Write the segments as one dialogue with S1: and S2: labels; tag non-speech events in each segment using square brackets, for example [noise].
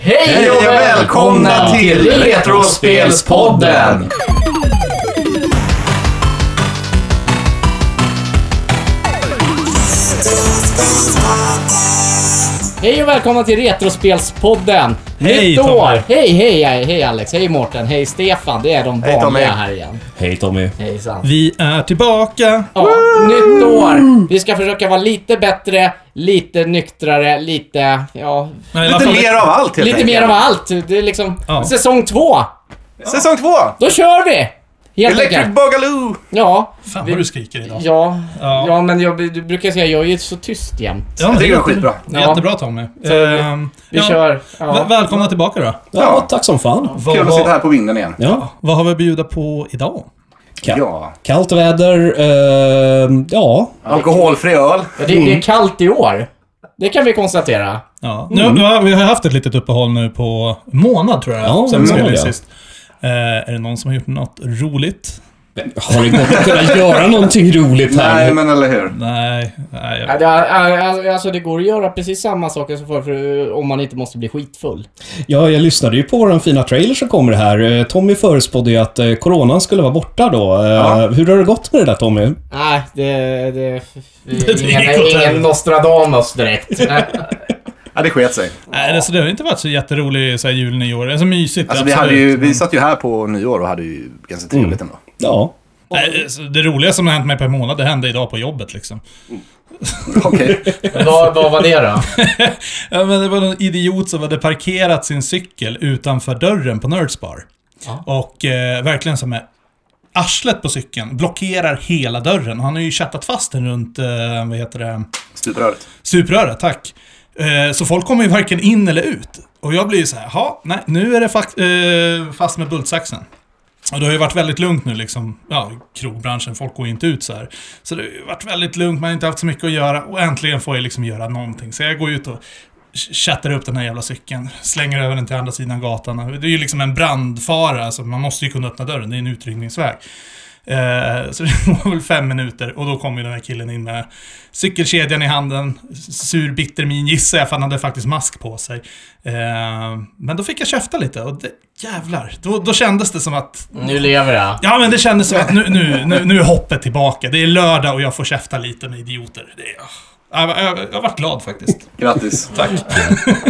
S1: Hej och välkomna till Retrospelspodden! Hej och välkomna till Retrospelspodden!
S2: Hej,
S1: Nytt år!
S2: Tommy.
S1: Hej, hej, hej, hej Alex, hej Mårten, hej Stefan. Det är de
S3: Hej, Tommy.
S1: vanliga här igen.
S2: Hej Tommy.
S1: Hejsan.
S2: Vi är tillbaka.
S1: Ja, nytt år! Vi ska försöka vara lite bättre, lite nyktrare, lite, ja...
S2: Nej, i alla
S3: Lite
S2: fall-
S3: mer av allt helt
S1: Lite
S3: enkelt.
S1: mer av allt. Det är liksom
S2: Ja.
S1: säsong två.
S3: Säsong två!
S1: Då kör vi! Helt
S3: Electric
S1: enkelt.
S3: Boogaloo!
S1: Ja.
S4: Fan
S1: Vi-
S4: vad du skriker idag.
S1: Ja, ja.
S2: Ja.
S1: men jag, du brukar säga jag är ju så tyst jämt.
S2: Ja, men
S3: Jag tycker det är
S2: jätte-
S3: skitbra.
S1: Ja.
S2: Jättebra Tommy.
S1: Så vi-
S2: Ehm,
S1: Vi
S2: ja,
S1: kör.
S2: väl-
S1: Ja.
S2: Välkomna tillbaka då.
S5: Ja,
S3: Ja.
S5: tack som fan.
S2: Vad,
S3: Kul att sitta
S2: vad,
S3: här på vinden igen.
S5: Ja.
S2: vad har vi att bjuda på idag?
S5: Ka-
S3: Ja.
S5: Kallt väder, eh, ja.
S3: Alkoholfri öl.
S1: Ja, Det,
S3: Mm.
S1: det är kallt i år. Det kan vi konstatera.
S2: Ja. Nu,
S3: Mm.
S2: nu har, vi har haft ett litet uppehåll nu på månad tror jag,
S5: Ja,
S2: sen
S5: en
S2: vi spelade
S5: månad, ja.
S2: sist. Eh, är det någon som har gjort något roligt?
S5: Har inte kunnat göra någonting roligt här.
S3: Nej, men eller hur.
S2: Nej, nej.
S1: Ja,
S2: Jag,
S1: det, är- alltså det går att göra precis samma saker som förr för, om man inte måste bli skitfull.
S5: Ja, jag lyssnade ju på våran fina trailer som kommer här. Eh, Tommy förespådde ju att eh, coronan skulle vara borta då. Eh,
S3: Ja.
S5: Hur har det gått med det där Tommy?
S1: Nej, det... det,
S2: [laughs] Det gick
S1: ingen,
S2: åt
S1: ingen
S2: helvete.
S1: Nostradamus direkt.
S2: [laughs]
S1: Nej.
S3: Ja, det sket sig.
S2: nej alltså, det har ju inte varit så jätterolig så här, jul, nyår. Det är så mysigt.
S3: Alltså, vi,
S2: absolut.
S3: hade ju, vi satt ju här på nyår och hade ju ganska trevligt ändå.
S1: Mm.
S5: Ja.
S2: Nej, alltså, det roliga som har hänt mig per månad, det hände idag på jobbet liksom.
S3: Okej.
S1: vad, vad var det då?
S2: [laughs] Ja, men det var någon idiot som hade parkerat sin cykel utanför dörren på Nerdsbar.
S1: Ja.
S2: Och eh, verkligen som är arslet på cykeln, blockerar hela dörren. Och han har ju chattat fast den runt, eh, vad heter det,
S3: Stupröret.
S2: stupröret, tack. Eh, så folk kommer ju varken in eller ut. Och jag blir ju så här, ja, nej, nu är det fakt- eh, fast med bultsaxen. Och det har ju varit väldigt lugnt nu liksom, ja, krogbranschen, folk går ju inte ut så här. Så det har ju varit väldigt lugnt, man har inte haft så mycket att göra och äntligen får jag liksom göra någonting. Så jag går ut och ch- chattar upp den här jävla cykeln, slänger över den till andra sidan gatan. Det är ju liksom en brandfara, alltså man måste ju kunna öppna dörren, det är en utryckningsväg. Eh, så det [laughs] var väl fem minuter och då kom ju den här killen in med cykelkedjan i handen, sur bitter min gissar jag, för han hade faktiskt mask på sig. Eh, men då fick jag käfta lite och det, jävlar, då, då kändes det som att
S1: Nu lever jag.
S2: Ja, men det kändes som att nu, nu, nu, nu är hoppet tillbaka. Det är lördag och jag får käfta lite med idioter. Det är, ah, jag, jag, jag har varit glad faktiskt.
S3: Grattis.
S2: Tack. [laughs]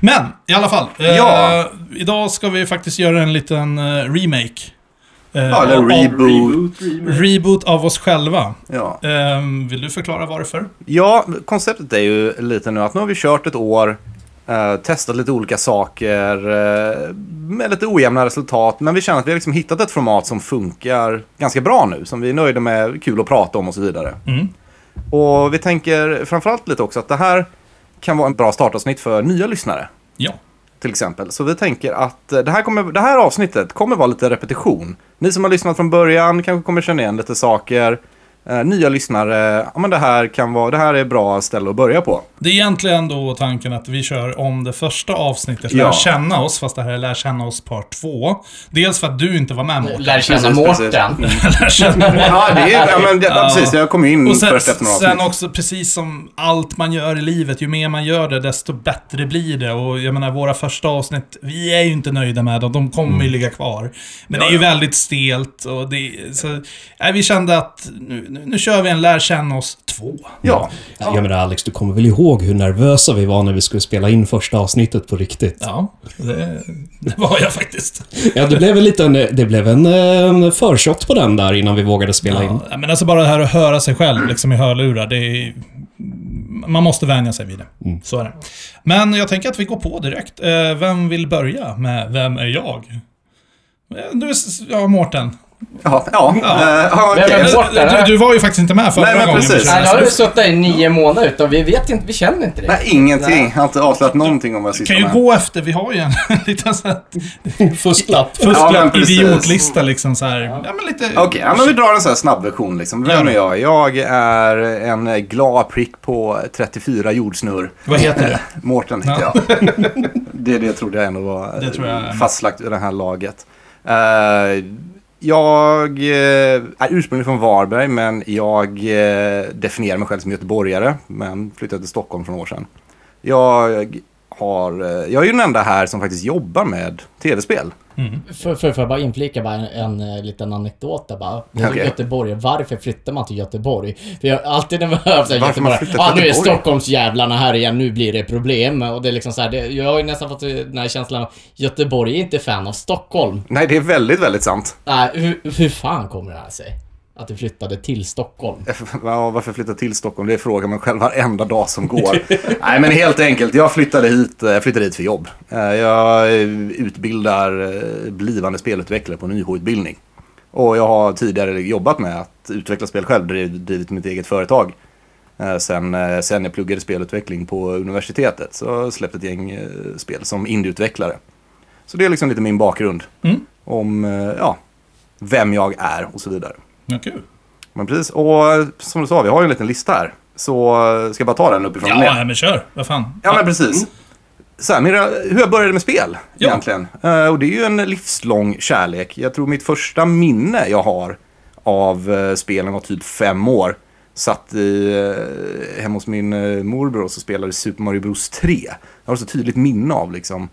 S2: Men, i alla fall. eh,
S3: Ja.
S2: idag ska vi faktiskt göra en liten eh, remake. Eh,
S3: Ja, eller
S2: av-
S3: reboot.
S2: Reboot av oss själva.
S3: Ja.
S2: Eh, vill du förklara varför?
S3: Ja, konceptet är ju lite nu att nu har vi kört ett år, eh, testat lite olika saker eh, med lite ojämna resultat. Men vi känner att vi har liksom hittat ett format som funkar ganska bra nu, som vi är nöjda med, kul att prata om och så vidare.
S2: Mm.
S3: Och vi tänker framförallt lite också att det här kan vara en bra startavsnitt för nya lyssnare
S2: Ja.
S3: till exempel. Så vi tänker att eh, det här, kommer, det här avsnittet kommer vara lite repetition. Ni som har lyssnat från början kanske kommer känna igen lite saker. Eh, nya lyssnare, ja men det här kan vara, det här är bra ställe att börja på.
S2: Det är egentligen då tanken att vi kör om det första avsnittet, Lär
S3: Ja.
S2: känna oss, fast det här är Lär känna oss part två. Dels för att du inte var med Mårten.
S1: Lär känna
S3: Precis, precis. Mm.
S1: Mårten.
S2: Lär känna
S3: Ja, det är, ja, men, det, ja.
S2: Ja.
S3: precis, jag kom ju in
S2: Och sen,
S3: först efter några avsnitt.
S2: sen också, precis som allt man gör i livet, ju mer man gör det, desto bättre blir det. Och jag menar, våra första avsnitt, vi är ju inte nöjda med dem. De kommer
S3: Mm.
S2: ju ligga kvar. Men det är ju väldigt stelt och det... Så, nej, vi kände att nu, nu, nu kör vi en Lär känna oss två.
S3: Ja,
S5: Jag menar Alex, du kommer väl ihåg hur nervösa vi var när vi skulle spela in första avsnittet på riktigt?
S2: Ja, det, det var jag faktiskt.
S5: Ja, det blev en liten... Det blev en eh, förshot på den där innan vi vågade spela in.
S2: Ja, men alltså bara det här att höra sig själv liksom i hörlurar, det är... Man måste vänja sig vid det. Så är det. Men jag tänker att vi går på direkt. Eh, Vem vill börja med Vem är jag? Eh, Du, ja, Mårten.
S3: ja, ja.
S2: Ja.
S3: eh, ja okej.
S1: Men- men- Mårten,
S2: Du,
S1: eller?
S2: du var ju faktiskt inte med förra
S3: Nej, men
S2: gången.
S3: precis.
S1: Nej,
S2: vi körde.
S1: nu har du suttit i nio månader utan vi vet inte, vi känner inte dig.
S3: Nej, ingenting. Jag har inte avslöjat någonting om vad jag
S2: kan
S3: sysslar
S2: ju
S3: med.
S2: gå efter, vi har ju en [laughs] liten sån här
S5: Fusklapp.
S3: Ja, men
S2: fusklapp
S3: precis.
S2: idiotlista liksom så här. Ja, men lite...
S3: Okej, ja, men vi drar en sån här snabb version liksom. Vem är jag? Jag är en glad prick på 34 jordsnurr.
S2: Vad heter du?
S3: Mårten heter
S2: Ja.
S3: jag. [laughs] Det, det trodde jag ändå var eh,
S2: Det tror jag.
S3: fastlagt i det här laget. Eh, jag eh, är ursprungligen från Varberg men jag eh, definierar mig själv som göteborgare men flyttade till Stockholm för några år sedan. Jag har... eh, Jag är ju den enda här som faktiskt jobbar med tv-spel.
S1: För, för, för att bara inflika bara en, en eh, liten anekdot där bara. Det är
S3: Okej.
S1: Göteborg, varför flyttar man till Göteborg? För jag alltid när man [laughs] hör såhär
S3: Varför man
S1: Göteborg,
S3: flyttar till
S1: ah, nu är
S3: Göteborg?"
S1: Stockholmsjävlarna här igen, nu blir det problem. Och det är liksom så här, det, jag har ju nästan fått den här känslan av Göteborg är inte fan av Stockholm.
S3: Nej, det är väldigt, väldigt sant.
S1: Nej, hur, hur fan kommer det här sig? Att du flyttade till Stockholm?
S3: Ja, varför flytta till Stockholm? Det frågar man själv varenda dag som går. Nej, men helt enkelt. Jag flyttade hit, eh, jag flyttade hit för jobb. Eh, Jag eh, utbildar eh, blivande spelutvecklare på en YH-utbildning. Och jag har tidigare jobbat med att utveckla spel själv, driv- drivit mitt eget företag. Eh, Sen, eh, sen jag pluggade spelutveckling på universitetet så har jag släppt ett gäng eh, spel som indieutvecklare. Så det är liksom lite min bakgrund.
S2: Mm.
S3: Om eh, ja, vem jag är och så vidare.
S2: Ja, kul.
S3: Men precis, och eh, som du sa, vi har ju en liten lista här. Så eh, ska jag bara ta den uppifrån och
S2: Ja,
S3: ner?
S2: nej, men kör. Vad fan.
S3: Ja, men precis. Så här, mina, hur jag började med spel
S2: Ja.
S3: egentligen. Eh, och det är ju en livslång kärlek. Jag tror mitt första minne jag har av eh, spelen var typ fem år. Satt i, eh, hemma hos min eh, morbror och så spelade Super Mario Bros 3. Jag har så tydligt minne av liksom,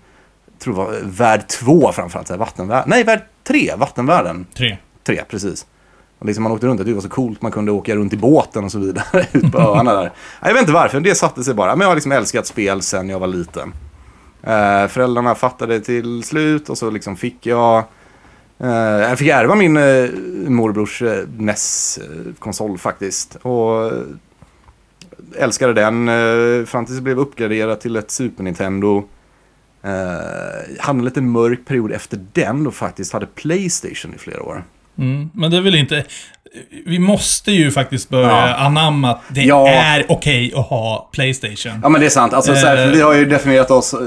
S3: jag tror det var eh, värld 2 framförallt, så här, vattenvärlden. Nej, värld 3, vattenvärlden
S2: Tre.
S3: tre, precis. Och liksom man åkte runt, det var så coolt, man kunde åka runt i båten och så vidare, [laughs] ut på öarna där. Jag vet inte varför, det satte sig bara. Men jag har liksom älskat spel sen jag var liten. Eh, föräldrarna fattade till slut och så liksom fick jag... Eh, jag fick ärva min eh, morbrors eh, NES-konsol faktiskt. Och eh, älskade den eh, fram tills det blev uppgraderat till ett Super Nintendo. Eh, hade en lite mörk period efter den och faktiskt hade Playstation i flera år.
S2: Mm. Men det är väl inte... Vi måste ju faktiskt börja
S3: Ja.
S2: anamma att det
S3: Ja.
S2: är okej att ha Playstation.
S3: Ja men det är sant. Alltså, så här, för vi har ju definierat oss eh,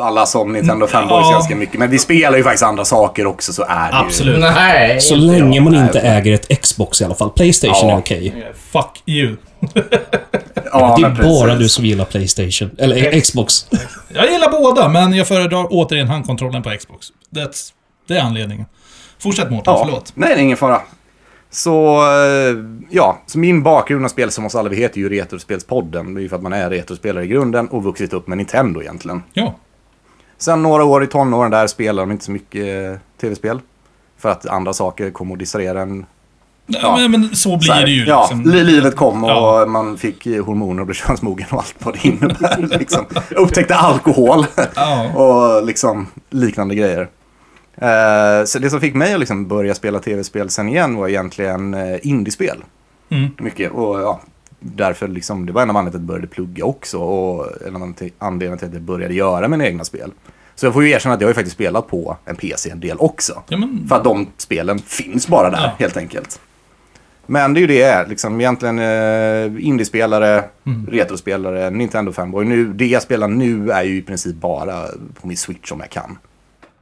S3: alla som
S5: Mm.
S3: Nintendo fanboys
S2: Ja.
S3: ganska mycket. Men vi spelar ju faktiskt andra saker också så är det
S2: Absolut.
S1: Nej!
S5: Så länge man inte
S3: nej.
S5: äger ett Xbox i alla fall. Playstation
S3: Ja.
S5: är okej.
S2: Fuck you.
S3: ju. Ja,
S5: det
S3: men
S5: är
S3: precis.
S5: bara du som gillar Playstation. Eller eh, Xbox.
S2: Jag gillar båda, men jag föredrar återigen handkontrollen på Xbox. That's, det är anledningen. Fortsätt Mårten,
S3: Ja.
S2: förlåt.
S3: Nej, det är ingen fara. Så, eh, ja. Så min bakgrund av spel som oss alla vi heter ju Retrospelspodden. Det är ju för att man är retrospelare i grunden och vuxit upp med Nintendo egentligen.
S2: Ja.
S3: Sen några år i tonåren där spelade de inte så mycket eh, tv-spel. För att andra saker kom och distraherade en
S2: ja. Men, men så blir
S3: Så här,
S2: det ju
S3: ja,
S2: liksom.
S3: li- livet kom och
S2: Ja.
S3: man fick eh, hormoner och blev könsmogen och allt vad det innebär. [laughs] liksom. Jag Upptäckte alkohol
S2: Ja.
S3: och liksom liknande grejer. Eh, så det som fick mig att liksom börja spela tv-spel sen igen var egentligen eh, indiespel.
S2: Mm.
S3: Mycket. Och, ja, därför liksom, det var en av anledningarna till att jag började plugga också och en av anled- anledningarna till att jag började göra mina egna spel. Så jag får ju erkänna att jag har ju faktiskt spelat på en PC en del också.
S2: Ja, men,
S3: För att de spelen finns bara där,
S2: Ja.
S3: helt enkelt. Men det är ju det, liksom egentligen eh, indiespelare,
S2: Mm.
S3: retrospelare, Nintendo fanboy. Nu, det jag spelar nu är ju i princip bara på min Switch om jag kan.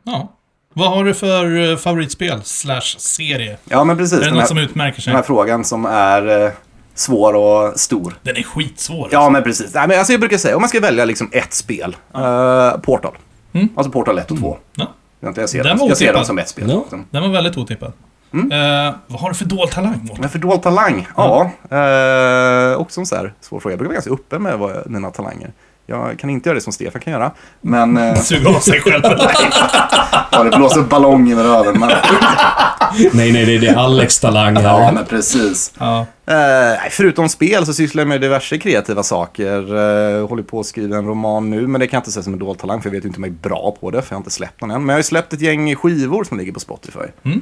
S2: ja. Vad har du för eh, favoritspel slash serie?
S3: Ja, men precis.
S2: Är det
S3: Den
S2: något som
S3: här,
S2: utmärker sig?
S3: den här frågan som är eh, svår och stor.
S2: Den är skitsvår.
S3: Ja, men precis. Nej, men alltså jag brukar säga, om man ska välja liksom ett spel, eh, Portal.
S2: Mm.
S3: Alltså Portal 1 och 2.
S2: Ja.
S3: Egentligen, Jag ser,
S2: Den
S3: dem-
S2: var
S3: jag ser
S2: otippad.
S3: dem som ett spel.
S5: Ja.
S3: liksom.
S2: Den var väldigt otippad.
S3: Mm.
S2: Eh, vad har du för dold talang, Mårten?
S3: Men för dold talang? Ja, eh, också en så här svår fråga. Jag brukar vara ganska öppen med vad jag, mina talanger. Jag kan inte göra det som Stefan kan göra, men... Eh,
S2: Suga av sig själv.
S3: [laughs] ja, det blåser upp ballong i röven. [laughs] Men,
S5: nej, nej, det är- det är Alex talang
S3: [laughs] ja,
S5: här.
S3: men precis.
S2: ja.
S3: Eh, nej, förutom spel så sysslar jag med diverse kreativa saker. Eh, håller på att skriva en roman nu, men det kan jag inte säga som en dold talang, för jag vet ju inte om jag är bra på det, för jag har inte släppt någon än. Men jag har ju släppt ett gäng skivor som ligger på Spotify. Eh,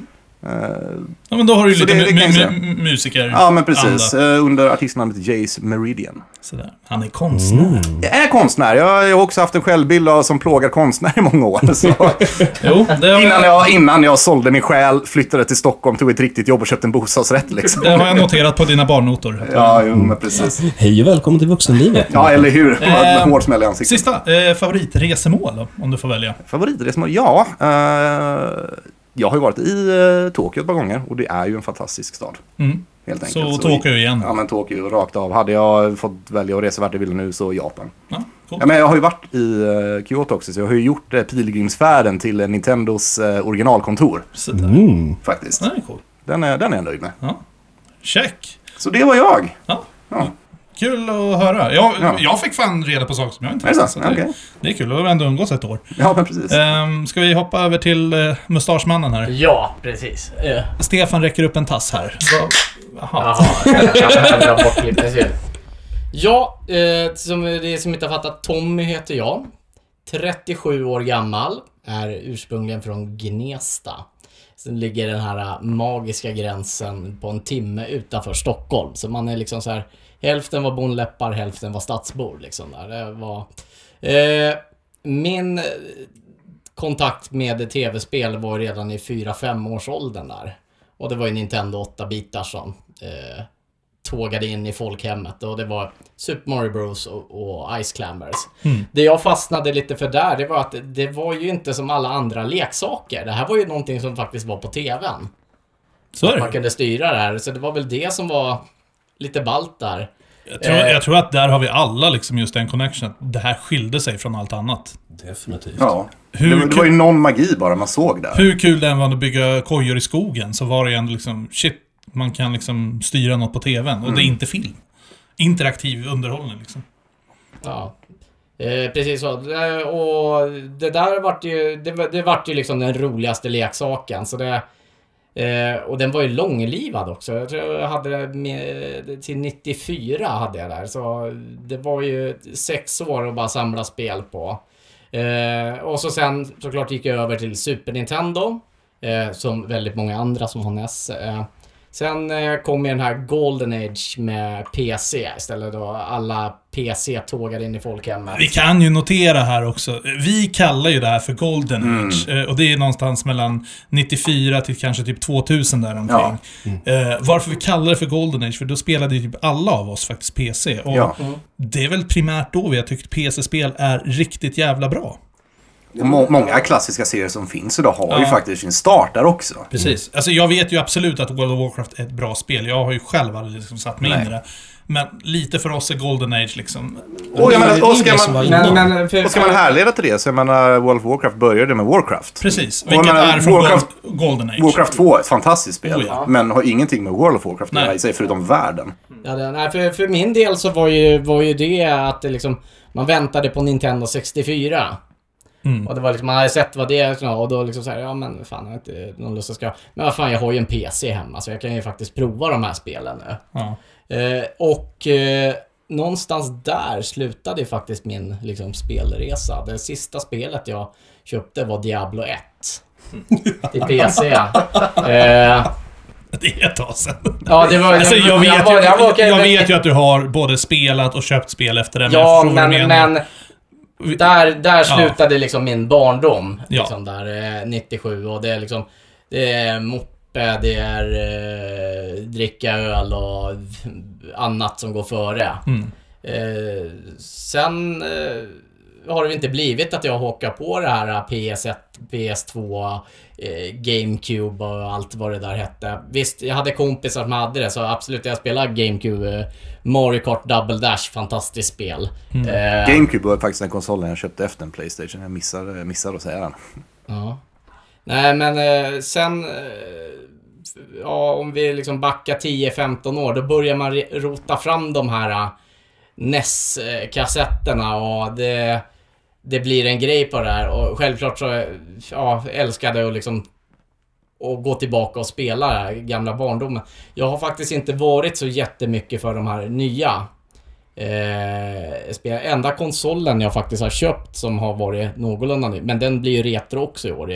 S2: ja, men då har du ju
S3: Så
S2: lite
S3: det- det kan jag
S2: mu-
S3: säga.
S2: mu- mu- musiker
S3: ja, men precis.
S2: anda.
S3: Eh, under artistnamnet Jace Meridian.
S2: Sådär. Han är konstnär.
S3: Jag är konstnär. Jag jag har också haft en självbild av, som plågar konstnär i många år.
S2: [laughs]
S3: Så.
S2: Jo, det har,
S3: Innan,
S2: jag,
S3: jag, innan jag sålde min själ, flyttade till Stockholm, tog ett riktigt jobb och köpte en bostadsrätt. Liksom.
S2: det har jag noterat på dina barnnotor.
S3: Ja, jo, men precis.
S5: Hej och välkommen till vuxenlivet.
S3: Ja, eller hur? Med
S2: [laughs] Ehm,
S3: hård smäll i ansiktet.
S2: Sista, eh, favoritresemål då, om du får välja.
S3: Favoritresmål? Ja, eh, jag har ju varit i eh, Tokyo ett par gånger och det är ju en fantastisk stad.
S2: Mm.
S3: Helt enkelt.
S2: Så Tokyo igen.
S3: Ja, men Tokyo rakt av. Hade jag fått välja att resa vart jag ville nu så Japan.
S2: Ja, coolt.
S3: Ja, men jag har ju varit i eh, Kyoto också, så jag har ju gjort eh, pilgrimsfärden till eh, Nintendos eh, originalkontor.
S2: Sådär.
S5: Mm.
S3: faktiskt.
S2: Den är cool.
S3: Den är, den är jag nöjd med.
S2: Ja. Check!
S3: Så det var jag.
S2: Ja.
S3: Ja.
S2: Kul att höra. Jag,
S3: Ja.
S2: jag fick fan reda på saker som jag inte
S3: Är det så?
S2: visste. så
S3: Okej.
S2: det, det är kul, vi har ändå umgås ett år.
S3: Ja, men precis.
S2: Um, ska vi hoppa över till uh, mustaschmannen här?
S1: Ja, precis. Eh,
S2: Stefan räcker upp en tass här. Vad- Jaha.
S1: Jaha, jag kan ändra bort klippet ju. Ja, eh, som det som inte har fattat, Tommy heter jag. 37 år gammal, är ursprungligen från Gnesta. Sen ligger den här eh, magiska gränsen på en timme utanför Stockholm. Så man är liksom så här, hälften var bonläppar, hälften var stadsbor liksom där. Det var... Eh, min kontakt med tv-spel var ju redan i 4-5 års åldern där. Och det var ju Nintendo 8-bitar som eh, tågade in i folkhemmet och det var Super Mario Bros och, och Ice Climbers. Det jag fastnade lite för där, det var att det- det var ju inte som alla andra leksaker. Det här var ju någonting som faktiskt var på tvn.
S2: Så är det.
S1: Man kunde styra det här, så det var väl det som var lite ballt där.
S2: Jag tror, jag tror att där har vi alla liksom just den connectionen. att Det här skilde sig från allt annat.
S5: Definitivt.
S3: Ja.
S2: Hur
S3: det, var- det var ju
S2: kul-
S3: någon magi bara man såg där.
S2: Hur kul det än var att bygga kojor i skogen så var det ju ändå liksom shit, man kan liksom styra något på tvn och det är inte film. Interaktiv underhållning liksom.
S1: Ja. Eh, precis så. Eh, Och det där vart ju, det, var- det vart ju liksom den roligaste leksaken. Så det, eh, och den var ju långlivad också. Jag tror jag hade det med, till 94 hade jag där. Så det var ju sex år att bara samla spel på. Eh, och så sen såklart gick jag över till Super Nintendo. Eh, som väldigt många andra som har NES. Eh, Sen eh, kom ju den här Golden Age med PC istället då alla PC tågade in i folkhemmet.
S2: Vi kan ju notera här också, vi kallar ju det här för Golden
S3: Mm.
S2: Age. eh, Och det är någonstans mellan 94 till kanske typ 2000 där omkring. Eh, varför vi kallar det för Golden Age, för då spelade ju typ alla av oss faktiskt PC. Och
S3: Ja.
S2: det är väl primärt då vi har tyckt PC-spel är riktigt jävla bra.
S3: Och må- många klassiska serier som finns idag har ju
S2: Ja.
S3: faktiskt sin start där också.
S2: Precis. Alltså jag vet ju absolut att World of Warcraft är ett bra spel. Jag har ju själv aldrig liksom satt mig in
S3: Nej.
S2: i det. Men lite för oss är Golden Age liksom...
S3: Och, jag
S5: Det var
S3: menar, och,
S5: Ingrid
S3: ska
S5: som var
S3: man,
S5: inne.
S1: Men, men, för,
S3: och Mm. ska man härleda till det så jag menar World of Warcraft började med Warcraft.
S2: Precis.
S3: Och
S2: Vilket
S3: jag menar,
S2: är från
S3: Warcraft-
S2: Gold- Golden Age.
S3: Warcraft 2 är ett fantastiskt spel,
S2: Oh, ja.
S3: men har ingenting med World of Warcraft att
S2: Nej.
S3: göra i sig, förutom världen.
S1: ja, det, nej, för, för min del så var ju, var ju det att det liksom, man väntade på Nintendo 64.
S3: Mm.
S1: Och det var liksom, man hade sett vad det är och då liksom såhär, ja men fan jag har inte någon lust att ska... Men vad fan jag har ju en PC hemma så jag kan ju faktiskt prova de här spelen nu.
S2: Ja.
S1: Eh, och eh, någonstans där slutade ju faktiskt min liksom, spelresa. Det sista spelet jag köpte var Diablo 1.
S3: [laughs]
S1: Till Eh, PC. Eh,
S2: Det är ett tag sedan.
S1: ja, det var...
S2: Alltså jag vet,
S1: var-
S2: ju,
S1: jag var-
S2: jag,
S1: okej, men-
S2: vet ju att du har både spelat och köpt spel efter det. jag
S1: Ja,
S2: förstår vad du
S1: men,
S2: menar.
S1: men
S2: Vi-
S1: där, där slutade liksom min barndom.
S2: Ja.
S1: Liksom där, eh, 97 och det är liksom... Det är moppe, det är eh, dricka öl och annat som går före.
S2: Mm.
S1: Eh, sen eh, har det inte blivit att jag hakar på det här eh, PS1, PS2, eh, GameCube och allt vad det där hette. Visst, jag hade kompisar som hade det, så absolut, jag spelade GameCube. Eh, Mario Kart Double Dash, fantastiskt spel.
S2: Mm.
S1: Eh,
S3: GameCube var faktiskt den konsolen jag köpte efter en Playstation. Jag missade, missade att säga den.
S1: Ja. Nej, men eh, sen... Eh, f- ja, om vi liksom backar 10-15 år, då börjar man re- rota fram de här eh, NES-kassetterna och det, det blir en grej på det här. Och självklart så eh, ja, älskade jag att liksom och gå tillbaka och spela det här gamla barndomen. Jag har faktiskt inte varit så jättemycket för de här nya Eh, spel. Enda konsolen jag faktiskt har köpt som har varit någorlunda ny, men den blir ju retro också i år. Det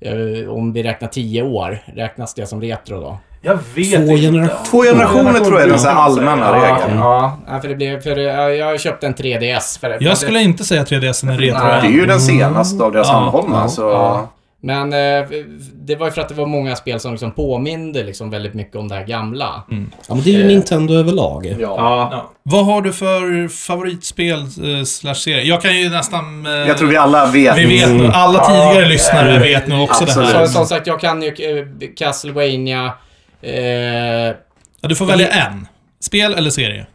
S1: är, eh, om vi räknar 10 år, räknas det som retro då?
S4: Jag vet
S5: Två
S4: inte.
S5: generationer.
S3: Två generationer tror jag är den så här allmänna
S1: Ja,
S3: regeln.
S1: ja, nej, för det blir, för eh, jag köpte en 3DS. För,
S2: Jag skulle inte säga att 3DS är retro
S1: Nej.
S3: Det är ju den senaste av deras
S2: Ja,
S3: anhållna,
S1: ja,
S3: så...
S1: ja. Men eh, det var ju för att det var många spel som liksom påminde liksom väldigt mycket om det här gamla.
S5: Ja, men det är
S3: Eh.
S5: ju Nintendo överlag.
S1: Ja.
S2: Ja. Vad har du för favoritspel eh, slash serie? Jag kan ju nästan... eh,
S3: Jag tror vi Mm. alla vet.
S2: Vi vet nog, alla tidigare lyssnare vet nog också
S3: Absolut.
S2: det här.
S1: Så, som sagt, jag kan ju eh, Castlevania, eh,
S2: Ja, du får välja en. Spel eller serie?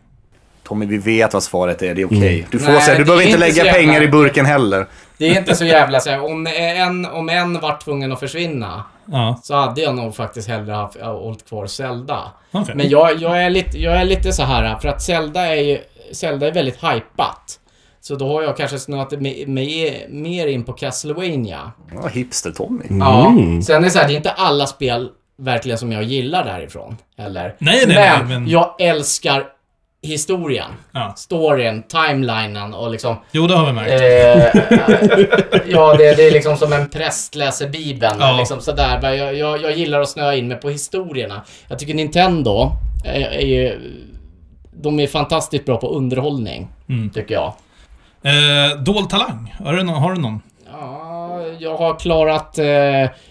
S3: Tommy, vi vet vad svaret är. Det är okej. Du får
S1: Nej,
S3: säga,
S1: det
S3: du behöver
S1: är
S3: inte
S1: inte så
S3: lägga
S1: jävla-
S3: pengar i burken heller.
S1: Det är inte så jävla så här, om en, om en var tvungen att försvinna,
S2: Ja,
S1: så hade jag nog faktiskt hellre haft, äh, hållit kvar Zelda.
S2: okej.
S1: Men jag, jag, är lite, jag är lite så här för att Zelda är ju, Zelda är väldigt hypat. Så då har jag kanske snöat mig, mig mer in på Castlevania.
S3: Ja, Hipster-Tommy.
S1: Ja.
S5: Mm.
S1: Sen är det så här, det är inte alla spel verkligen som jag gillar därifrån. Eller?
S2: Nej, nej, nej,
S1: men,
S2: men-
S1: jag älskar historien.
S2: Ja.
S1: Storyn, timelinen och
S2: [laughs]
S1: liksom...
S2: Jo, det har vi märkt.
S1: Eh, ja, det, det är liksom som en präst läser Bibeln.
S2: Ja.
S1: Liksom sådär. Men Jag, jag, jag gillar att snöa in mig på historierna. Jag tycker Nintendo är, är ju... De är fantastiskt bra på underhållning,
S2: Mm.
S1: tycker jag.
S2: Eh, dold talang, har du någon? Har du någon?
S1: Ja, jag har klarat eh,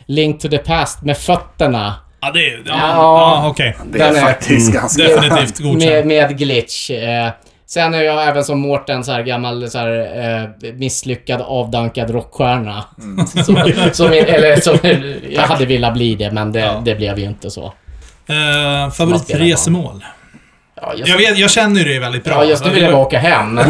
S1: Link to the Past med fötterna.
S2: Ja, det är... Ja,
S1: Ja.
S2: ja okej.
S3: Det är
S1: Den är-
S3: faktiskt
S5: Mm.
S3: ganska...
S2: Definitivt
S1: Med,
S2: godkänd.
S1: med glitch. Eh, sen är jag även som Mårten så här gammal så här, eh, misslyckad avdankad rockstjärna.
S2: Mm.
S1: Som, som, eller
S2: [laughs]
S1: som jag hade velat bli det, men det,
S2: Ja.
S1: det blev ju inte så.
S2: Eh,
S1: Man spelar
S2: favoritresemål?
S1: Ja, just,
S2: Jag, vet, jag känner ju dig väldigt bra.
S1: ja, just nu vill jag bara åka
S2: [laughs]
S1: hem. [laughs] Nej,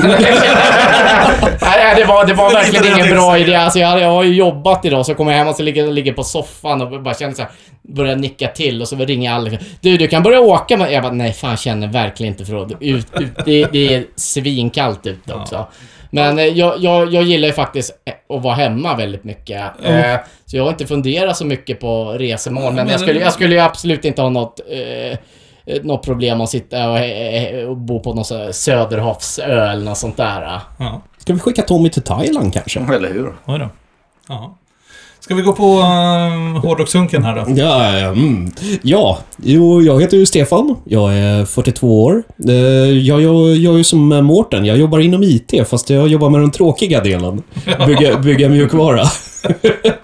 S1: det var, det var verkligen
S2: Lite
S1: ingen
S2: relativt.
S1: bra idé. Alltså, jag, hade, jag har ju jobbat idag, så kommer jag hem och så ligger, ligger på soffan och bara känner så här, börjar nicka till och så ringer alla. Du, du kan börja åka. Men jag bara, nej fan, jag känner verkligen inte för att... Ut, ut, det, det är svinkallt ute också. Men eh, jag, jag, jag gillar ju faktiskt eh, att vara hemma väldigt mycket.
S2: Mm.
S1: Eh, Så jag har inte funderat så mycket på resemål. Men,
S2: Men-
S1: jag, skulle, jag skulle ju absolut inte ha något, eh, eh, något problem att sitta och, eh, och bo på någon sån här söderhavsö eller något sånt där. eh.
S2: Ja,
S5: Ska vi skicka Tommy till Thailand kanske?
S3: Eller hur?
S2: oj då. Ja. Ska vi gå på uh, hårdrockshunken här då?
S5: Ja, mm. ja, jo, jag heter ju Stefan. Jag är 42 år. Eh, Jag, jag, jag är ju som eh, Mårten. Jag jobbar inom IT, fast jag jobbar med den tråkiga delen. Bygga, bygga mjukvara. [laughs]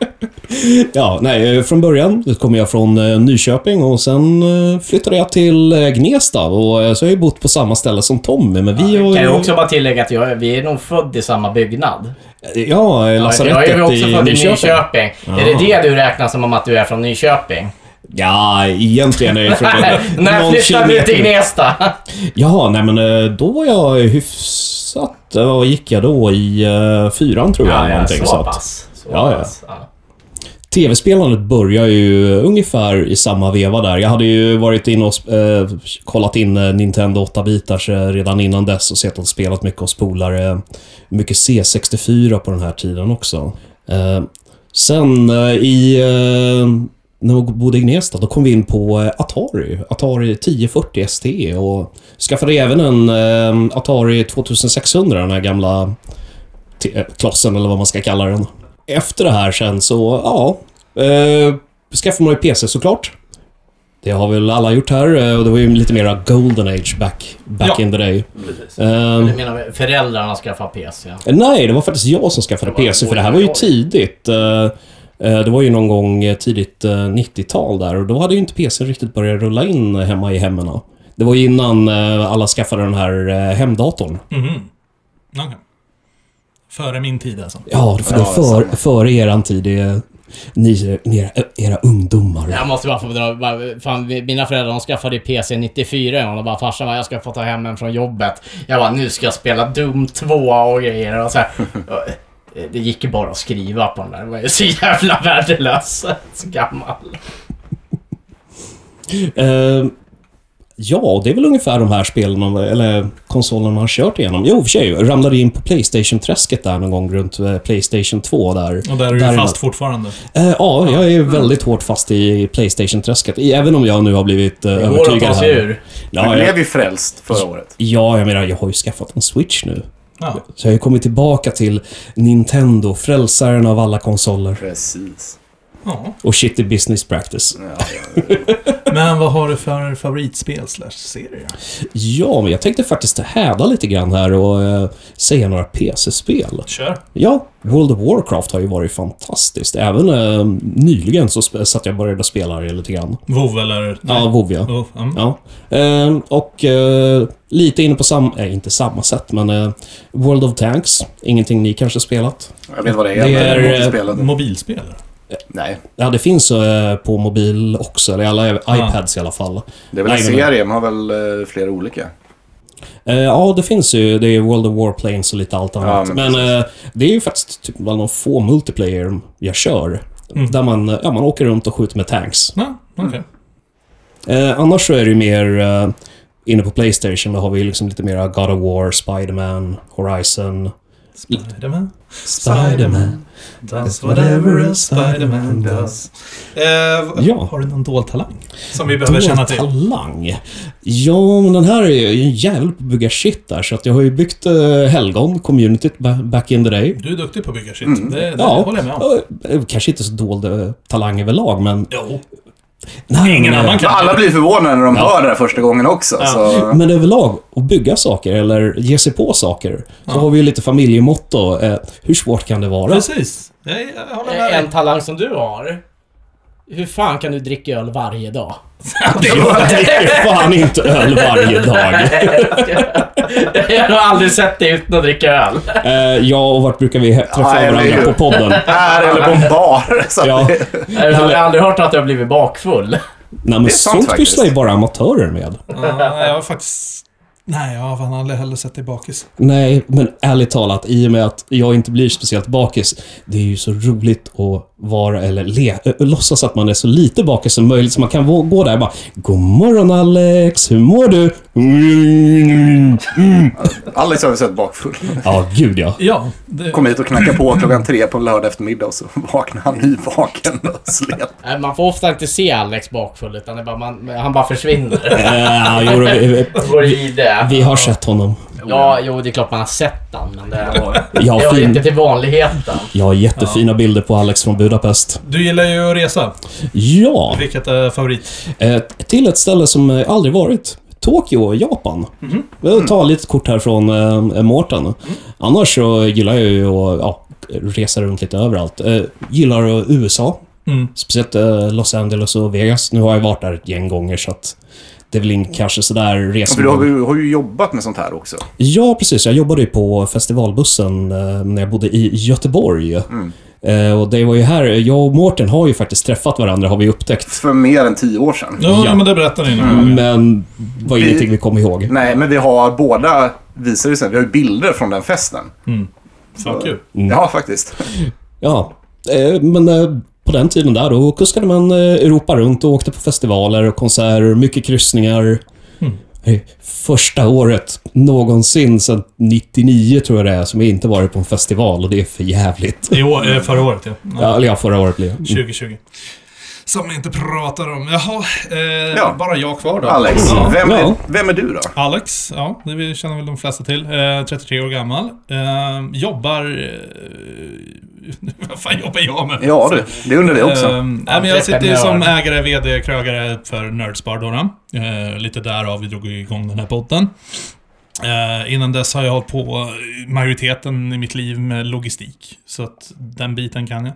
S5: ja, nej, eh, från början så kommer jag från eh, Nyköping och sen eh, flyttade jag till eh, Gnesta och eh, så har jag ju bott på samma ställe som Tommy, men vi har
S1: Kan
S5: ju...
S1: jag också bara tillägga att jag, vi är nog född i samma byggnad.
S5: Ja, eh,
S1: jag är
S5: lasarettet
S1: ju också
S5: i
S1: född i
S5: Nyköping.
S1: Nyköping. Är det det du räknar som om att du är från Nyköping?
S5: Ja, egentligen är
S1: [laughs]
S5: jag från...
S1: När
S5: någon
S1: flyttade du
S5: kilometer
S1: till Gnesta?
S5: Ja, nej men eh, då var jag hyfsat... ja, Vad gick jag då? I eh, fyran tror jag. någonting, så
S1: så
S5: att-
S1: pass. Så
S5: Ja, ja.
S1: pass, ja.
S5: TV-spelandet börjar ju ungefär i samma veva där. Jag hade ju varit inne och eh, kollat in eh, Nintendo 8-bitars eh, redan innan dess och sett och spelat mycket hos polare. Mycket C64 på den här tiden också. Eh, sen eh, i... Eh, när vi bodde i Gnesta, då kom vi in på eh, Atari. Atari 1040 ST och skaffade även en eh, Atari 2600, den här gamla t- eh, klossen eller vad man ska kalla den. Efter det här sen så, ja. Eh, skaffade man ju PC såklart. Det har väl alla gjort här eh, och det var ju lite mera Golden Age back, back
S2: Ja.
S5: in the day.
S3: Precis.
S5: Ehm,
S1: Du menar föräldrarna skaffar PC? Ja.
S5: Nej, det var faktiskt jag som skaffade
S1: Det var-
S5: PC, för det här var ju
S1: oj, oj.
S5: tidigt. Eh, eh, Det var ju någon gång eh, tidigt eh, 90-tal där och då hade ju inte PC riktigt börjat rulla in hemma i hemmen. Det var ju innan eh, alla skaffade den här eh, hemdatorn.
S2: Mhm. Okej. Före min tid alltså.
S5: Ja, för det
S3: Ja,
S5: var för, före eran tid. Det är ni, ni, era, era ungdomar.
S1: Jag måste bara få dra... bara- Fan, mina föräldrar de skaffade ju PC 94 en gång och bara farsan bara, jag ska få ta hem en från jobbet. Jag bara nu ska jag spela Doom 2 och grejer och så här. Och, eh, Det gick ju bara att skriva på den där. Det var ju så jävla värdelös. Så gammal.
S5: Eh, ja, det är väl ungefär de här spelen, eller konsolerna man har kört igenom. Jo, i och för sig. jag Ramlade in på Playstation-träsket där någon gång runt eh, Playstation 2 där.
S2: Och där är du ju
S5: Däremot-
S2: fast fortfarande.
S5: Eh, ja, jag är väldigt hårt fast i Playstation-träsket. i- Även om jag nu har blivit eh,
S1: Det går att
S5: övertygad
S1: ta sig
S5: här.
S1: ur.
S3: Du
S5: Ja,
S3: blev
S5: jag,
S3: ju frälst förra året.
S5: ja, jag menar, jag har ju skaffat en Switch nu.
S2: Ja.
S5: Så jag har ju kommit tillbaka till Nintendo, frälsaren av alla konsoler.
S3: Precis.
S2: ja.
S5: Och shit i business practice.
S3: Ja, ja, ja.
S2: Men vad har du för favoritspel slash serie?
S5: Ja, men jag tänkte faktiskt häda lite grann här och eh, säga några PC-spel.
S2: Kör.
S5: Ja, World of Warcraft har ju varit fantastiskt. Även eh, nyligen så sp- satt jag och började spela det lite grann.
S2: WoW eller?
S5: Ja, WoW ja.
S2: WoW. Mm.
S5: Ja. Eh, och eh, lite inne på samma... Eh, inte samma sätt, men eh, World of Tanks. Ingenting ni kanske spelat?
S3: Jag vet vad det är,
S5: Det
S3: men jag har
S5: är,
S3: inte
S5: eh,
S3: spelat det.
S2: Mobilspel?
S3: Nej,
S5: Ja, det finns eh, på mobil också. Eller alla
S2: Ja.
S5: iPads i alla fall.
S3: det är väl en
S5: Nej, men-
S3: serie. Man har väl eh, flera olika.
S5: Eh, ja, det finns ju. Det är World of Warplanes och lite allt annat.
S3: men
S5: men eh, det är ju faktiskt typ bland de få multiplayer jag kör.
S2: Mm.
S5: Där man, ja, man åker runt och skjuter med tanks.
S2: Ja, okej.
S5: Eh, annars så är det ju mer eh, inne på Playstation. Då har vi liksom lite mer God of War, Spider-Man, Horizon.
S2: Spiderman, Spiderman does whatever a Spiderman does. Eh,
S5: Ja.
S2: Har du någon dold talang? Som vi behöver känna till?
S5: Talang. Ja, men den här är ju en jävel på att bygga shit där. Så att jag har ju byggt eh, Helgon, communityt, ba- back in the day.
S2: Du är duktig på att bygga shit. Det, det
S5: Ja,
S2: håller jag med om.
S5: ja, eh, kanske inte så dold eh, talang överlag, men...
S2: Jo.
S5: Nej,
S2: Ingen
S5: men, eh,
S2: annan kan.
S3: Alla blir förvånade när de hör det här första gången också.
S5: [laughs]
S3: Så.
S5: Men överlag, att bygga saker eller ge sig på saker. Så har vi ju lite familjemotto. Eh, hur svårt kan det vara? [laughs]
S2: Precis. Jag, jag håller med
S1: En
S2: dig.
S1: talang som du har. Hur fan kan du dricka öl varje dag?
S5: Jag dricker fan inte öl varje dag.
S1: [laughs] Jag har aldrig sett dig utan att dricka öl.
S5: Eh, ja, och vart brukar vi he- träffa
S3: Ja,
S5: varandra
S3: eller
S5: på
S3: hur?
S5: podden?
S3: [laughs] Här eller på en bar. [laughs] Så att
S5: Ja,
S3: det,
S1: Jag har aldrig hört att jag har blivit bakfull.
S5: nej, men
S3: är sant
S5: sånt
S3: faktiskt.
S5: pysslar ju bara amatörer med.
S2: Ja, jag har faktiskt... Nej, jag har fan aldrig heller sett dig bakis.
S5: Nej, men ärligt talat, i och med att jag inte blir speciellt bakis, det är ju så roligt att vara, eller le, ö, låtsas att man är så lite bakis som möjligt, så man kan vå- gå där och bara God morgon Alex, hur mår du?” mm.
S3: Alex har vi sett bakfull.
S5: Ja, gud ja.
S2: Ja, det,
S3: Kom hit och knacka på klockan tre på en lördag eftermiddag och så vaknar han nyvaken och slet.
S1: Nej, Man får ofta inte se Alex bakfull utan det är bara man, han bara försvinner.
S5: Eh, jo, då, vi, vi-
S1: [laughs] Går i det.
S5: vi har sett honom.
S1: Ja, jo det är klart man har sett den men det var,
S5: Jag
S1: det
S5: har,
S1: var
S5: fin,
S1: inte till vanligheten.
S5: jag har jättefina bilder på Alex från Budapest.
S2: du gillar ju att resa.
S5: Ja!
S2: Vilket är favorit?
S5: Eh, till ett ställe som eh, aldrig varit. Tokyo, Japan.
S3: Mhm.
S5: Jag
S3: Mm.
S5: tar lite kort här från eh, Mårten. Annars så gillar jag ju att ja, resa runt lite överallt. Eh, gillar eh, USA.
S2: Mm.
S5: Speciellt eh, Los Angeles och Vegas. Nu har jag varit där ett gäng gånger så att det är väl in, kanske sådär
S3: För
S5: resor...
S3: du har, ju- har ju jobbat med sånt här också.
S5: Ja, precis. Jag jobbade ju på festivalbussen eh, när jag bodde i Göteborg.
S3: Mm.
S5: Eh, och det var ju här... Jag och Mårten har ju faktiskt träffat varandra, har vi upptäckt.
S3: För mer än tio år sedan.
S2: Ja, Mm.
S5: Ja.
S2: men det berättade ni någon gång.
S5: Men var
S3: Vi-
S5: ingenting vi kom ihåg.
S3: Nej, men vi har båda, visar det sig, vi har ju bilder från den festen.
S2: Fan, kul.
S3: Ja, faktiskt.
S5: Ja, eh, men eh, på den tiden där då kuskade man eh, Europa runt och åkte på festivaler och konserter, mycket kryssningar.
S2: Hmm.
S5: Eh, Första året någonsin sedan 99 tror jag det är som jag inte varit på en festival och det är för jävligt.
S2: I år, eh, förra året, ja. ja.
S5: Ja, eller ja, förra året blev det.
S2: 2020. Som vi inte pratar om. Jaha, eh,
S3: Ja.
S2: bara jag kvar då.
S3: Alex,
S2: Ja.
S3: vem,
S5: Ja.
S3: är, vem är du då?
S2: Alex, ja, det vi- känner väl de flesta till. Eh, 33 år gammal. Eh, jobbar... Eh, [laughs] vad fan jobbar jag med?
S3: Ja du, Eh. det undrar vi också.
S2: Ehm, nej, men jag sitter ju som
S1: Entreprenör.
S2: ägare, VD, krögare för Nerdspar då. då. Eh, lite därav vi drog igång den här podden. Eh, innan dess har jag hållit på majoriteten i mitt liv med logistik. Så att den biten kan jag.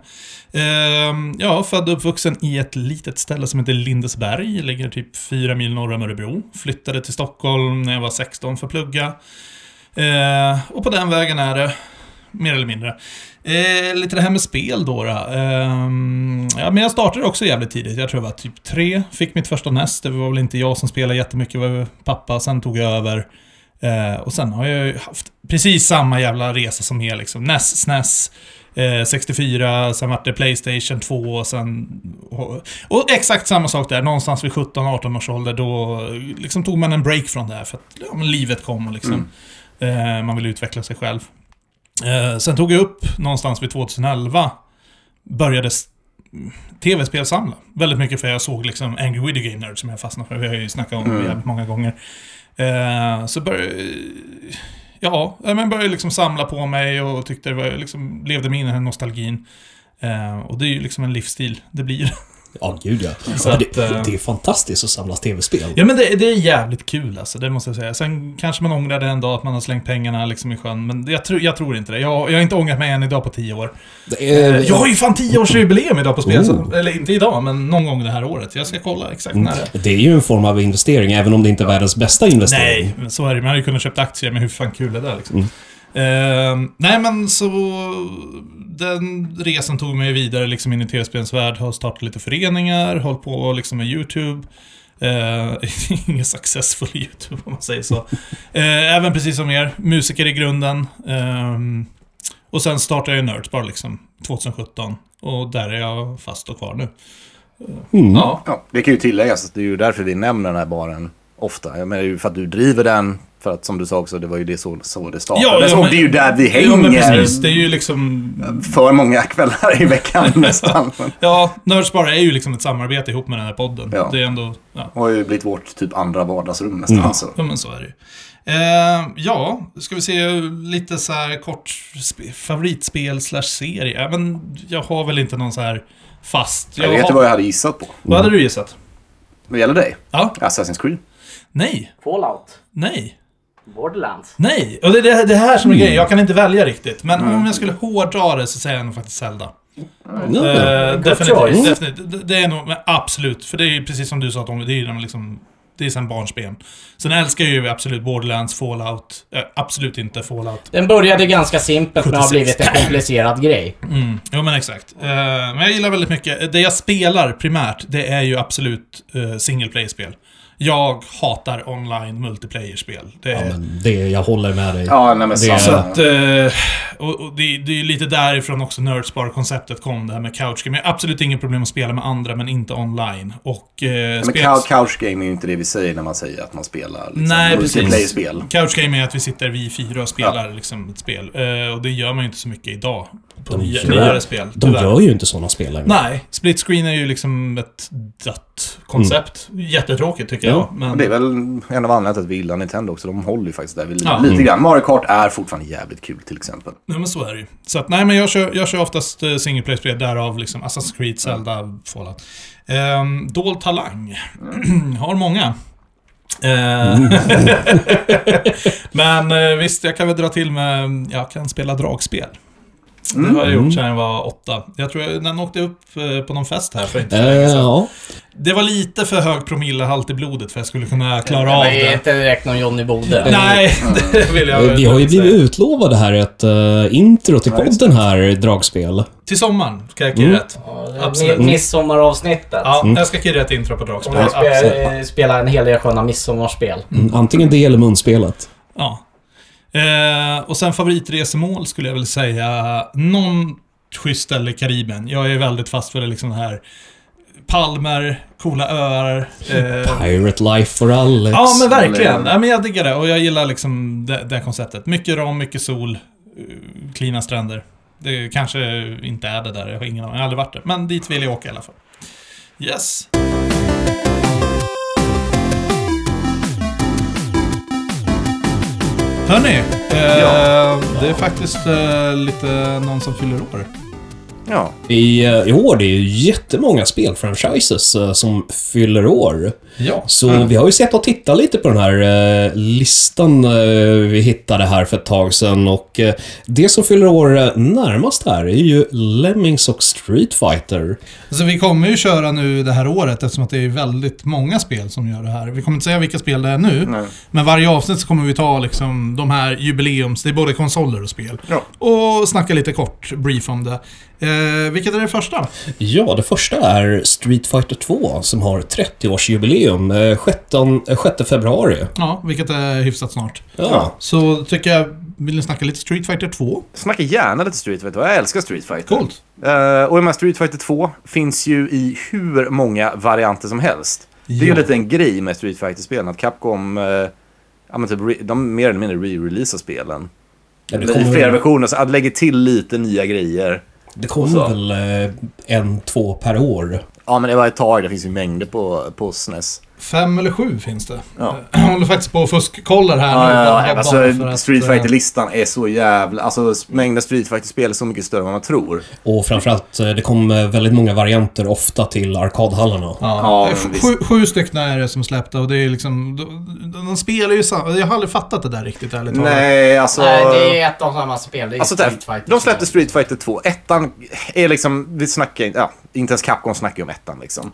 S2: Ehm, ja, född och uppvuxen i ett litet ställe som heter Lindesberg. Ligger typ fyra mil norr om Örebro. Flyttade till Stockholm när jag var 16 för att plugga. Eh, och på den vägen är det. Mer eller mindre. Eh, lite det här med spel då. då. Ehm, ja, men jag startade också jävligt tidigt. Jag tror jag var typ tre. Fick mitt första NES. Det var väl inte jag som spelade jättemycket. Det var ju pappa. Sen tog jag över. Eh, och sen har jag ju haft precis samma jävla resa som er liksom. NES, SNES. Eh, 64, sen vart det Playstation 2 och sen... Och, och exakt samma sak där, någonstans vid 17-18 års ålder då liksom tog man en break från det här för att ja, men livet kom och liksom... Eh, man vill utveckla sig själv. Eh, sen tog jag upp någonstans vid 2011, började s- tv-spelsamla. Väldigt mycket för jag såg liksom Angry Video Game Nerd som jag fastnade för. Vi har ju snackat om det jävligt många gånger. Eh, så började... Ja, eh, men började liksom samla på mig och tyckte det var, liksom, levde mig in i den här nostalgin. Eh, och det är ju liksom en livsstil, det blir. [laughs]
S5: Ja, gud ja.
S2: Så
S5: ja
S2: att,
S5: det,
S2: eh,
S5: det är fantastiskt att samla tv-spel.
S2: Ja men det, det är jävligt kul alltså, det måste jag säga. Sen kanske man ångrar det en dag att man har slängt pengarna liksom i sjön, men jag, tror- jag tror inte det. Jag, jag har inte ångrat mig än idag på tio år.
S5: Det är-
S2: Eh, Jag har ju fan 10-årsjubileum idag på spel, så,
S5: Oh.
S2: eller inte idag, men någon gång det här året. Jag ska kolla exakt när det är.
S5: det är ju en form av investering, även om det inte är världens bästa investering.
S2: Nej, men så är det. Man hade ju kunnat köpt aktier, men hur fan kul är det liksom? Ehm, nej men så... Den resan tog mig vidare liksom in i tv-spelens värld. Har startat lite föreningar, hållit på liksom med YouTube. Uh, [laughs] ingen successful YouTube om man säger så. Eh, även precis som er, musiker i grunden. Ehm, Och sen startade jag Nerdspar liksom 2017. Och där är jag fast och kvar nu. Ja.
S3: Ja, det kan ju tilläggas att det är ju därför vi nämner den här baren ofta. Jag menar det är ju för att du driver den. För att som du sa också, det var ju det så, så det startade.
S2: Ja, ja,
S3: och
S2: men-
S3: det är ju där vi hänger
S2: Jo men precis, det är ju liksom...
S3: för många kvällar i [laughs] veckan nästan. Men
S2: Ja, Nerdspar är ju liksom ett samarbete ihop med den här podden.
S3: Ja.
S2: Det är ändå... Ja.
S3: Det har ju blivit vårt typ andra vardagsrum nästan. Så.
S2: Ja, men så är det ju. Eh, ja, ska vi se lite så här kort sp- favoritspel slash serie. Ja, Men jag har väl inte någon så här fast.
S3: Jag vet
S2: har...
S3: ju vad jag hade gissat på.
S2: Vad hade du gissat?
S3: Vad gäller dig?
S2: Ja,
S3: Assassin's Creed.
S2: nej,
S1: Fallout.
S2: nej.
S1: Borderlands.
S2: Nej, och det är det, det här
S3: Mm.
S2: som är grejen. Jag kan inte välja riktigt. Men om jag skulle hårdra det så säger jag nog faktiskt Zelda.
S5: Ja, ja.
S2: Eh,
S1: Good
S2: definitivt,
S1: choice.
S2: definitivt. Det- Det är nog, men absolut. För det är ju precis som du sa Tommy, det är ju de liksom... Det är sen barnsben. Sen älskar jag ju absolut Borderlands, Fallout. Eh, absolut inte Fallout.
S1: Den började ganska simpelt men har
S2: 76.
S1: blivit en komplicerad grej.
S2: Mm, jo men exakt. Eh, men jag gillar väldigt mycket. Det jag spelar primärt, det är ju absolut uh, single play-spel. Jag hatar online multiplayer-spel. Det är,
S5: men det, jag håller med dig.
S3: Ja, nej men
S5: Det är-
S2: så
S3: samma.
S2: att, eh, och, och det, det är ju lite därifrån också Nerdspar-konceptet kom, det här med couch game. Jag har absolut inget problem att spela med andra, men inte online. Och, eh,
S3: Men
S2: spel-
S3: cou- couch game är ju inte det vi säger när man säger att man spelar liksom,
S2: Nej, precis.
S3: multiplayer-spel.
S2: Couch game är att vi sitter vi fyra och spelar liksom ett spel. Eh, och det gör man ju inte så mycket idag. På
S5: De
S2: nya-
S5: gör-
S2: nyare spel.
S5: De
S2: tyvärr.
S5: gör ju inte sådana spel längre.
S2: Nej, split screen är ju liksom ett dött koncept.
S5: Mm.
S2: Jättetråkigt tycker
S5: Ja,
S2: jag. Men,
S3: Det är väl en av anledningarna till att vi gillar Nintendo också. De håller ju faktiskt där vi
S2: Ja.
S3: lite grann. Mario Kart är fortfarande jävligt kul till exempel.
S2: nej, men så är det ju. Så att, nej, men jag kör, jag kör oftast eh, single play-spel, därav liksom Assassin's
S5: Mm.
S2: Creed, Zelda, Fallout. Ehm, dold talang. [clears throat] Har många. Eh, [laughs] men eh, visst, jag kan väl dra till med... Jag kan spela dragspel. Det har jag
S5: Mm.
S2: gjort sedan jag var åtta. Jag tror jag, den åkte upp eh, på någon fest här för inte så
S5: Eh,
S2: länge sedan.
S5: ja.
S2: Det var lite för hög promillehalt i blodet för att jag skulle kunna klara av
S1: Men det är
S2: det.
S1: inte direkt någon Johnny Bode.
S2: Nej, [laughs] det vill jag
S5: Eh, Vi har ju
S2: inte säga.
S5: blivit utlovade här ett eh, intro till podden här, dragspel.
S2: Till sommaren ska jag
S5: Mm.
S2: kira ett. Absolut.
S1: Mi- Midsommaravsnittet.
S2: Ja, jag ska kira ett intro på
S1: Och
S2: dragspel.
S1: jag
S2: Absolut.
S1: spelar, spelar en hel del sköna midsommarspel.
S5: Mm. Antingen det eller munspelet.
S2: Ja. Eh, och sen favoritresemål skulle jag väl säga någon schysst ställe i Karibien. Jag är väldigt fast för det liksom det här palmer, coola öar. Eh,
S5: Pirate life for Alex.
S2: Ja, men verkligen.
S3: Eller-
S2: Ja, men jag diggar det och jag gillar liksom det, det här konceptet. Mycket ram, mycket sol, eh, klina stränder. Det kanske inte är det där, jag har ingen aning. Jag har aldrig varit där. Men dit vill jag åka i alla fall. Yes. Hörni, eh, det är faktiskt eh, lite någon som fyller år.
S3: Ja,
S5: I, eh, I år det är ju jättemånga spelfranchises eh, som fyller år.
S2: Ja.
S5: Så vi har ju sett och tittat lite på den här eh, listan eh, vi hittade här för ett tag sedan och eh, det som fyller år eh, närmast här är ju Lemmings och Street Fighter.
S2: Så vi kommer ju köra nu det här året eftersom att det är väldigt många spel som gör det här. Vi kommer inte säga vilka spel det är nu, men varje avsnitt så kommer vi ta liksom de här jubileums... Det är både konsoler och spel.
S3: Ja.
S2: Och snacka lite kort, brief om det. Eh, vilket är det första?
S5: Ja, det första är Street Fighter 2 som har 30-årsjubileum eh, 16, eh, 6 februari.
S2: Ja, vilket är hyfsat snart.
S5: Ja.
S2: Så tycker jag, vill ni snacka lite Street Fighter 2?
S3: snacka gärna lite Street Fighter. Jag älskar Street Fighter.
S2: Coolt.
S3: Eh, och de här Street Fighter 2 finns ju i hur många varianter som helst. Det är ju
S2: Ja.
S3: lite en grej med Street Fighter-spelen, att Capcom, eh, ja men typ, re- de mer eller mindre re-releasar spelen.
S5: Ja, det
S3: I
S5: kommer-
S3: flera versioner, så att lägga till lite nya grejer.
S5: Det
S3: Så.
S5: kommer väl eh, en, två per år.
S3: Ja men det var ett tag, det finns ju mängder på, på E SNES.
S2: Fem eller sju finns det.
S3: Ja.
S2: Jag håller faktiskt på och fuskkollar här
S3: Ja, ja,
S2: nu. Bara-
S3: ja,
S2: bara för
S3: alltså
S2: att,
S3: Street
S2: eh,
S3: Fighter-listan är så jävla... Alltså mängden Street Fighter-spel är så mycket större än vad man tror.
S5: Och framförallt, eh, det kommer väldigt många varianter ofta till arkadhallarna.
S2: Ja,
S3: Ja,
S2: sju,
S3: visst.
S2: sju- sju stycken är det som släppta och det är liksom... De, de spelar ju samma... Jag har aldrig fattat det där riktigt ärligt talat.
S3: Nej, alltså...
S1: Nej, det är ett och samma spel. Det är
S3: Alltså,
S1: Street Fighter.
S3: de släppte Street Fighter 2. Ettan är liksom, vi snackar inte, ja, inte ens Capcom snackar ju om ettan liksom.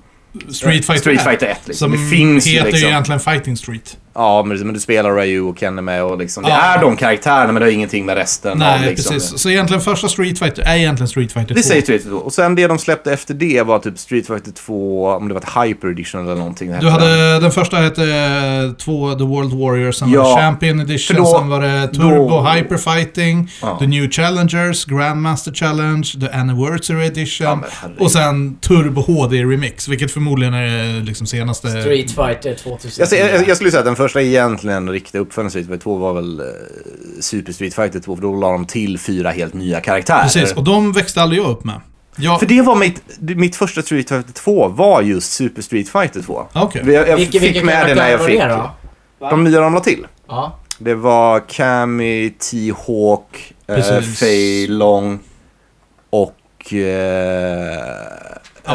S2: Street Fighter
S3: Street
S2: 1.
S3: Fighter 1 liksom.
S2: Som
S3: Det finns ju
S2: heter ju
S3: liksom.
S2: egentligen Fighting Street.
S3: Ja, men, men du spelar Ryu och Ken är med och liksom, det
S2: Ja.
S3: är de karaktärerna men det har ingenting med resten av
S2: Nej,
S3: liksom.
S2: precis. Så egentligen första Street Fighter är egentligen Street Fighter 2.
S3: Vi säger Street Fighter 2. Och sen det de släppte efter det var typ Street Fighter 2, om det var ett Hyper Edition eller någonting. det
S2: Du
S3: hette.
S2: hade, den första hette eh, två The World Warriors, sen var
S3: Ja.
S2: det Champion Edition,
S3: För då-
S2: sen var det Turbo
S3: då-
S2: Hyper Fighting,
S3: Ja.
S2: The New Challengers, Grandmaster Challenge, The Anniversary
S3: Ja,
S2: Edition
S3: men herregud.
S2: och sen Turbo HD Remix, vilket förmodligen är liksom senaste...
S1: Street Fighter 2000.
S3: Jag, ser- jag, jag skulle säga att den första egentligen riktiga uppföljaren Street Fighter 2 var väl eh, Super Street Fighter 2, för då la de till fyra helt nya karaktärer.
S2: Precis, och de växte aldrig jag upp med. Jag,
S3: För det var mitt, mitt första Street Fighter 2 var just Super Street Fighter 2.
S2: Ah, okej.
S3: Jag, jag
S1: Vilka-
S3: fick
S1: vilka
S3: med det när jag fick...
S1: karaktärer var det då?
S3: De nya de la till.
S1: Ja.
S3: Det var Cammy, T-Hawk, eh,
S2: Precis.
S3: Fei Long och... Eh,
S2: Ja.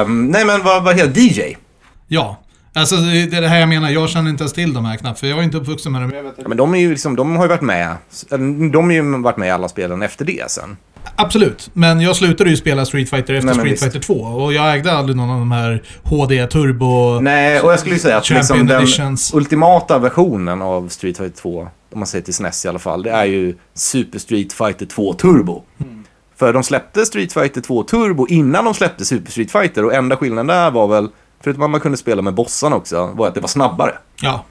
S3: ehm, nej men vad, vad heter DJ?
S2: Ja. Alltså det är det här jag menar, jag känner inte ens till de här knappt, för jag var inte uppvuxen med dem.
S3: Ja, men de, är ju liksom, de har ju varit med. eller, De har ju varit med i alla spelen efter det sen.
S2: Absolut, men jag slutade ju spela Street Fighter efter
S3: Nej, men
S2: Street
S3: visst.
S2: Fighter 2 och jag ägde aldrig någon av de här HD Turbo...
S3: Nej, och jag skulle ju säga att
S2: Champion
S3: liksom den
S2: Editions.
S3: ultimata versionen av Street Fighter 2, om man säger till SNES i alla fall, det är ju Super Street Fighter 2 Turbo. För de släppte Street Fighter 2 Turbo innan de släppte Super Street Fighter och enda skillnaden där var väl, förutom att man kunde spela med bossarna också, var att det var snabbare.
S2: Ja.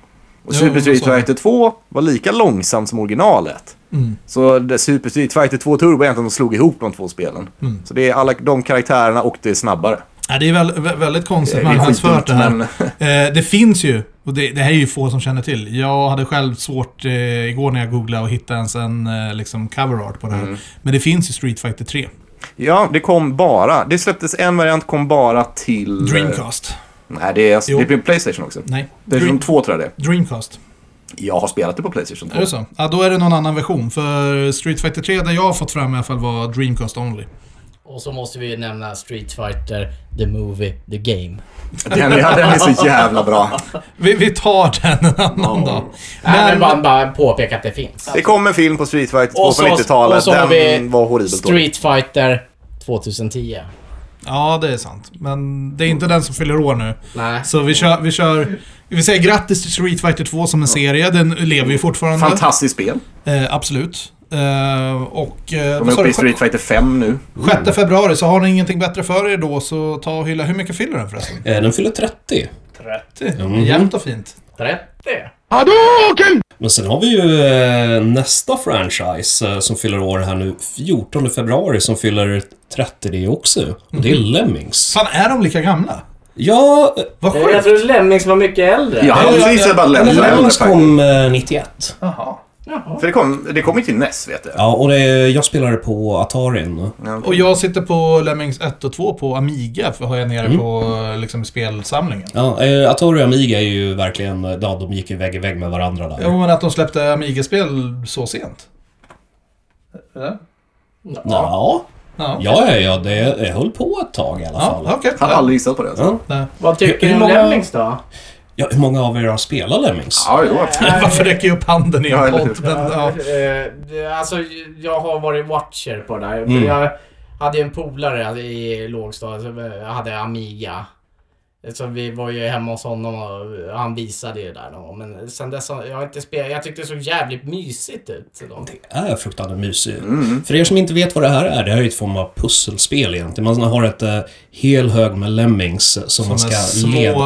S3: Och
S2: Jo,
S3: Super
S2: vad
S3: Street
S2: sa du?
S3: Fighter 2 var lika långsamt som originalet.
S2: Mm.
S3: Så det Super Street Fighter 2 Turbo är egentligen de slog ihop de två spelen.
S2: Mm.
S3: Så det är alla de karaktärerna och det är snabbare.
S2: Ja, det är väl, vä- väldigt
S3: Det
S2: konstigt
S3: är
S2: marknadsfört det
S3: skitdumt,
S2: här.
S3: men-
S2: Eh, det finns ju, och det, det här är ju få som känner till. Jag hade själv svårt eh, igår när jag googlade och hittade ens en eh, liksom cover art på det här.
S3: Mm.
S2: Men det finns ju Street Fighter 3.
S3: Ja, det kom bara. Det släpptes en variant, kom bara till...
S2: Dreamcast.
S3: Nej, det är,
S2: Jo.
S3: det är på Playstation också.
S2: Nej.
S3: Playstation
S2: Dream,
S3: 2 tror jag det är.
S2: Dreamcast.
S3: Jag har spelat det på Playstation 2.
S2: Är det så? Ja, då är det någon annan version. För Street Fighter 3, där jag har fått fram i alla fall, var Dreamcast Only.
S1: Och så måste vi nämna Street Fighter, The Movie, The Game.
S3: Den, ja, den är så jävla bra.
S2: Vi, vi tar den en annan dag.
S1: Nej, men bara, bara påpeka att det finns.
S3: Det kom en film på Street Fighter 2
S1: Och så-
S3: på 90-talet.
S1: och så har vi
S3: Den var horribelt dålig.
S1: Street Fighter 2010.
S2: Ja, det är sant. Men det är inte den som fyller år nu.
S1: Nej.
S2: Så vi kör, vi kör... Vi säger grattis till Street Fighter 2 som en serie. Den lever ju fortfarande.
S3: Fantastiskt spel.
S2: Eh, absolut. Eh, och...
S3: De
S2: Eh,
S3: är
S2: vad sa
S3: uppe
S2: du?
S3: i Street Fighter 5 nu.
S2: 6 februari, så har ni ingenting bättre för er då så ta och hylla. Hur mycket fyller den förresten?
S5: Eh, Den fyller 30.
S2: 30.
S3: Mhm.
S2: Jämnt och fint.
S1: 30.
S5: Men sen har vi ju eh, nästa franchise eh, som fyller år här nu. 14 februari som fyller 30 det också. Och det är Lemmings.
S2: Fan, är de lika gamla?
S5: Ja, eh,
S2: Vad
S1: Eh, Jag
S2: sjukt.
S1: tror Lemmings var mycket äldre.
S3: Jag hade
S2: ja,
S3: precis
S2: ja.
S3: sett bara lämna den
S5: Lemmings
S3: faktiskt.
S5: kom eh, 91.
S2: Jaha.
S3: För det kom, det kom ju till NES, vet du.
S5: Ja, och det, jag spelade på Atarin.
S2: Och jag sitter på Lemmings 1 och 2 på Amiga, för har jag nere
S5: Mm.
S2: på eh, liksom, spelsamlingen.
S5: Ja, eh, Atari och Amiga är ju verkligen... eh, Ja, de gick ju vägg i vägg med varandra där.
S2: Jo, men att de släppte Amiga-spel så sent. Eller?
S5: Ja,
S2: Ja.
S5: ja, ja, ja det jag höll på ett tag i alla
S2: Ja,
S5: fall.
S2: okej.
S3: Hade aldrig gissat på det. Alltså.
S5: Ja.
S2: Nej. [laughs]
S1: Vad tycker
S5: Hur
S1: du om
S5: många-
S1: Lemmings då?
S5: Ja, hur många av er har spelat Lemmings?
S3: Ja, jo.
S2: Varför räcker jag upp handen i
S3: Ja,
S2: en
S3: eller
S2: podd?
S3: hur?
S2: Men, [laughs] ja.
S1: Eh, det- Alltså, jag har varit watcher på det där.
S5: Mm.
S1: Jag hade ju en polare i lågstadiet som eh, hade Amiga. Så vi var ju hemma hos honom och han visade ju det där någon gång. Men sen dess har jag inte spelat. Jag tyckte det såg jävligt mysigt ut.
S5: Det är fruktansvärt mysigt.
S2: Mm.
S5: För er som inte vet vad det här är, det här är ju ett form av pusselspel egentligen. Man har ett eh, hel hög med Lemmings som, man
S2: Såna
S5: ska
S2: små...
S5: leda.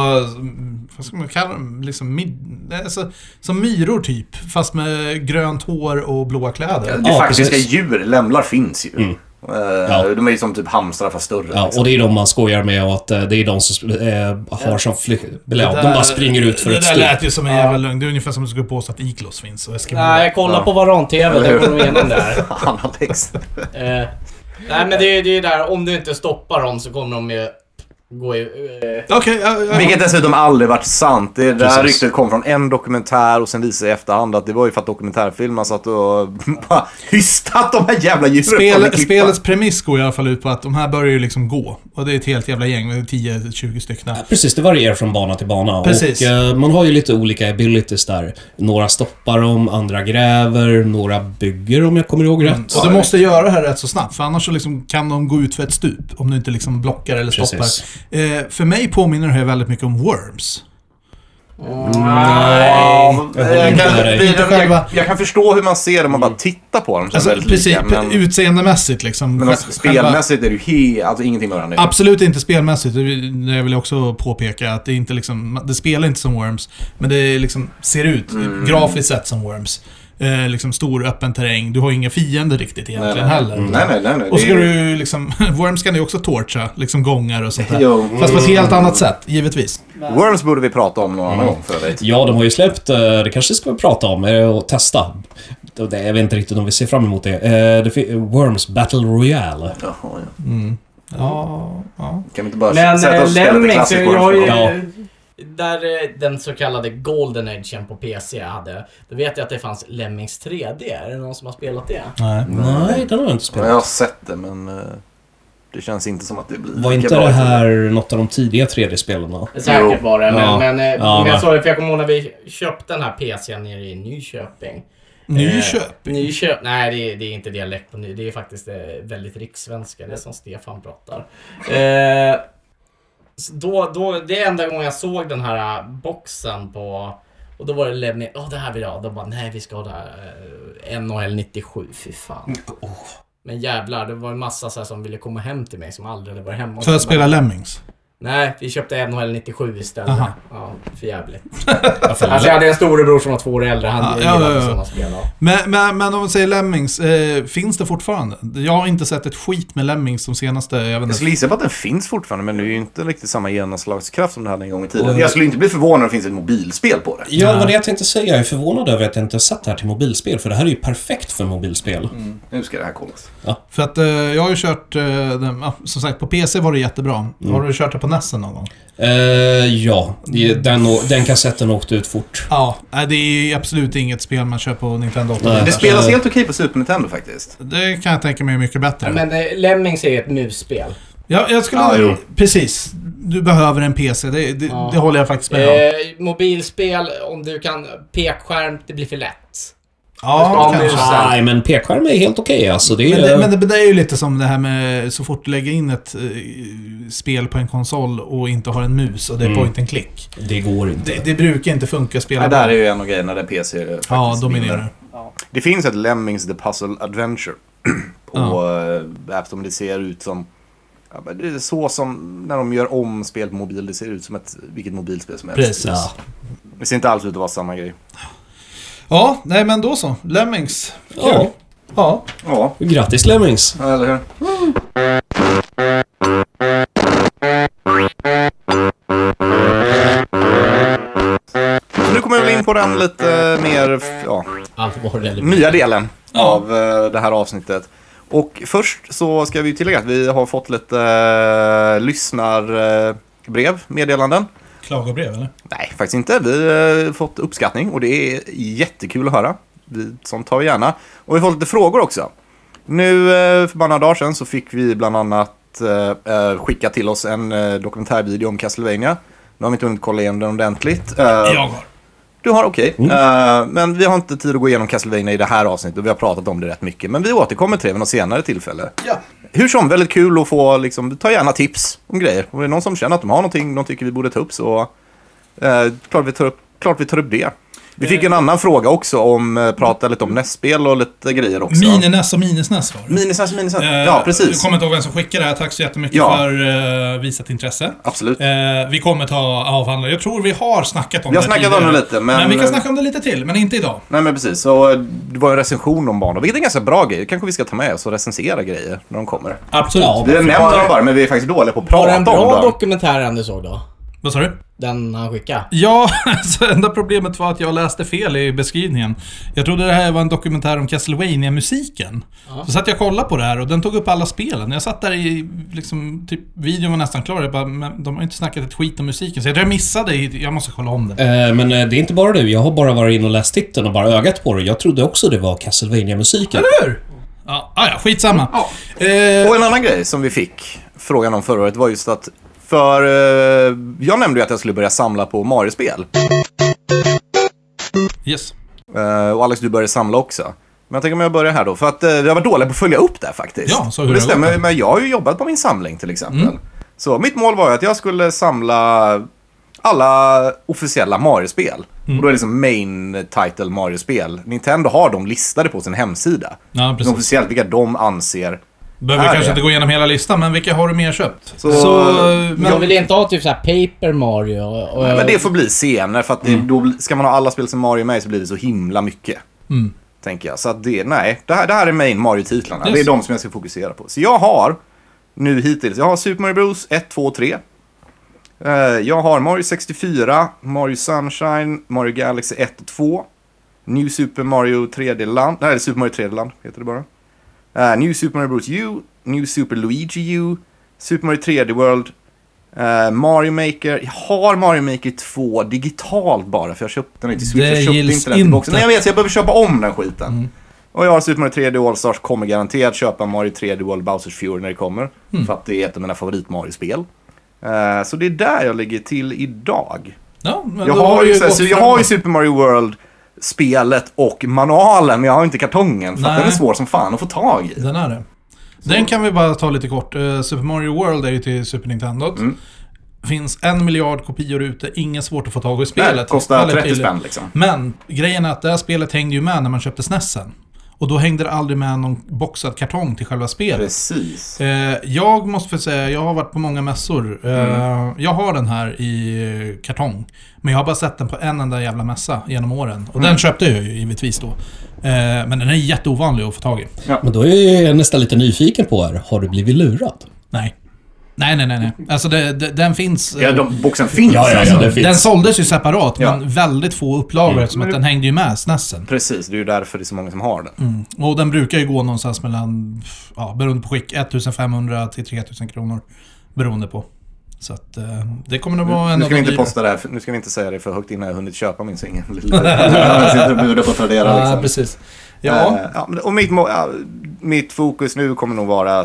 S2: Vad ska man kalla dem? Liksom, mid, alltså, som myror typ, fast med grönt hår och blåa kläder.
S3: Det
S5: Ja,
S3: faktiska
S5: precis.
S3: djur, lämlar finns ju. Eh,
S5: Ja.
S3: De är ju som typ hamstrar fast större. [laughs]
S5: Ja,
S3: liksom.
S5: och det är de man skojar med och att eh, det är de som sp- eh, har som flykt... Ja, de bara springer ut för
S2: det
S5: ett
S2: där
S5: stup.
S2: lät ju som en jävla lögn. Det är ungefär som om du skulle påstå att Iklos finns och Eskimo.
S1: Nej, jag kollar på Varan-TV.
S3: Eller hur?
S1: Där kom de igenom där.
S3: Fan, Alex.
S1: Eh, nej, men det är ju det är ju där. Om du inte stoppar dem så kommer de ju gå i... Eh,
S2: Okej, ja, ja.
S3: Vilket dessutom aldrig varit sant. Det där
S5: Precis.
S3: ryktet kom från en dokumentär och sen visade i efterhand att det var ju för att dokumentärfilmen satt och [laughs] bara hystat de här jävla djuren. från en
S2: Spel,
S3: klippa.
S2: spelets premiss går i alla fall ut på att de här börjar ju liksom gå. Och det är ett helt jävla gäng, det är 10-20 stycken.
S5: Precis, det varierar från bana till bana.
S2: Precis.
S5: Och, eh, man har ju lite olika abilities där. Några stoppar dem, andra gräver, några bygger om jag kommer ihåg rätt.
S2: Och du måste göra det här rätt så snabbt, för annars så liksom kan de gå ut för ett stup. Om du inte liksom blockar eller stoppar.
S5: Precis.
S2: Eh, för mig påminner det här väldigt mycket om Worms.
S1: Ah.
S3: Nej. Jag
S5: inte
S3: kan,
S5: med dig.
S3: blir
S2: Inte
S3: det-
S2: själva-
S3: jag, jag kan förstå hur man ser dem, man bara tittar på dem. så
S2: Alltså,
S3: väldigt
S2: precis,
S3: lika, men
S2: utseendemässigt liksom.
S3: men
S2: Själva-
S3: alltså, spelmässigt är det ju helt, alltså ingenting med varandra.
S2: Absolut inte spelmässigt. Det det vill jag också påpeka. Att det, är inte liksom, det spelar inte som Worms, men det är liksom, ser ut
S3: Mm.
S2: grafiskt sett som Worms. Eh, liksom stor öppen terräng. Du har inga fiender riktigt egentligen
S3: nej. Mm.
S2: heller.
S3: Nej, nej, nej. nej
S2: Och
S3: det
S2: så
S3: är
S2: ska
S3: ju-
S2: du liksom... [laughs] Worms kan ju också torcha, liksom gångar och sånt där.
S3: Jo.
S2: Fast på ett helt annat sätt, givetvis.
S3: Worms borde vi prata om någon annan gång för övrigt.
S5: Ja, de har ju släppt, eh, det kanske ska vi prata om eh, och testa. Det- det- Jag vet inte riktigt om vi ser fram emot det. Eh, det fin- Worms Battle Royale.
S3: Jaha, ja.
S2: Ja, ja.
S3: Kan vi inte bara
S4: Men eh,
S3: sätta oss och spela lite
S4: Lemmings,
S3: klassisk
S4: jag
S3: Worms?
S4: har ju...
S3: någon gång?
S5: Ja.
S1: Där eh, den så kallade Golden Agen på PC hade, då vet jag att det fanns Lemmings 3D. Är det någon som har spelat det?
S2: Nej.
S5: Nej, den har jag inte
S3: Ja, Jag har
S5: spelat.
S3: sett det, men eh, det känns inte som att det blir
S5: Var
S3: lika
S5: inte
S3: bra.
S5: det här något av de tidiga 3D-spelen?
S1: Säkert var det, men,
S5: Ja.
S1: men, eh,
S5: Ja,
S1: men
S5: men-
S1: jag sa det för jag kommer ihåg när vi köpte den här PCn nere i Nyköping.
S2: Nyköp.
S1: Eh, Nyköp... [laughs] Nej, det är, det är inte dialekt på ny. Det är faktiskt eh, väldigt rikssvenska. Det är som Stefan pratar. Eh, så då, då, det är enda gången jag såg den här eh, boxen på... Och då var det Lemmy. Ja, det här vill jag ha. De bara, nej, vi ska ha det här. eh, NHL 97. Fy fan.
S2: Mm, oh.
S1: Men jävlar, det var en massa så här som ville komma hem till mig som aldrig hade varit hemma.
S2: För att spela Lemmings.
S1: Nej, vi köpte NHL 97 istället.
S2: Aha.
S1: Ja, för jävligt. alltså, jag hade en storebror som var två år äldre. Han
S2: Ja, ja,
S1: gillade
S2: ja, ja.
S1: sådana spel. ja.
S2: Men, men, men om vi säger Lemmings, eh, finns det fortfarande? Jag har inte sett ett skit med Lemmings de senaste... Jag vet
S3: Jag
S2: inte.
S3: skulle gissa på att den finns fortfarande, men det är ju inte riktigt samma genomslagskraft som det hade en gång i tiden. Jag skulle inte bli förvånad om det finns ett mobilspel på det.
S5: Ja, det var det jag tänkte säga. Jag är förvånad över att jag inte har sett det här till mobilspel, för det här är ju perfekt för mobilspel.
S3: Nu ska det här kollas.
S2: För att eh, jag har ju kört, eh, den, ja, som sagt på PC var det jättebra.
S3: Mm.
S2: Har du kört det på Nessen någon gång?
S5: Eh, ja, det- den, å- den kassetten åkte ut fort.
S2: Ja. Nej, det är ju absolut inget spel man kör på Nintendo 8.
S5: Nej.
S3: Det
S2: Det,
S3: spelas helt okej på Super Nintendo faktiskt.
S2: kan jag tänka mig är mycket bättre.
S1: Men eh, Lemmings är ju ett musspel.
S2: ja, jag skulle...
S3: Ja, jo.
S2: precis. Du behöver en PC, det, det,
S1: Ja.
S2: det håller jag faktiskt med om.
S1: Eh, mobilspel, om du kan pekskärm, det blir för lätt.
S2: ja,
S1: om
S2: kanske.
S1: det-
S5: Nej, men pekskärm är helt okej alltså. Det är,
S2: Men, det, men det, det är ju lite som det här med så fort du lägger in ett eh, spel på en konsol och inte har en mus och
S3: Mm.
S2: det är point and click.
S5: det går inte.
S2: Det, det brukar inte funka
S3: Ja,
S2: spela
S3: där är ju en av grejerna där PC faktiskt
S2: Ja,
S3: vinner.
S2: dominerar.
S3: Det finns ett Lemmings The Puzzle Adventure. [clears throat] på
S2: Ja.
S3: eh, App Store. Det ser ut som... Ja, men det är så som när de gör om spel på mobil. Det ser ut som ett, vilket mobilspel som helst.
S2: Precis.
S5: Ja.
S3: Det ser inte alls ut att vara samma grej.
S2: Ja, nej men då så. Lemmings. Kul.
S5: Ja.
S2: Ja.
S3: Ja,
S5: Grattis Lemmings!
S3: eller hur? Så nu kommer jag väl in på den lite mer ja,
S1: Allvar eller
S3: nya delen av eh, det här avsnittet. Och först så ska vi ju tillägga att vi har fått lite eh, lyssnarbrev, eh, meddelanden.
S2: Klagobrev eller?
S3: Nej, faktiskt inte. Vi eh, har fått uppskattning och det är jättekul att höra. Vi, sånt tar vi gärna. Och vi har fått lite frågor också. Nu eh, för bara några dagar sedan så fick vi bland annat eh, eh, skicka till oss en eh, dokumentärvideo om Castlevania. Nu har vi inte hunnit kolla igenom den ordentligt. Eh,
S2: Jag har.
S3: Du har okej.
S2: Mm.
S3: Eh, men vi har inte tid att gå igenom Castlevania i det här avsnittet och vi har pratat om det rätt mycket. Men vi återkommer till det vid något senare tillfälle.
S2: Ja.
S3: Hur som, väldigt kul att få, liksom, ta gärna tips om grejer. Om det är någon som känner att de har någonting de tycker vi borde ta upp så eh, klart, vi tar upp, klart vi tar upp det. Vi fick
S2: Eh.
S3: en annan fråga också om, eh, prata lite om nästspel och lite grejer också.
S2: Mininäs och minisnäs var det.
S3: Minisnack, minisnack.
S2: Eh,
S3: ja,
S2: Jag
S3: precis.
S2: kommer inte ihåg vem som skickade det här. Tack så jättemycket
S3: Ja.
S2: för eh, visat intresse.
S3: Absolut.
S2: Eh, vi kommer ta avhandla. Jag tror vi har snackat om
S3: Vi har
S2: det
S3: snackat om
S2: tidigare.
S3: det lite, men-
S2: vi kan snacka om det lite till, men inte idag.
S3: Nej men precis, så eh, det var en recension om banor, vilket är en ganska bra grej. kanske vi ska ta med oss och recensera grejer när de kommer.
S2: Absolut.
S5: Ja.
S3: Vi nämner dem bara, men vi är faktiskt dåliga på att
S1: Var det
S3: prata
S1: en
S3: om
S1: bra
S3: dem.
S1: dokumentär du såg då?
S2: Vad sa du?
S1: Den han skickade?
S2: Ja, [laughs] alltså enda problemet var att jag läste fel i beskrivningen. Jag trodde det här var en dokumentär om Castlevania-musiken. Så satt jag och kollade på det här och den tog upp alla spelen. Jag satt där i, liksom, typ, videon var nästan klar. Jag bara, men de har ju inte snackat ett skit om musiken. Så jag tror jag missade, i- jag måste kolla om det.
S5: Eh, Men eh, det är inte bara du. Jag har bara varit inne och läst titeln och bara ögat på det. Jag trodde också det var Castlevania-musiken.
S2: Hur? Ja, ah, ja, skitsamma.
S3: Och
S2: Eh,
S3: en annan grej som vi fick frågan om förra året var just att för eh, jag nämnde ju att jag skulle börja samla på Mario-spel.
S2: yes.
S3: Eh, och Alex, du började samla också. Men jag tänker om jag börjar här då, för att eh, vi har varit dåliga på att följa upp det faktiskt.
S2: Ja, så hur
S3: och det
S2: har det gått
S3: stämmer,
S2: då? Mm.
S3: men jag har ju jobbat på min samling till exempel. Så mitt mål var ju att jag skulle samla alla officiella Mario-spel.
S2: Mm.
S3: Och då är det liksom main title Mario-spel. Nintendo har dem listade på sin hemsida.
S2: Ja,
S3: Precis.
S2: precis.
S3: Officiellt vilka de anser.
S2: Behöver
S3: Här
S2: kanske
S3: är.
S2: inte gå igenom hela listan, men vilka har du mer köpt?
S3: Så- eh,
S2: men,
S1: Jag vill inte ha typ såhär Paper Mario och, och,
S3: Nej, Men det får bli senare för att det, då bli- ska man ha alla spel som Mario med så blir det så himla mycket.
S2: Mm.
S3: Tänker jag. Så att det, nej, det här, det här är main Mario-titlarna.
S2: Yes.
S3: Det är de som jag ska fokusera på. Så jag har nu hittills, jag har Super Mario Bros 1, 2, 3. Eh, Jag har Mario 64, Mario Sunshine, Mario Galaxy 1 och 2. New Super Mario 3D Land, nej Super Mario 3D Land heter det bara. Eh, New Super Mario Bros U, New Super Luigi U, Super Mario 3D World, eh, Mario Maker. Jag har Mario Maker 2 digitalt bara för jag köpte den inte till Switch.
S2: Det
S3: jag köpte
S2: gills
S3: inte den till boxen.
S2: inte.
S3: Nej jag vet, så jag behöver köpa om den skiten.
S2: Mm.
S3: Och jag har Super Mario 3D All-Stars, kommer garanterat köpa Mario 3D World Bowsers Fury när det kommer.
S2: Mm.
S3: För att det är ett av mina favorit-Mario-spel. Eh, så det är där jag ligger till idag.
S2: ja, men
S3: Jag
S2: då
S3: har,
S2: det
S3: ju, så här,
S2: gått
S3: så jag
S2: fram.
S3: har ju Super Mario World, spelet och manualen, men jag har inte kartongen. För att
S2: Nej.
S3: den är svår som fan att få tag i.
S2: Den är det. Den kan vi bara ta lite kort. Eh, Super Mario World är ju till Super Nintendo.
S3: Mm.
S2: Finns en miljard kopior ute, inget svårt att få tag i spelet.
S3: Nej, kostar
S2: Väldigt
S3: 30
S2: billigt.
S3: spänn liksom.
S2: Men grejen är att det här spelet hängde ju med när man köpte SNESen. Och då hängde det aldrig med någon boxad kartong till själva spelet.
S3: Precis.
S2: Eh, jag måste få säga, jag har varit på många mässor. Eh,
S3: Mm.
S2: Jag har den här i eh, kartong. Men jag har bara sett den på en enda jävla mässa genom åren. Och
S3: Mm.
S2: den köpte jag ju givetvis då. Eh, men den är jätteovanlig att få tag i.
S5: Men då är jag nästan lite nyfiken på er. Har du blivit lurad?
S2: Nej. Nej, nej, nej. nej. Alltså det, det, den finns... eh,
S3: Ja, de, boxen finns
S5: Ja, ja, ja,
S3: alltså.
S5: det finns.
S2: Den såldes ju separat,
S3: Ja. Mm.
S2: men väldigt få upplagor eftersom att den hängde ju med snassen.
S3: Precis, det är ju därför det är så många som har den.
S5: Mm.
S2: Och den brukar ju gå någonstans mellan, ja, beroende på skick, 1500 till 3000 kronor. Beroende på. Så att eh, det kommer att vara en
S3: Nu ska
S2: av
S3: vi
S2: de
S3: inte
S2: dyra.
S3: posta det här, för- nu ska vi inte säga det för högt innan jag hunnit köpa min
S2: [laughs]
S3: singel. Jag sitter och budar på Tradera
S2: Ja,
S3: liksom.
S2: precis. Ja,
S3: Eh, ja, men- och mitt, mo- ja, mitt fokus nu kommer nog vara eh,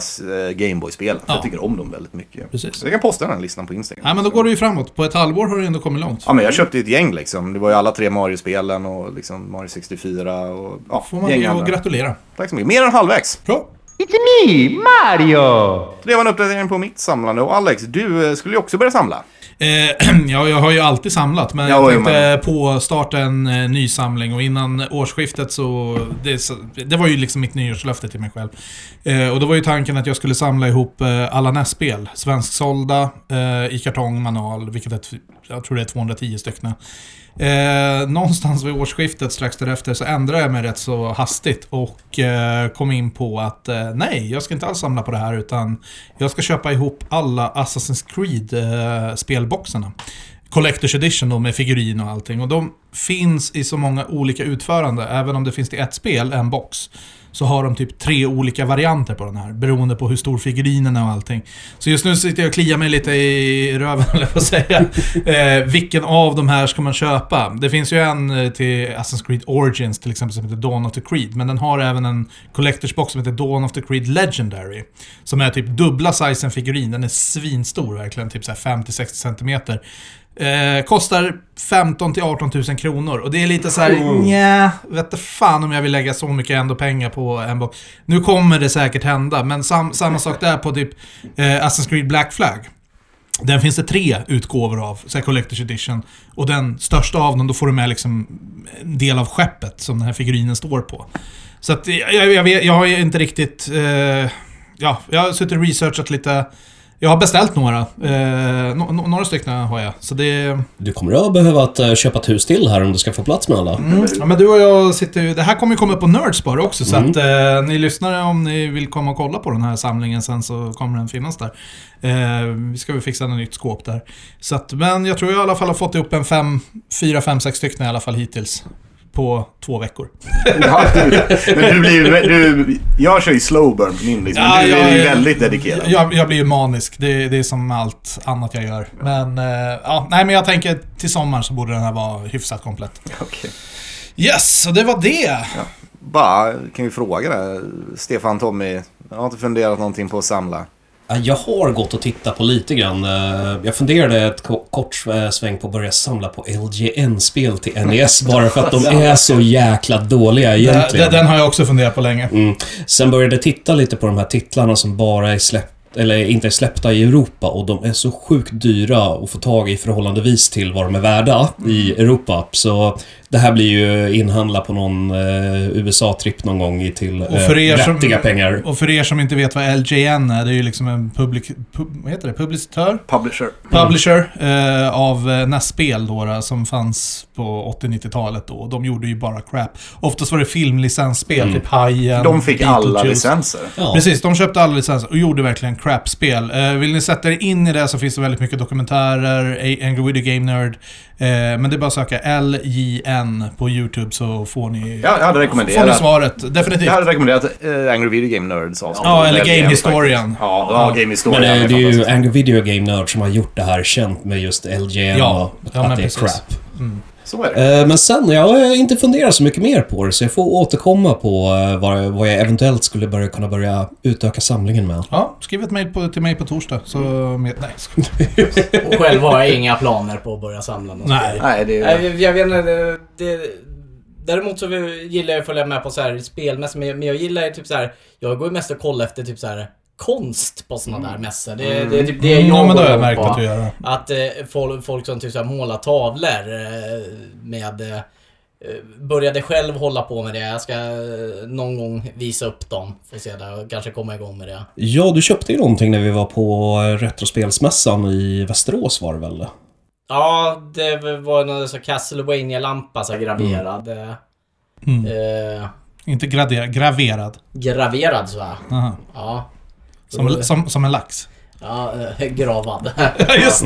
S3: Gameboy-spelen. för
S2: Ja.
S3: Jag tycker om dem väldigt mycket.
S2: Precis.
S3: Så jag kan posta den här listan på Instagram.
S2: nej, men då går det ju framåt. På ett halvår har det ändå kommit långt.
S3: Ja, men jag köpte ju ett gäng liksom. Det var ju alla tre Mario-spelen och liksom Mario 64 och ja,
S2: Får man
S3: gäng
S2: ju
S3: andra.
S2: gratulera.
S3: Tack så mycket. Mer än halvvägs.
S2: Bra.
S4: It's me, Mario!
S3: Det var en uppdatering på mitt samlande. Och Alex, du eh, skulle ju också börja samla.
S2: Eh, [clears throat] ja, jag har ju alltid samlat, men
S3: Ja,
S2: jag
S3: jo,
S2: tänkte eh, på starta en eh, ny samling och innan årsskiftet så... Det, så- det var ju liksom mitt nyårslöfte till mig själv. Eh, och då var ju tanken att jag skulle samla ihop eh, alla NES-spel. Svensksålda, eh, i kartong, manual, vilket är, t- jag tror det är 210 stycken. Eh, någonstans vid årsskiftet strax därefter så ändrade jag mig rätt så hastigt och eh, kom in på att eh, nej, jag ska inte alls samla på det här utan jag ska köpa ihop alla Assassin's eh, Creed-spelboxarna. Collector's Edition då med figurin och allting. Och de finns i så många olika utförande. Även om det finns till ett spel, en box, så har de typ tre olika varianter på den här. Beroende på hur stor figurinen är och allting. Så just nu sitter jag och kliar mig lite i röven, [laughs] eller jag säga. Eh, vilken av de här ska man köpa? Det finns ju en eh, till Assassin's Creed Origins till exempel som heter Dawn of the Creed. Men den har även en Collector's Box som heter Dawn of the Creed Legendary. Som är typ dubbla sizen figurin. Den är svinstor verkligen, typ så här 50-60 centimeter. Eh, kostar 15 till 18 000 kronor och det är lite så här, nja, vet du fan om jag vill lägga så mycket ändå pengar på en box. Nu kommer det säkert hända, men sam, samma sak där på typ eh, Assassin's Creed Black Flag. Den finns det tre utgåvor av, så här Collector's Edition. Och den största av dem, då får du med liksom en del av skeppet som den här figurinen står på. Så att jag, jag, jag, vet, jag har ju inte riktigt... Eh, ja, jag har suttit och researchat lite. Jag har beställt några. Eh, no, no, några stycken har jag. Så det...
S5: Du kommer att behöva att eh, köpa ett hus till här om du ska få plats med alla.
S2: Ja, men du och jag sitter ju... Det här kommer ju komma upp på Nerdspar också, så att eh, ni lyssnare, om ni vill komma och kolla på den här samlingen sen så kommer den finnas där. Eh, vi ska väl fixa något nytt skåp där. Så att, men jag tror jag i alla fall har fått ihop en fem, fyra, fem, sex stycken i alla fall hittills. På två veckor.
S3: Ja, men du blir ju- du, jag kör ju slow burn på min liksom.
S2: Ja,
S3: du är
S2: jag
S3: ju
S2: är-
S3: väldigt dedikerad.
S2: Jag, jag blir ju manisk, det, det är som allt annat jag gör. Men, eh, ja, nej, men jag tänker till sommar så borde den här vara hyfsat komplett.
S3: Okej.
S2: Yes, så det var det!
S3: Bara, kan vi fråga det? Stefan, Tommy, jag har inte funderat någonting på att samla.
S5: Ja, Jag har gått och tittat på lite grann. Eh, Jag funderade ett ko- kort eh, sväng på att börja samla på LGN-spel
S2: [laughs]
S5: till NES bara för att de är så jäkla dåliga
S2: Den,
S5: egentligen.
S2: den har jag också funderat på länge.
S5: Mm. Sen började jag titta lite på de här titlarna som bara är släppt eller inte är släppta i Europa och de är så sjukt dyra att få tag i förhållandevis till vad de är värda i
S2: Mm.
S5: Europa. Så det här blir ju inhandla på någon eh, USA-tripp någon gång i till eh,
S2: Och för er som-
S5: vettiga pengar.
S2: Och för er som inte vet vad LJN är, det är ju liksom en publik... Pub, vad heter det? Publicitör?
S3: Publisher.
S2: Publisher eh, av eh, NES-spel då, då, som fanns på 80-90-talet då. De gjorde ju bara crap. Oftast var det filmlicensspel, typ Hajen,
S3: Mm. De fick alla
S2: Beetlejuice.
S3: licenser.
S5: Ja.
S2: Precis, de köpte alla licenser och gjorde verkligen crap-spel. Eh, vill ni sätta er in i det så finns det väldigt mycket dokumentärer, A- Angry Video Game Nerd. Eh, men det är bara att söka LJN på YouTube så får ni,
S3: Ja, jag hade
S2: får ni
S3: rekommenderat.
S2: svaret. Definitivt.
S3: Jag hade rekommenderat eh, Angry Video Game Nerds avsnitt.
S2: Ja, eller
S3: Väldigt
S2: Game
S3: jämnt
S2: Historian. eh,
S3: faktiskt. Ja, ja, Game Historian.
S5: Men det,
S3: är
S5: det är ju
S3: fantastiskt.
S5: Angry Video Game Nerd som har gjort det här känt med just LGN
S2: Ja,
S5: och
S2: ja,
S5: att
S2: men
S5: det är
S2: precis.
S5: crap.
S3: Så är det.
S5: Eh, Men sen, jag har inte funderat så mycket mer på det, så jag får återkomma på eh, vad, vad jag eventuellt skulle börja, kunna börja utöka samlingen med.
S2: Ja, skriv ett mejl på- till mig på torsdag. Så med, nej, ska-
S1: Och själv har jag inga planer på att börja samla något.
S2: nej.
S3: Nej, det är ju...
S1: Nej, Jag vet inte. Det, det, däremot så gillar jag att följa med på så här spelmässor. Men jag, men jag gillar ju typ så här. Jag går ju mest och kollar efter typ så här konst på såna där mässor. Det, det är typ det jag
S2: Mm. Ja, men det har
S1: går
S2: jag
S1: igång på.
S2: märkt att du gör.
S1: Att eh, folk, folk som typ så här målar tavlor eh, med... Eh, började själv hålla på med det. Jag ska eh, någon gång visa upp dem. Får se där och kanske komma igång med det.
S5: Ja, du köpte ju någonting när vi var på eh, Retrospelsmässan i Västerås var det väl?
S1: Ja, det var någon så castlevania lampa så här graverad.
S2: Mm.
S1: Eh,
S2: Inte graderad, graverad.
S1: graverad så här.
S2: Aha.
S1: Ja.
S2: Som, som, som en lax. [laughs]
S1: Ja, eh, gravad. [laughs]
S2: Ja, just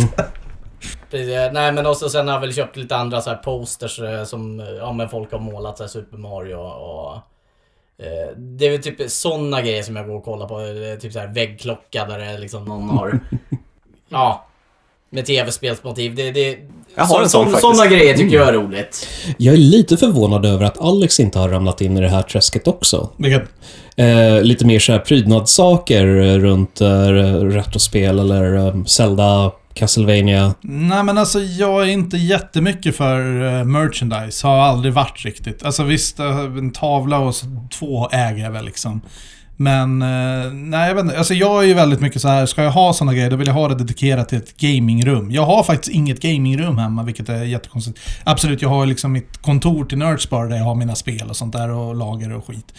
S1: Precis, eh, Nej men också sen har jag väl köpt lite andra så här posters eh, som eh, ja, men folk har målat, så här Super Mario och... eh, Det är väl typ sådana grejer som jag går och kollar på. Eh, Typ så här väggklocka där det är liksom
S3: [laughs]
S1: någon har... ja. Med tv-spelsmotiv. Det, det,
S3: Jag har en sån faktiskt. Mm.
S1: Sådana grejer tycker jag är roligt.
S5: Jag är lite förvånad över att Alex inte har ramlat in i det här träsket också.
S2: Vilket,
S5: Eh, lite mer så här prydnadssaker eh, runt eh, retrospel eller eh, Zelda, Castlevania.
S2: nej men alltså jag är inte jättemycket för eh, merchandise. Har aldrig varit riktigt. Alltså visst, eh, en tavla och så, två äger jag väl liksom. Men eh, nej, jag vet inte. Alltså jag är ju väldigt mycket så här, ska jag ha sådana grejer då vill jag ha det dedikerat till ett gamingrum. Jag har faktiskt inget gamingrum hemma, vilket är jättekonstigt. Absolut, jag har ju liksom mitt kontor till Nerdspar där jag har mina spel och sånt där och lager och skit.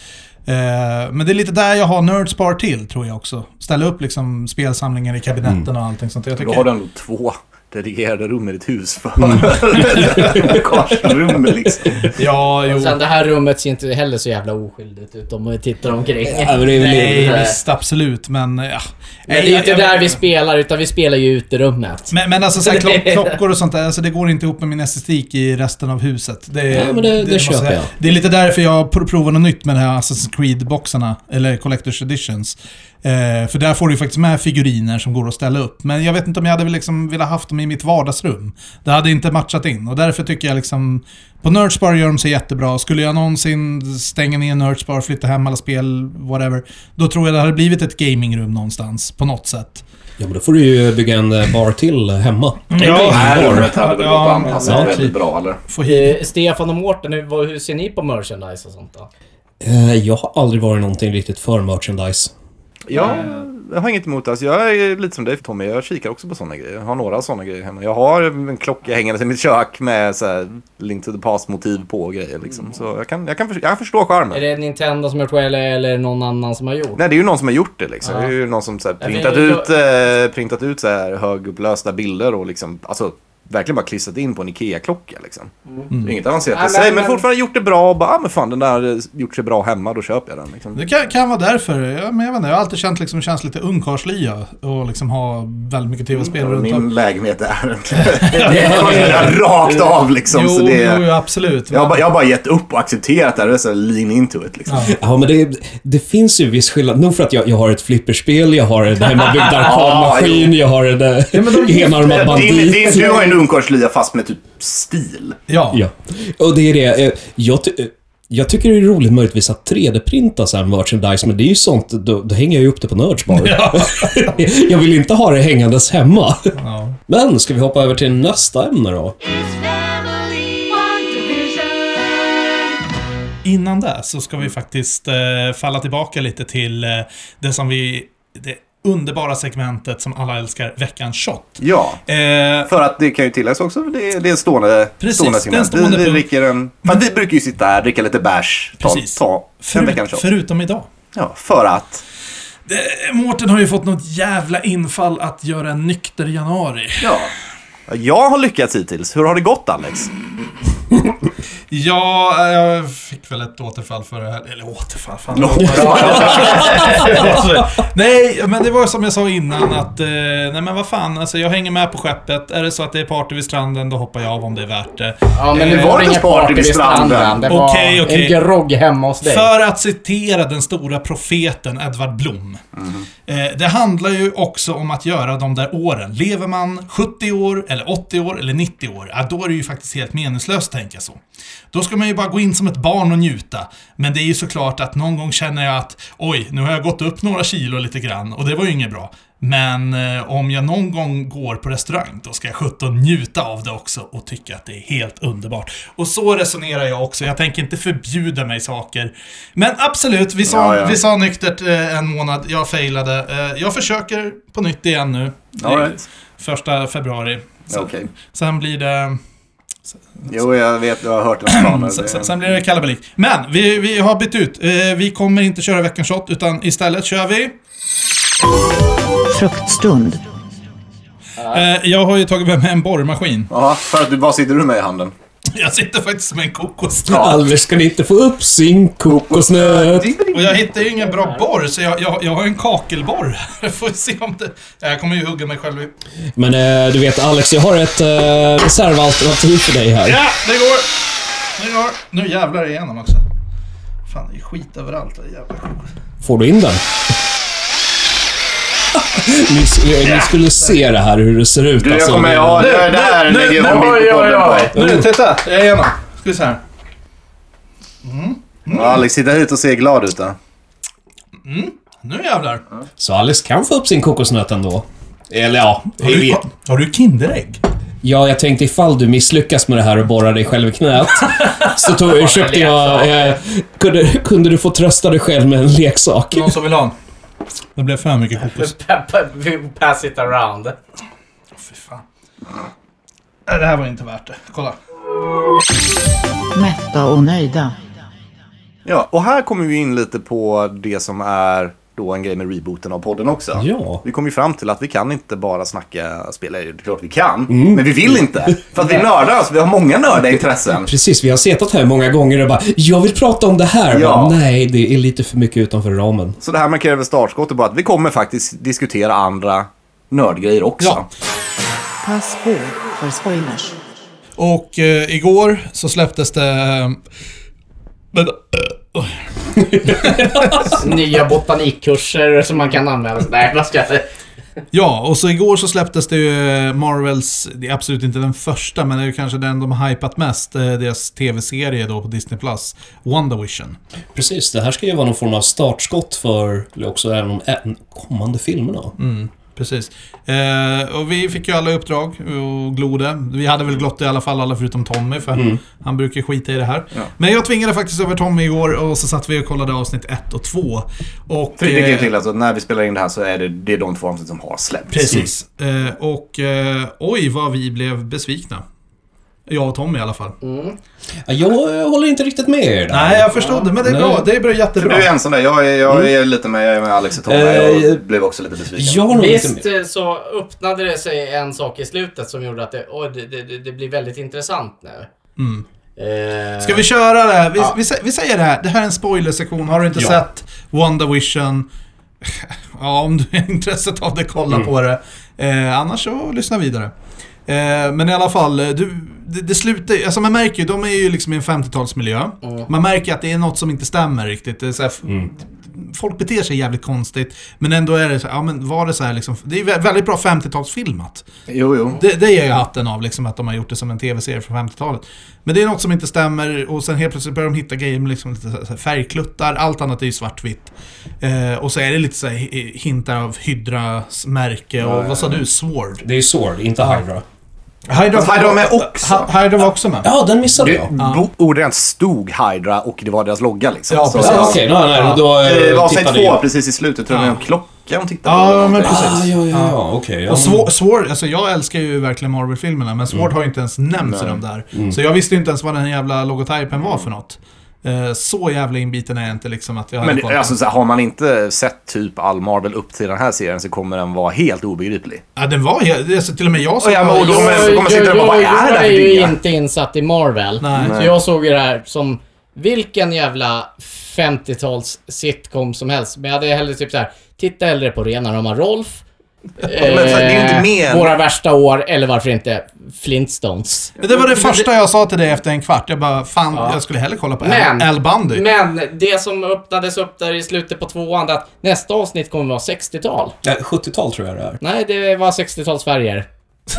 S2: Eh, men det är lite där jag har Nerdspar till, tror jag också. Ställa upp liksom spelsamlingar i kabinetten och allting sånt. Jag
S3: Då
S2: tycker,
S3: har du ändå två dedikerade rum i ditt hus för
S2: Mm.
S3: [laughs] korsrum liksom.
S2: Ja, jo.
S1: Sen det här rummet ser inte heller så jävla oskyldigt ut om vi tittar omkring.
S5: Ja, men det är väl-
S2: Nej, visst, absolut, men... Ja.
S1: Men det är ju inte där vi spelar, utan vi spelar ju ute i rummet.
S2: Men, men alltså så här,
S5: [laughs]
S2: klock, klockor och sånt där, alltså det går inte ihop med min estetik i resten av huset. Det,
S5: Ja, men det- det
S2: måste
S5: köper
S2: säga.
S5: jag.
S2: Det är lite därför jag pr- provar något nytt med de här Assassin's Creed-boxarna, eller Collector's Editions. Eh, för där får du ju faktiskt med figuriner som går att ställa upp. Men jag vet inte om jag hade väl liksom velat haft dem i mitt vardagsrum. Det hade inte matchat in och därför tycker jag liksom... På Nerdspar gör de sig jättebra. Skulle jag någonsin stänga ner Nerdspar, flytta hem alla spel, whatever. Då tror jag det hade blivit ett gamingrum någonstans, på något sätt.
S5: Ja, men då får du ju bygga en eh, bar till hemma.
S3: Det här
S5: Bar.
S3: rummet hade väl gått
S2: Ja,
S3: att anpassa
S2: men-
S1: typ.
S3: väldigt bra eller?
S2: Få hit
S1: Eh, Stefan och Mårten, hur, vad- hur ser ni på merchandise och sånt då?
S5: Eh, Jag har aldrig varit någonting riktigt för merchandise.
S3: Ja, jag har inget emot det. Alltså, jag är lite som dig Tommy, jag kikar också på sådana grejer. Jag har några sådana grejer hemma. Jag har en klocka hängande i mitt kök med så här, Link to the Past-motiv på och grejer. Liksom. Så jag kan, jag kan, förstå- jag förstår charmen.
S1: Mm. Är det Nintendo som har gjort det eller, eller någon annan som har gjort?
S3: Nej, det är ju någon som har gjort det liksom.
S1: Ja.
S3: Det är ju någon som så här,
S1: Ja, men
S3: printat,
S1: jag-
S3: ut, eh, printat ut så här högupplösta bilder och liksom, alltså verkligen bara klistrat in på en IKEA-klocka liksom. Det är Inget avancerat
S1: Mm. Ja,
S3: i sig,
S1: men-
S3: men,
S1: men-
S3: fortfarande gjort det bra och bara, ah, men fan den där eh, gjort sig bra hemma, då köper jag den liksom.
S2: Det kan, kan vara därför. Ja, men jag, vet inte, jag har alltid känt liksom, känns lite ungkarlslya och liksom ha väldigt mycket tv-spel runt om.
S3: Mm, Min lägenhet
S2: [laughs]
S3: är en... rakt av liksom.
S2: Jo,
S3: så det är...
S2: jo, jo, absolut.
S3: jag, har bara, jag har bara gett upp och accepterat det här. Det är så här lean into it liksom.
S5: Ja, men det, det finns ju viss skillnad. Nog för att jag, jag har ett flipperspel, jag har en hemmabyggd arkadmaskin, jag har en eh, enarmad
S3: Din, din,
S5: bandit.
S3: du har en ungkarlslya fast med typ stil.
S2: Ja.
S5: Ja, och det är det. eh, Jag, ty- eh, jag tycker det är roligt möjligtvis att 3D-printa så här merchandise, men det är ju sånt, då, då hänger jag ju upp det på Nerdspar. [laughs] jag vill inte ha det hängandes hemma.
S2: Ja.
S5: Men ska vi hoppa över till nästa ämne då?
S2: Innan det så ska vi faktiskt eh, falla tillbaka lite till eh, det som vi... Det underbara segmentet som alla älskar, veckans shot.
S3: Ja,
S2: Eh,
S3: för att det kan ju tilläggas också, det är, det är en stående,
S2: Precis,
S3: stående
S2: det är en
S3: segment.
S2: stående
S3: vi, vi
S2: punkt.
S3: dricker en... För att vi brukar ju sitta här, dricka lite bärs, ta,
S2: Precis.
S3: ta en
S2: förut,
S3: veckans shot.
S2: förutom idag.
S3: Ja, för att...
S2: Eh, Mårten har ju fått något jävla infall att göra en nykter januari.
S3: Ja. Jag har lyckats hittills. Hur har det gått, Alex?
S2: Ja, eh, jag fick väl ett återfall för det här. Eller återfall, fan. Alltså, nej, men det var som jag sa innan att, eh, nej men vad fan, alltså jag hänger med på skeppet. Är det så att det är party vid stranden, då hoppar jag av om det är värt det. Eh,
S1: Ja, men
S3: det
S1: nu
S3: var
S1: var det
S3: inte
S1: inget
S3: party
S1: party
S3: vid
S1: vid stranden.
S3: stranden.
S1: Det var
S2: Okej, okej.
S1: en grogg hemma hos dig.
S2: För att citera den stora profeten Edvard Blom. Eh, det handlar ju också om att göra de där åren. Lever man 70 år, eller 80 år, eller 90 år, ja, då är det ju faktiskt helt meningslöst tänka så. Då ska man ju bara gå in som ett barn och njuta. Men det är ju såklart att någon gång känner jag att oj, nu har jag gått upp några kilo lite grann och det var ju inget bra. Men eh, om jag någon gång går på restaurang, då ska jag sjutton njuta av det också och tycka att det är helt underbart. Och så resonerar jag också. Jag tänker inte förbjuda mig saker. Men absolut, vi sa,
S3: Ja, ja.
S2: Vi sa nyktert eh, en månad. Jag failade. Eh, jag försöker på nytt igen nu.
S3: All right.
S2: Första februari.
S3: Ja, Okej.
S2: Sen blir det...
S3: Jo, jag vet. Jag har hört dina planer.
S2: Sen, sen,
S3: Det-
S2: sen blir det kalabalik. Men vi, vi har bytt ut. Eh, vi kommer inte köra veckans shot, utan istället kör vi...
S6: Fruktstund.
S2: Eh, jag har ju tagit med mig en borrmaskin.
S3: Ja, för att du, vad sitter du med i handen?
S2: Jag sitter faktiskt med en kokos.
S5: Aldrig ska ni inte få upp sin kokosnöt.
S2: Och jag hittar ju ingen bra borr, så jag, jag, jag har en kakelborr. [laughs] Jag får se om det... Jag kommer ju hugga mig själv i...
S5: Men eh, du vet Alex, jag har ett eh, reservalternativ för dig här.
S2: Ja, det går! Det går! Nu jävlar igenom också. Fan, det är skit överallt. Det är jävla skit.
S5: Får du in den? ni, s- eh, ni skulle se det här, hur det ser ut.
S3: Du, jag
S5: alltså.
S3: kommer... Ja, det det här
S2: nu,
S3: lägger jag
S2: nu,
S3: en bild på
S1: oj, oj,
S3: podden
S1: oj.
S3: på.
S2: Nu, titta! Jag är igenom. Ska vi se här.
S3: Ja, Alex, sitta hit och se glad ut då.
S2: Nu jävlar!
S5: Så Alex kan få upp sin kokosnöt ändå. Eller ja,
S2: Har
S5: jag
S2: du,
S5: vet.
S2: har du Kinderägg?
S5: Ja, jag tänkte ifall du misslyckas med det här och borrar dig själv i knät. så tog, köpte jag... Eh, kunde, kunde du få trösta dig själv med en leksak?
S2: Någon som vill ha en? Äh, Det blev för mycket kokos.
S1: Pa- pa- [laughs] Pass it around.
S2: Fy fan. Nej, Det här var inte värt det. Kolla.
S6: Mätta och nöjda.
S3: Ja, och här kommer vi in lite på det som är då en grej med rebooten av podden också.
S5: Ja.
S3: Vi kom ju fram till att vi kan inte bara snacka spel. Det är klart vi kan, men vi vill inte. För [laughs] att vi är nördar, alltså, vi har många nördaintressen.
S5: Precis, vi har suttit här många gånger och bara “Jag vill prata om det här”.
S3: Ja.
S5: Men, Nej, det är lite för mycket utanför ramen.
S3: Så det här markerar väl startskottet på att vi kommer faktiskt diskutera andra nördgrejer också.
S2: Ja.
S6: Pass på för spoilers.
S2: Och eh, igår så släpptes det... eh, Men,
S1: Nya botanikkurser som man kan använda. Nej, vad ska
S3: [laughs]
S1: jag säga?
S2: ja, och så igår så släpptes det ju eh, Marvels, det är absolut inte den första, men det är ju kanske den de har hypat mest, eh, deras tv-serie då på Disney+, Plus, WandaVision.
S5: Precis, det här ska ju vara någon form av startskott för eller också även de ä- kommande filmerna.
S2: Precis. Eh, och vi fick ju alla uppdrag och glodde. Vi hade väl glott i alla fall, alla förutom Tommy, för
S3: Mm.
S2: han brukar skita i det här. Men jag tvingade faktiskt över Tommy igår och så satt vi och kollade avsnitt 1 och 2. Och,
S3: För det kan ju
S2: eh,
S3: till alltså, att när vi spelar in det här så är det, det är de två avsnitt som har släppts.
S2: Precis. Eh, och eh, oj, vad vi blev besvikna. Jag och Tommy i alla fall.
S5: Ja, Jag eh, håller inte riktigt med er där.
S2: Nej, jag förstod det, men det är
S5: Nej.
S2: bra. Det är bra, Mm. jättebra.
S3: Du är ensam där. Jag är, jag är lite med, jag är med Alex och Tom. här.
S5: Eh,
S3: jag blev också lite besviken.
S5: Jag har nog inte
S1: Visst
S5: med.
S1: eh, så öppnade det sig en sak i slutet som gjorde att det, oj, det, det, det- det blir väldigt intressant nu. Eh,
S2: Mm. Ska vi köra det här? Vi, vi, sä- vi säger det här. Det här är en spoilersektion. Har du inte
S5: Ja.
S2: sett WandaVision? [laughs] Ja, om du är intresset av det, kolla på det. Eh, annars så lyssna vidare. Eh, men i alla fall, eh, du, det, det slutar ju- alltså man märker ju, de är ju liksom i en 50-talsmiljö. Man märker att det är något som inte stämmer riktigt. Det är så här, f- Folk beter sig jävligt konstigt, men ändå är det så här, ja men var det så här liksom, det är vä- väldigt bra 50-talsfilmat.
S3: Jo, jo.
S2: Det, det ger jag hatten av, liksom, att de har gjort det som en tv-serie från 50-talet. Men det är något som inte stämmer och sen helt plötsligt börjar de hitta grejer med liksom lite så här färgkluttar, allt annat är ju svartvitt. Eh, och så är det lite så här hi- hintar av Hydras märke och vad sa du? Sword?
S5: Det är Sword, inte Hydra.
S2: Hydra,
S3: Fast Hydra var med också.
S2: Ha- Hydra var också med.
S5: Ja, den missade
S3: Det,
S5: jag.
S3: bo- ordagrant stod Hydra och det var deras logga liksom.
S2: Ja,
S3: Så-
S2: precis.
S5: Ja, Okej, nej, nej, då eh,
S3: Det var avsnitt
S5: tittade
S3: två
S5: jag.
S3: precis i slutet. Tror jag det var en klocka hon tittade på.
S2: Ja,
S3: eller
S2: men
S3: någonting.
S2: precis.
S5: Ah, ja, ja, ja, okej. ja.
S2: Och Sword, Sword, alltså jag älskar ju verkligen Marvel-filmerna, men
S3: Mm.
S2: Sword har ju inte ens nämnts i de där. Så jag visste ju inte ens vad den jävla logotypen var för något. Eh, Så jävla inbiten är jag inte liksom att jag hade
S3: Men
S2: koll
S3: det,
S2: på
S3: alltså,
S2: den.
S3: så här, har man inte sett typ all Marvel upp till den här serien så kommer den vara helt obegriplig.
S2: Ja, den var ju... Alltså, till och med jag som...
S3: Och jag
S2: var-
S3: mår- kommer- så kommer sitta där och bara, "Vad är det här
S1: jag
S3: för
S1: är ju
S3: dynga?"
S1: inte insatt i Marvel.
S2: Nej.
S1: Så jag såg ju det här som vilken jävla 50-tals sitcom som helst. Men jag hade hellre typ så här, titta hellre på rena rama Rolf.
S3: men för det är ju inte
S1: eh,
S3: med.
S1: Våra värsta år, eller varför inte Flintstones.
S2: Det var det första jag sa till dig efter en kvart. Jag bara, fan, jag skulle hellre kolla på Al,
S1: Men-
S2: Al Bundy.
S1: Men det som öppnades upp där i slutet på tvåan, det är att nästa avsnitt kommer vara 60-tal.
S5: Ja, 70-tal tror jag det är.
S1: Nej, det var 60-tals färger.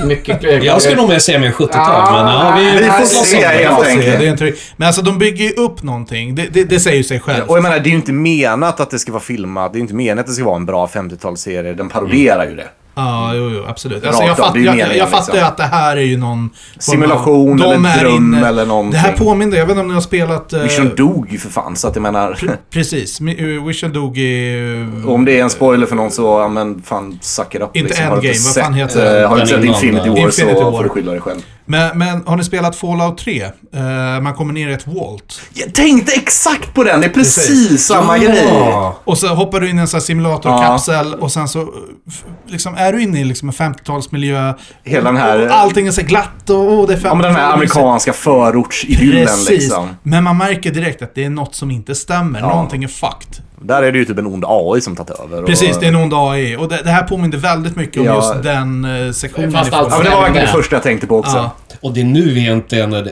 S1: Mycket...
S5: [laughs] Jag skulle nog mer säga mer 70-tal,
S1: Ja,
S5: men ja, vi,
S3: Vi får
S5: slåss
S3: se
S5: om det.
S3: helt
S2: Jag ser det, det är
S3: enkelt.
S2: en trygg. Men alltså de bygger ju upp någonting. Det, det, det säger ju sig självt.
S3: Och jag menar, det är ju inte menat att det ska vara filmat. Det är ju inte menat att det ska vara en bra 50-talsserie. Den paroderar ju det.
S2: Ja, jo, jo, absolut. Alltså,
S3: Rakt
S2: jag
S3: av,
S2: fatt,
S3: det är ju
S2: jag,
S3: meningen,
S2: jag fattar ju
S3: liksom.
S2: att det här är ju någon... form av-
S3: Simulation
S2: de
S3: eller
S2: är
S3: dröm
S2: inne-
S3: eller någonting.
S2: Det här påminner, jag vet inte om ni har spelat... eh,
S3: Vision dog ju för fan, så att jag menar...
S2: Precis, Mi- eh, Vision dog i... eh,
S3: Om det är en spoiler för någon så, ja men fan, suck it up. liksom.
S2: Inte
S3: Har du
S2: Endgame, vad fan
S3: sett,
S2: heter
S3: eh,
S2: den?
S3: Har du inte
S5: Den
S3: sett
S5: innan,
S3: Infinity
S5: eh,
S3: War
S2: Infinity
S3: så
S2: War.
S3: får du skylla dig själv.
S2: Men, men har ni spelat Fallout 3? Eh, man kommer ner i ett Walt.
S3: Jag tänkte exakt på den, det är precis,
S2: Precis.
S3: samma grej.
S5: Ja.
S2: Och så hoppar du in i en sån här simulatorkapsel och sen så eh, f- liksom, är du inne i liksom en 50-talsmiljö.
S3: Hela den här-
S2: Och Allting är så glatt och åh, det är 50
S3: Ja men den här amerikanska förortsidyllen
S2: Precis,
S3: liksom.
S2: men man märker direkt att det är något som inte stämmer. Någonting är fucked.
S3: Där är det ju typ en ond AI som tagit över.
S2: Precis,
S3: och...
S2: det är en ond AI. Och det, det här påminner väldigt mycket om
S3: Ja.
S2: just den eh, sektionen.
S1: Fast
S2: i Fallout.
S1: alltså-
S3: Ja men det var verkligen det
S1: Ja.
S3: första jag tänkte på också.
S2: Ja.
S5: Och det är nu egentligen, eh,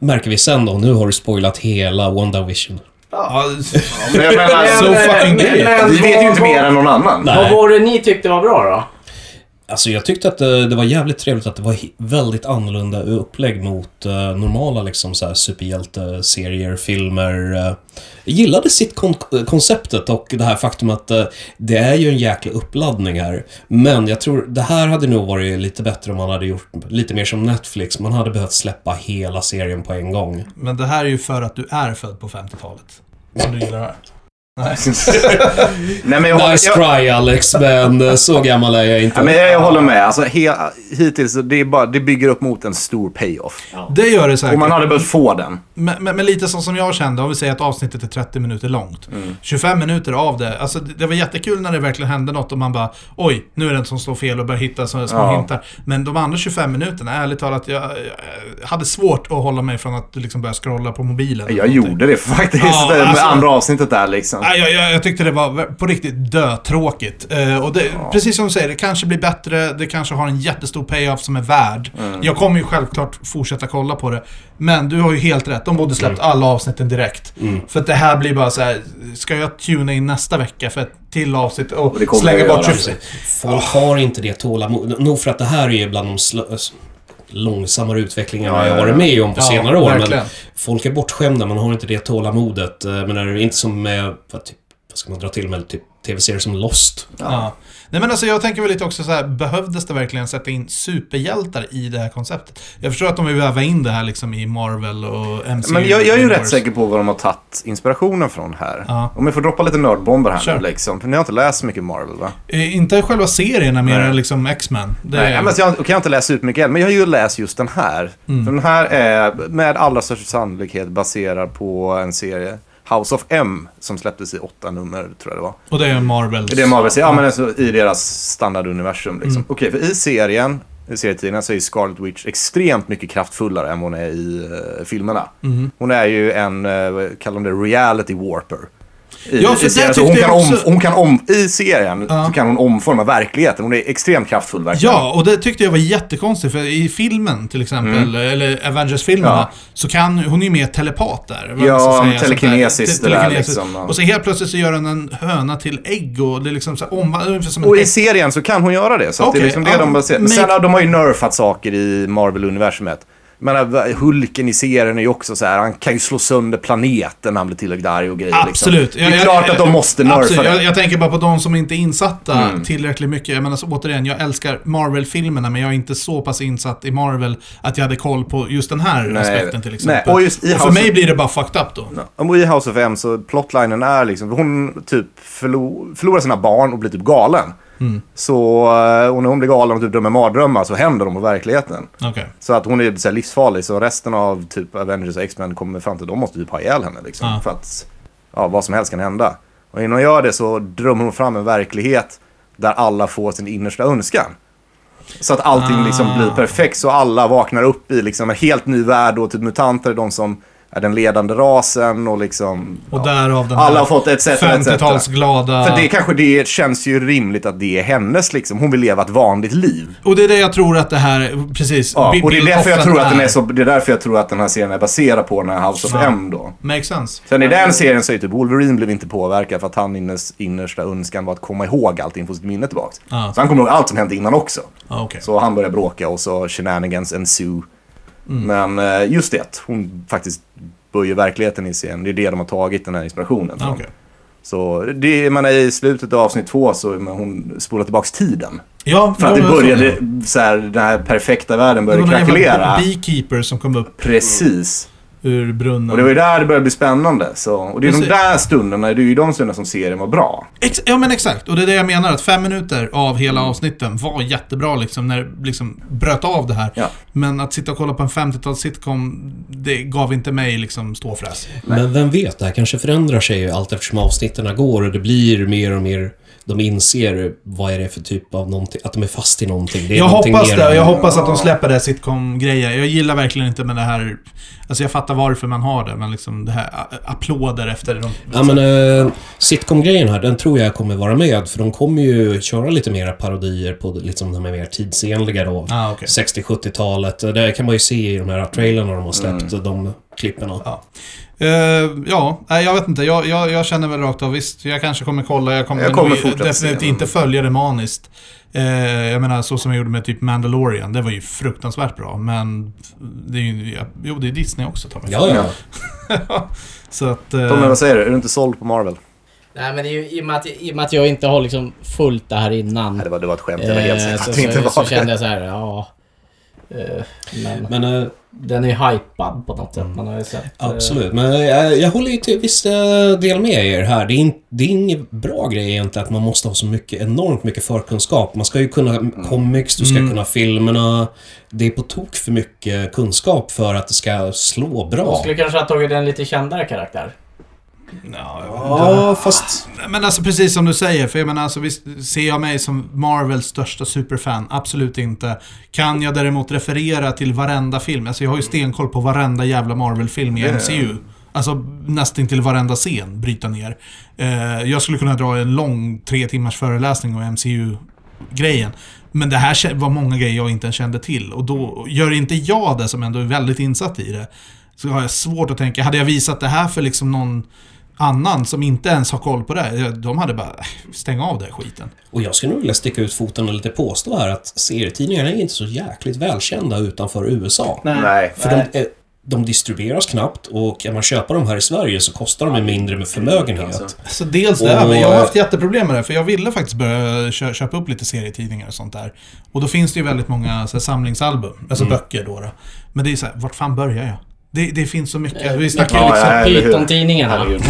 S5: märker vi sen då, nu har du spoilat hela WandaVision.
S2: Ja,
S3: Men jag menar,
S2: So fucking great.
S1: men-
S3: vi vet ju inte
S1: vad-
S3: mer än någon annan.
S1: Vad var det ni tyckte var bra då?
S5: Alltså jag tyckte att eh, det var jävligt trevligt att det var he- väldigt annorlunda upplägg mot eh, normala liksom så här superhjälteserier, filmer. eh. Jag gillade sitt kon- eh, konceptet och det här faktum att eh, det är ju en jäkla uppladdning här. Men jag tror det här hade nog varit lite bättre om man hade gjort lite mer som Netflix. Man hade behövt släppa hela serien på en gång.
S2: Men det här är ju för att du är född på 50-talet. Som du gillar det här.
S3: [laughs] Nej men jag,
S5: Nice
S3: jag,
S5: try Alex, men eh, så gammal är jag
S3: ja, men
S5: inte.
S3: jag, jag håller med. Alltså, he, hittills, det, är bara, det bygger upp mot en stor payoff.
S2: Det gör det säkert.
S3: Och man hade behövt få den.
S2: Men, men, men lite så som jag kände, om vi säger att avsnittet är 30 minuter långt.
S3: Mm.
S2: 25 minuter av det, alltså det, det var jättekul när det verkligen hände något och man bara oj, nu är det en som slår fel och börjar hitta såna små
S3: Ja.
S2: hintar. Men de andra 25 minuterna, ärligt talat, jag, jag hade svårt att hålla mig från att liksom börja scrolla på mobilen. eller
S3: Jag
S2: någonting.
S3: gjorde det faktiskt.
S2: Ja,
S3: med
S2: alltså-
S3: andra avsnittet där liksom.
S2: Nej, jag, jag, jag tyckte det var på riktigt dötråkigt. Eh, och det, precis som du säger, det kanske blir bättre, det kanske har en jättestor payoff som är värd.
S3: Mm.
S2: Jag kommer ju självklart fortsätta kolla på det. Men du har ju helt rätt, de borde släppt
S3: Mm.
S2: alla avsnitten direkt. För att det här blir bara så här: ska jag tuna in nästa vecka för ett till avsnitt och,
S3: det kommer
S2: slänga
S3: jag
S2: bort
S3: göra.
S2: 20...
S5: Folk har inte det tålamodet. Nog för att det här är bland de slö- s- långsammare utvecklingarna jag har varit med om på
S2: Ja,
S5: senare år.
S2: verkligen.
S5: Men folk är bortskämda, man har inte det tålamodet. Eh, Men är det inte som med, vad, typ, vad ska man dra till med, typ tv-serier som Lost?
S2: Ja. Nej men alltså jag tänker väl lite också så här, behövdes det verkligen sätta in superhjältar i det här konceptet? Jag förstår att de vill väva in det här liksom i Marvel och MCU.
S3: Men jag, jag är ju rätt
S2: universe.
S3: säker på vad de har tagit inspirationen från här.
S2: Ja.
S3: Om jag får droppa lite nördbomber här
S2: Kör.
S3: nu liksom. För ni har inte läst så mycket Marvel va?
S2: Eh, Inte själva serierna, mer
S3: Nej.
S2: liksom X-Men. Det
S3: Nej,
S2: är-
S3: men jag, okej, jag har inte läst supermycket än, men jag har ju läst just den här.
S2: Mm.
S3: För den här är med allra största sannolikhet baserad på en serie, House of M, som släpptes i åtta nummer, tror jag det var.
S2: Och det är Marvels.
S3: Det är Marvel ja men alltså, i deras standarduniversum liksom.
S2: Mm.
S3: Okej, för i serien, i serietidningen så är ju Scarlet Witch extremt mycket kraftfullare än vad hon är i eh, filmerna.
S2: Mm-hmm.
S3: Hon är ju en, eh, vad kallar de det, reality warper. I,
S2: Ja, för
S3: i serien.
S2: det
S3: Så hon
S2: tyckte
S3: kan
S2: jag
S3: om,
S2: också-
S3: hon kan om, I serien
S2: Ja.
S3: så kan hon omforma verkligheten. Hon är extremt kraftfull verkligen.
S2: Ja, och det tyckte jag var jättekonstigt, för i filmen till exempel, eller Avengers-filmerna,
S3: Mm. Ja.
S2: så kan hon är ju mer telepat där. vad
S3: Ja,
S2: man ska säga,
S3: men
S2: sånt där.
S3: telekinesiskt det där
S2: Telekinesiskt.
S3: liksom, ja.
S2: Och så helt plötsligt så gör hon en höna till ägg och det är liksom så här omvandlar, ungefär som en
S3: Och i
S2: häst.
S3: serien så kan hon göra det. Så att det
S2: Okej,
S3: är liksom det
S2: ja,
S3: de baserar. Men
S2: men-
S3: sen har de har ju nerfat saker i Marvel-universumet. Men eh, Hulken i serien är ju också så här, han kan ju slå sönder planeten när han blir tillräckligt arg och grejer.
S2: Absolut.
S3: Liksom. Det är klart att de måste
S2: Absolut.
S3: nerfa
S2: Jag,
S3: det.
S2: jag tänker bara på de som inte är insatta tillräckligt mycket. Jag menar, så, återigen, jag älskar Marvel-filmerna, men jag är inte så pass insatt i Marvel att jag hade koll på just den här
S3: Nej.
S2: aspekten till exempel.
S3: Nej, och just i
S2: för
S3: House-
S2: mig blir det bara fucked up då.
S3: Och i House of M så plotlinen är liksom, hon typ förlo- förlorar sina barn och blir typ galen.
S2: Mm.
S3: Så, eh, och när hon blir galen och typ drömmer mardrömmar så händer de på verkligheten.
S2: Okej.
S3: Så att hon är så här livsfarlig. Så resten av typ Avengers och X-Men kommer fram till att de måste typ ha ihjäl henne. Liksom,
S2: Ja.
S3: För att ja, vad som helst kan hända. Och innan hon gör det så drömmer hon fram en verklighet där alla får sin innersta önskan. Så att allting liksom
S2: Ah.
S3: blir perfekt. Så alla vaknar upp i liksom en helt ny värld och typ mutanter är de som är den ledande rasen och liksom...
S2: Och
S3: ja.
S2: därav den
S3: Alla har
S2: här
S3: fått etc. etc.
S2: 50-tals glada...
S3: För det kanske det känns ju rimligt att det är hennes liksom. Hon vill leva ett vanligt liv.
S2: Och det är det jag tror att det här, precis.
S3: Ja,
S2: Bill-
S3: och det är
S2: Bill
S3: därför jag
S2: Hoffman
S3: tror att den är så, det är därför jag tror att den här serien är baserad på den här House of
S2: Ja.
S3: M då.
S2: Makes sense.
S3: Sen i den serien så är ju typ Wolverine blev inte påverkad för att han innes, innersta önskan var att komma ihåg allting, få sitt minne tillbaka.
S2: Ja.
S3: Så han kommer ihåg allt som hände innan också.
S2: Ah, okej.
S3: Så han börjar bråka och så shenanigans ensue.
S2: Mm.
S3: Men eh, just det, att hon faktiskt böjer verkligheten i serien. Det är det de har tagit den här inspirationen
S2: Ah,
S3: från.
S2: okej.
S3: Så det, man är i slutet av avsnitt två så men hon spolar tillbaka tiden.
S2: Ja,
S3: För att det
S2: men jag tror
S3: började, så här, den här perfekta världen
S2: Det
S3: började
S2: var någon
S3: krackelera.
S2: jävla beekeeper som kom upp
S3: Precis.
S2: ur brunnen.
S3: Och det var ju där det började bli spännande. Så, och det är
S2: Precis.
S3: de där stunderna, det är ju de stunderna som serien var bra.
S2: Ex- ja men exakt, och det är det jag menar att fem minuter av hela
S5: Mm.
S2: avsnitten var jättebra liksom när det liksom bröt av det här.
S3: Ja.
S2: Men att sitta och kolla på en 50-tals sitcom, det gav inte mig liksom ståfräs.
S5: Men vem vet, det här kanske förändrar sig ju allt eftersom avsnitten går och det blir mer och mer... De inser vad är det för typ av någonting, att de är fast i någonting. Det är
S2: Jag
S5: någonting
S2: hoppas
S5: mer
S2: det, och
S5: än-
S2: jag hoppas att de släpper det här sitcom-grejen. Jag gillar verkligen inte med det här, alltså jag fattar varför man har det, men liksom det här a- applåder efter de...
S5: Ja men eh, sitcom-grejen här, den tror jag kommer vara med. För de kommer ju köra lite mera parodier på liksom, de här mer tidsenliga då.
S2: Ah, okej.
S5: 60-70-talet. Det kan man ju se i de här trailerna de har släppt, de klippen.
S2: Ja. Eh, ja, nej, jag vet inte. Jag, jag, jag känner väl rakt av, visst, jag kanske kommer kolla. Jag kommer,
S3: Jag kommer
S2: nog
S3: fortsätta
S2: definitivt
S3: se den.
S2: inte följa det maniskt. Eh, jag menar, så som jag gjorde med typ Mandalorian. Det var ju fruktansvärt bra, men... Det är ju, ja, jo, det är Disney också, Tommy.
S5: Ja, ja.
S3: Ja.
S2: Så att... eh,
S3: Tommy, vad säger du? Är du inte såld på Marvel?
S1: Nej men det är ju, i, och med att, i och med att jag inte har liksom fullt det här innan.
S3: Nej, det var, det var ett skämt. Jag var helt
S1: eh,
S3: säker på
S1: så,
S3: att det inte
S1: så, så
S3: var
S1: kände
S3: det.
S1: jag så här, ja. eh, Men,
S5: Men eh,
S1: den är ju hypad på något
S3: Mm.
S1: sätt. Man har ju sett. eh,
S5: absolut. Men eh, jag, jag håller ju till viss eh, del med er här. Det är, in, det är ingen bra grej egentligen att man måste ha så mycket, enormt mycket förkunskap. Man ska ju kunna comics, du ska
S2: Mm.
S5: kunna filmerna. Det är på tok för mycket kunskap för att det ska slå
S1: Man
S5: bra.
S1: skulle kanske ha tagit en lite kändare karaktär.
S2: ja, jag vet inte.
S5: Ja, fast...
S2: Men alltså precis som du säger, för jag menar alltså visst ser jag mig som Marvels största superfan? Absolut inte. Kan jag däremot referera till varenda film? Alltså jag har ju stenkoll på varenda jävla Marvel-film i MCU. Alltså nästan till varenda scen bryta ner. Eh, jag skulle kunna dra en lång tre timmars föreläsning om MCU-grejen. Men det här kä- var många grejer jag inte ens kände till. Och då, gör inte jag det som ändå är väldigt insatt i det, så har jag svårt att tänka, hade jag visat det här för liksom någon annan som inte ens har koll på det. här, De hade bara, "Äh, stäng av den här skiten.
S5: Och jag skulle nog vilja sticka ut foten och lite påstå här att serietidningarna är inte så jäkligt välkända utanför USA.
S3: Nej.
S5: För de, eh, de distribueras knappt och kan man köpa dem här i Sverige så kostar de ju mindre med
S3: Alltså,
S5: förmögenhet.
S2: Så dels det, men jag har
S5: Och-
S2: haft jätteproblem med det. För jag ville faktiskt börja kö- köpa upp lite serietidningar och sånt där. Och då finns det ju väldigt många så här, samlingsalbum, alltså böcker då, då. Men det är så här, vart fan börjar jag? Det, det finns så mycket. Vi snackar ju
S3: Ja,
S2: liksom...
S3: ja, eller hur?
S1: Python-tidningarna.
S3: Herregud.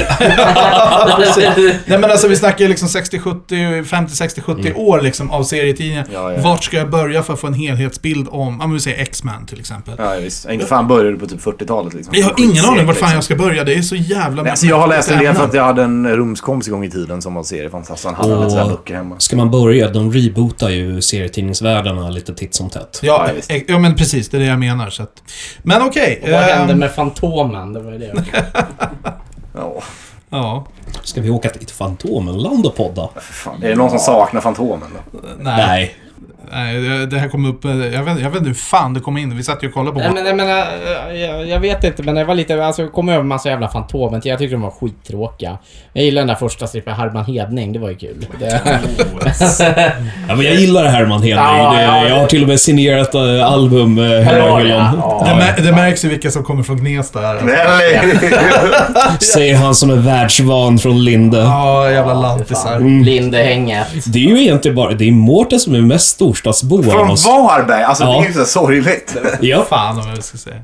S2: Nej men alltså vi snackar ju liksom 60, 70, 50, 60, 70 år liksom av serietidningar.
S3: Mm. Ja, ja.
S2: Vart ska jag börja för att få en helhetsbild om, ja men vi säger X-Men till exempel.
S3: Ja, visst. Inte fan började du på typ 40-talet liksom.
S2: Jag har ingen aning vart fan
S3: Liksom.
S2: jag ska börja. Det är så jävla
S3: Nej,
S2: mycket
S3: alltså, jag har läst en del för
S2: ämnen.
S3: att jag hade en rumskompis en gång i tiden som var seriefantast. Han hade lite sådana böcker hemma.
S5: Ska man börja, de rebootar ju serietidningsvärldarna lite titt som tätt.
S2: Ja,
S3: Ja, visst.
S2: eh, ja men precis. Det är det jag menar. Så att... Men okej.
S1: Vad hände
S2: ehm,
S1: med Fantomen? Det var ju det.
S3: Ja,
S2: Ja.
S5: Ska vi åka till Fantomenland och podda?
S3: för fan. Är det någon som saknar Fantomen då?
S2: Nej.
S5: Nej.
S2: Nej, det- det här kom upp... eh, Jag vet, jag vet inte hur fan det kom in. Vi satt ju och kollade på
S1: Nej, men, jag, menar, eh, jag, jag vet inte, men jag var lite... Alltså, jag kom över en massa jävla Fantomen. Jag tyckte de var skittråkiga. Jag gillade den där första strippen, Herman Hedning. Det var ju kul. Det,
S5: Ja, men jag gillar Herman Hedlund.
S1: Ja,
S5: Det-
S1: ja, det-
S5: jag har till och med signerat äh, album äh, hemma
S1: Ja,
S5: i hyllan.
S1: ja.
S2: det, mär, det märks ju vilka som kommer från Gnesta här.
S5: Säger han som är världsvan från Linde.
S2: Ja, jävla
S1: fan,
S2: lantisar.
S1: Lindehänget.
S5: Det är ju egentligen bara... Det är Mårten som är mest storstadsbo
S3: [laughs]
S5: av
S3: Från
S5: oss.
S3: Varberg! Alltså det
S5: Ja.
S3: är ju så sorgligt.
S5: Ja.
S2: Fan om jag ska säga.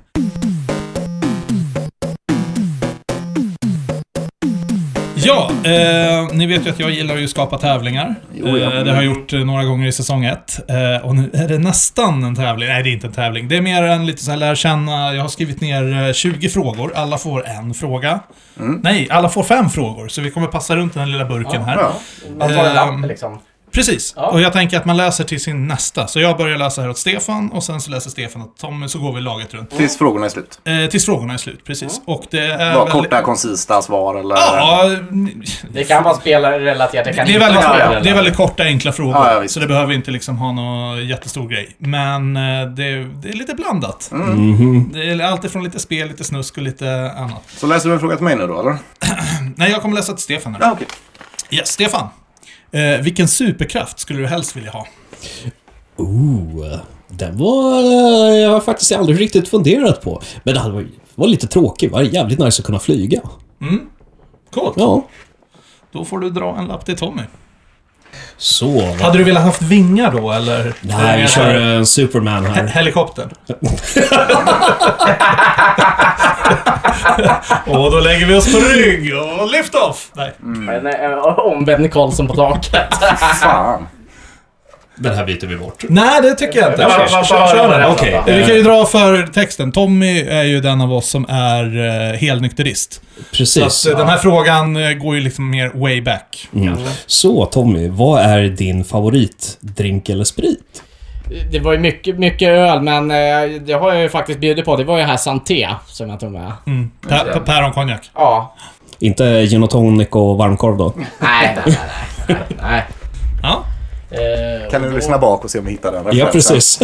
S2: Ja, eh, ni vet ju att jag gillar ju att skapa tävlingar. eh, det har jag gjort eh, några gånger i säsong ett. Eh, och nu är det nästan en tävling. Nej, det är inte en tävling. Det är mer en lite så här lär känna. Jag har skrivit ner eh, 20 frågor. Alla får en fråga. Nej, alla får fem frågor. Så vi kommer passa runt den lilla burken här.
S3: Mm. Ja.
S1: Man tar en
S2: Ehm,
S1: lapp liksom.
S2: Precis.
S1: Ja.
S2: Och jag tänker att man läser till sin nästa. Så jag börjar läsa här åt Stefan och sen så läser Stefan åt Tommy så går vi laget runt.
S3: Tills frågorna är slut.
S2: Eh, tills frågorna är slut, precis. Och det är...
S3: Bara
S2: väl-
S3: korta, koncisa svar eller...
S2: Ja,
S1: Det kan vara spelarrelaterat, det kan
S2: det är,
S1: inte
S2: väldigt,
S1: vara
S2: det är
S1: spelrelaterat.
S2: väldigt korta, enkla frågor.
S3: Ja, ja, visst.
S2: så det behöver inte liksom ha någon jättestor grej. Men eh, det, det är lite blandat.
S3: Mm.
S5: Mm-hmm.
S2: Det är allt ifrån lite spel, lite snusk och lite annat.
S3: Så läser du en fråga till mig nu då eller?
S2: Nej, jag kommer läsa till Stefan här.
S3: Ja, okej.
S2: Yes, Stefan. Eh, vilken superkraft skulle du helst vilja ha?
S5: Ooh, den var... eh, Jag har faktiskt aldrig riktigt funderat på. Men det hade varit- var lite tråkigt. Det var jävligt nice att kunna flyga.
S2: Coolt.
S5: Ja.
S2: Då får du dra en lapp till Tommy.
S5: Så.
S2: Hade du velat haft vingar då, eller? Eh,
S5: Nej, vi kör en Superman
S2: He- [laughs]
S5: här.
S2: Helikoptern. och då lägger vi oss på rygg och lift off! Nej.
S1: En, en omvänd Karlsson på taket.
S3: Ah, Fan.
S5: [laughs] Den här byter vi bort.
S2: Nej, det tycker jag inte.
S1: Ja,
S2: Kör,
S1: vad- vad-
S2: kör, kör
S1: vad-
S2: den.
S1: vad-
S5: Okej.
S1: vad-
S2: Eh, Vi kan ju dra för texten. Tommy är ju den av oss som är eh, helnykterist. Så
S5: Precis.
S2: att, eh, den här frågan eh, går ju liksom mer way back.
S5: Mm. Så Tommy, vad är din favoritdrink eller sprit?
S1: Det var ju mycket, mycket öl, men eh, det har jag ju faktiskt bjudit på. Det var ju här Santé som jag tog med.
S2: Mm. Pä- pä- Päronkonjak.
S1: Ja.
S5: Inte gin och tonic och varmkorv [laughs] då?
S1: Nej, nej, nej. nej,
S2: Ja.
S1: nej. [laughs] Eh,
S3: Kan
S1: och
S3: du
S1: då-
S3: lyssna bak och se om vi hittar den
S5: Ja,
S3: referensen?
S5: precis.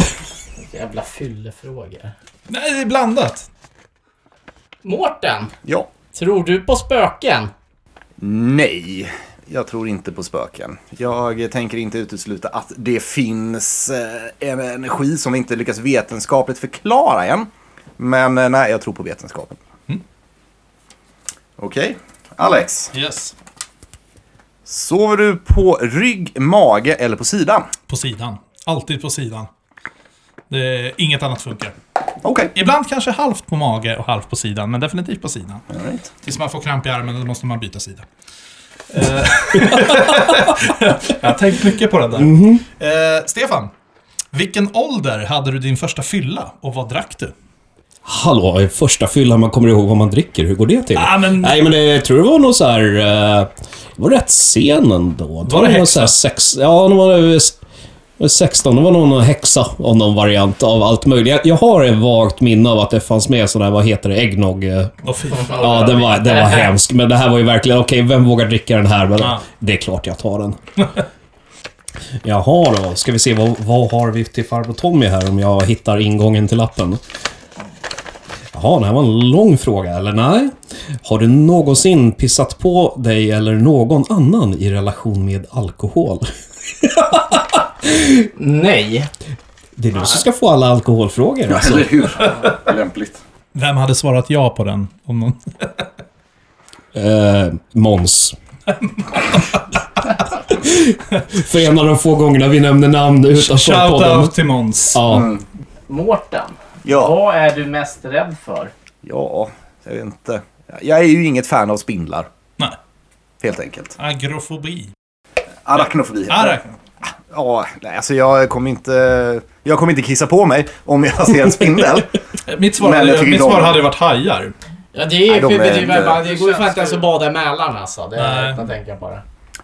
S1: Jävla fyllefrågor.
S2: Nej, det är blandat.
S1: Mårten,
S3: Ja.
S1: tror du på spöken?
S3: Nej, jag tror inte på spöken. Jag tänker inte utesluta att det finns eh, en energi som vi inte lyckas vetenskapligt förklara än. Men eh, nej, jag tror på vetenskapen. Okej, Alex.
S2: Yes.
S3: Sover du på rygg, mage eller på sidan?
S2: På sidan. Alltid på sidan. Det, inget annat funkar.
S3: Okej.
S2: Ibland kanske halvt på mage och halvt på sidan, men definitivt på sidan.
S3: All right.
S2: Tills man får kramp i armen, då måste man byta sida. [laughs] Eh, jag har tänkt mycket på den där.
S3: Mhm.
S2: Eh, Stefan, vilken ålder hade du din första fylla och vad drack du?
S5: Hallå, första fyllan man kommer ihåg vad man dricker. Hur går det till?
S2: Ah, men-
S5: Nej, men det, jag tror det var nog så här... eh, Det var rätt sen ändå.
S2: Var det
S5: någon
S2: häxa?
S5: Så här sex, ja, det var eh, s- det var 16. Det var någon häxa av någon variant av allt möjligt. Jag, jag har ett vagt minne av att det fanns med sån här, vad heter det, äggnog... eh,
S2: Åh, fy fan.
S5: Ja, den var, den var hemsk. Men det här var ju verkligen, okej, vem vågar dricka den här? Men
S2: Ja.
S5: det är klart jag tar den. [laughs] Jaha då, ska vi se vad, vad har vi till farbror Tommy här om jag hittar ingången till lappen? Jaha, det här var en lång fråga, eller nej? Har du någonsin pissat på dig eller någon annan i relation med alkohol?
S1: Nej.
S5: Det är du som ska få alla alkoholfrågor. Alltså.
S3: Eller hur? Lämpligt.
S2: Vem hade svarat ja på den? Om någon...
S5: Eh, Måns. För en av de få gångerna vi nämner namn utanför podden.
S2: Shoutout till Måns.
S5: Ja.
S1: Mårten,
S3: Ja.
S1: vad är du mest rädd för?
S3: ja, jag vet inte. Jag är ju inget fan av spindlar,
S2: Nej.
S3: helt enkelt.
S2: Agrofobi. Ah,
S3: Arachnofobi heter det.
S2: Arak.
S3: Ja, nej, alltså jag kommer inte... Jag kommer inte kissa på mig om jag ser en spindel.
S2: Mitt svar,
S3: Men jag
S2: hade,
S3: tycker
S2: mitt
S3: de-
S2: svar hade ju varit hajar.
S1: Ja, det är
S3: Nej,
S1: ju...
S3: de
S1: Det,
S3: är
S1: det,
S3: inte-
S1: det, går ju fan inte ens att bada i Mälaren alltså. Det är
S2: Nej.
S1: utan att tänka på det.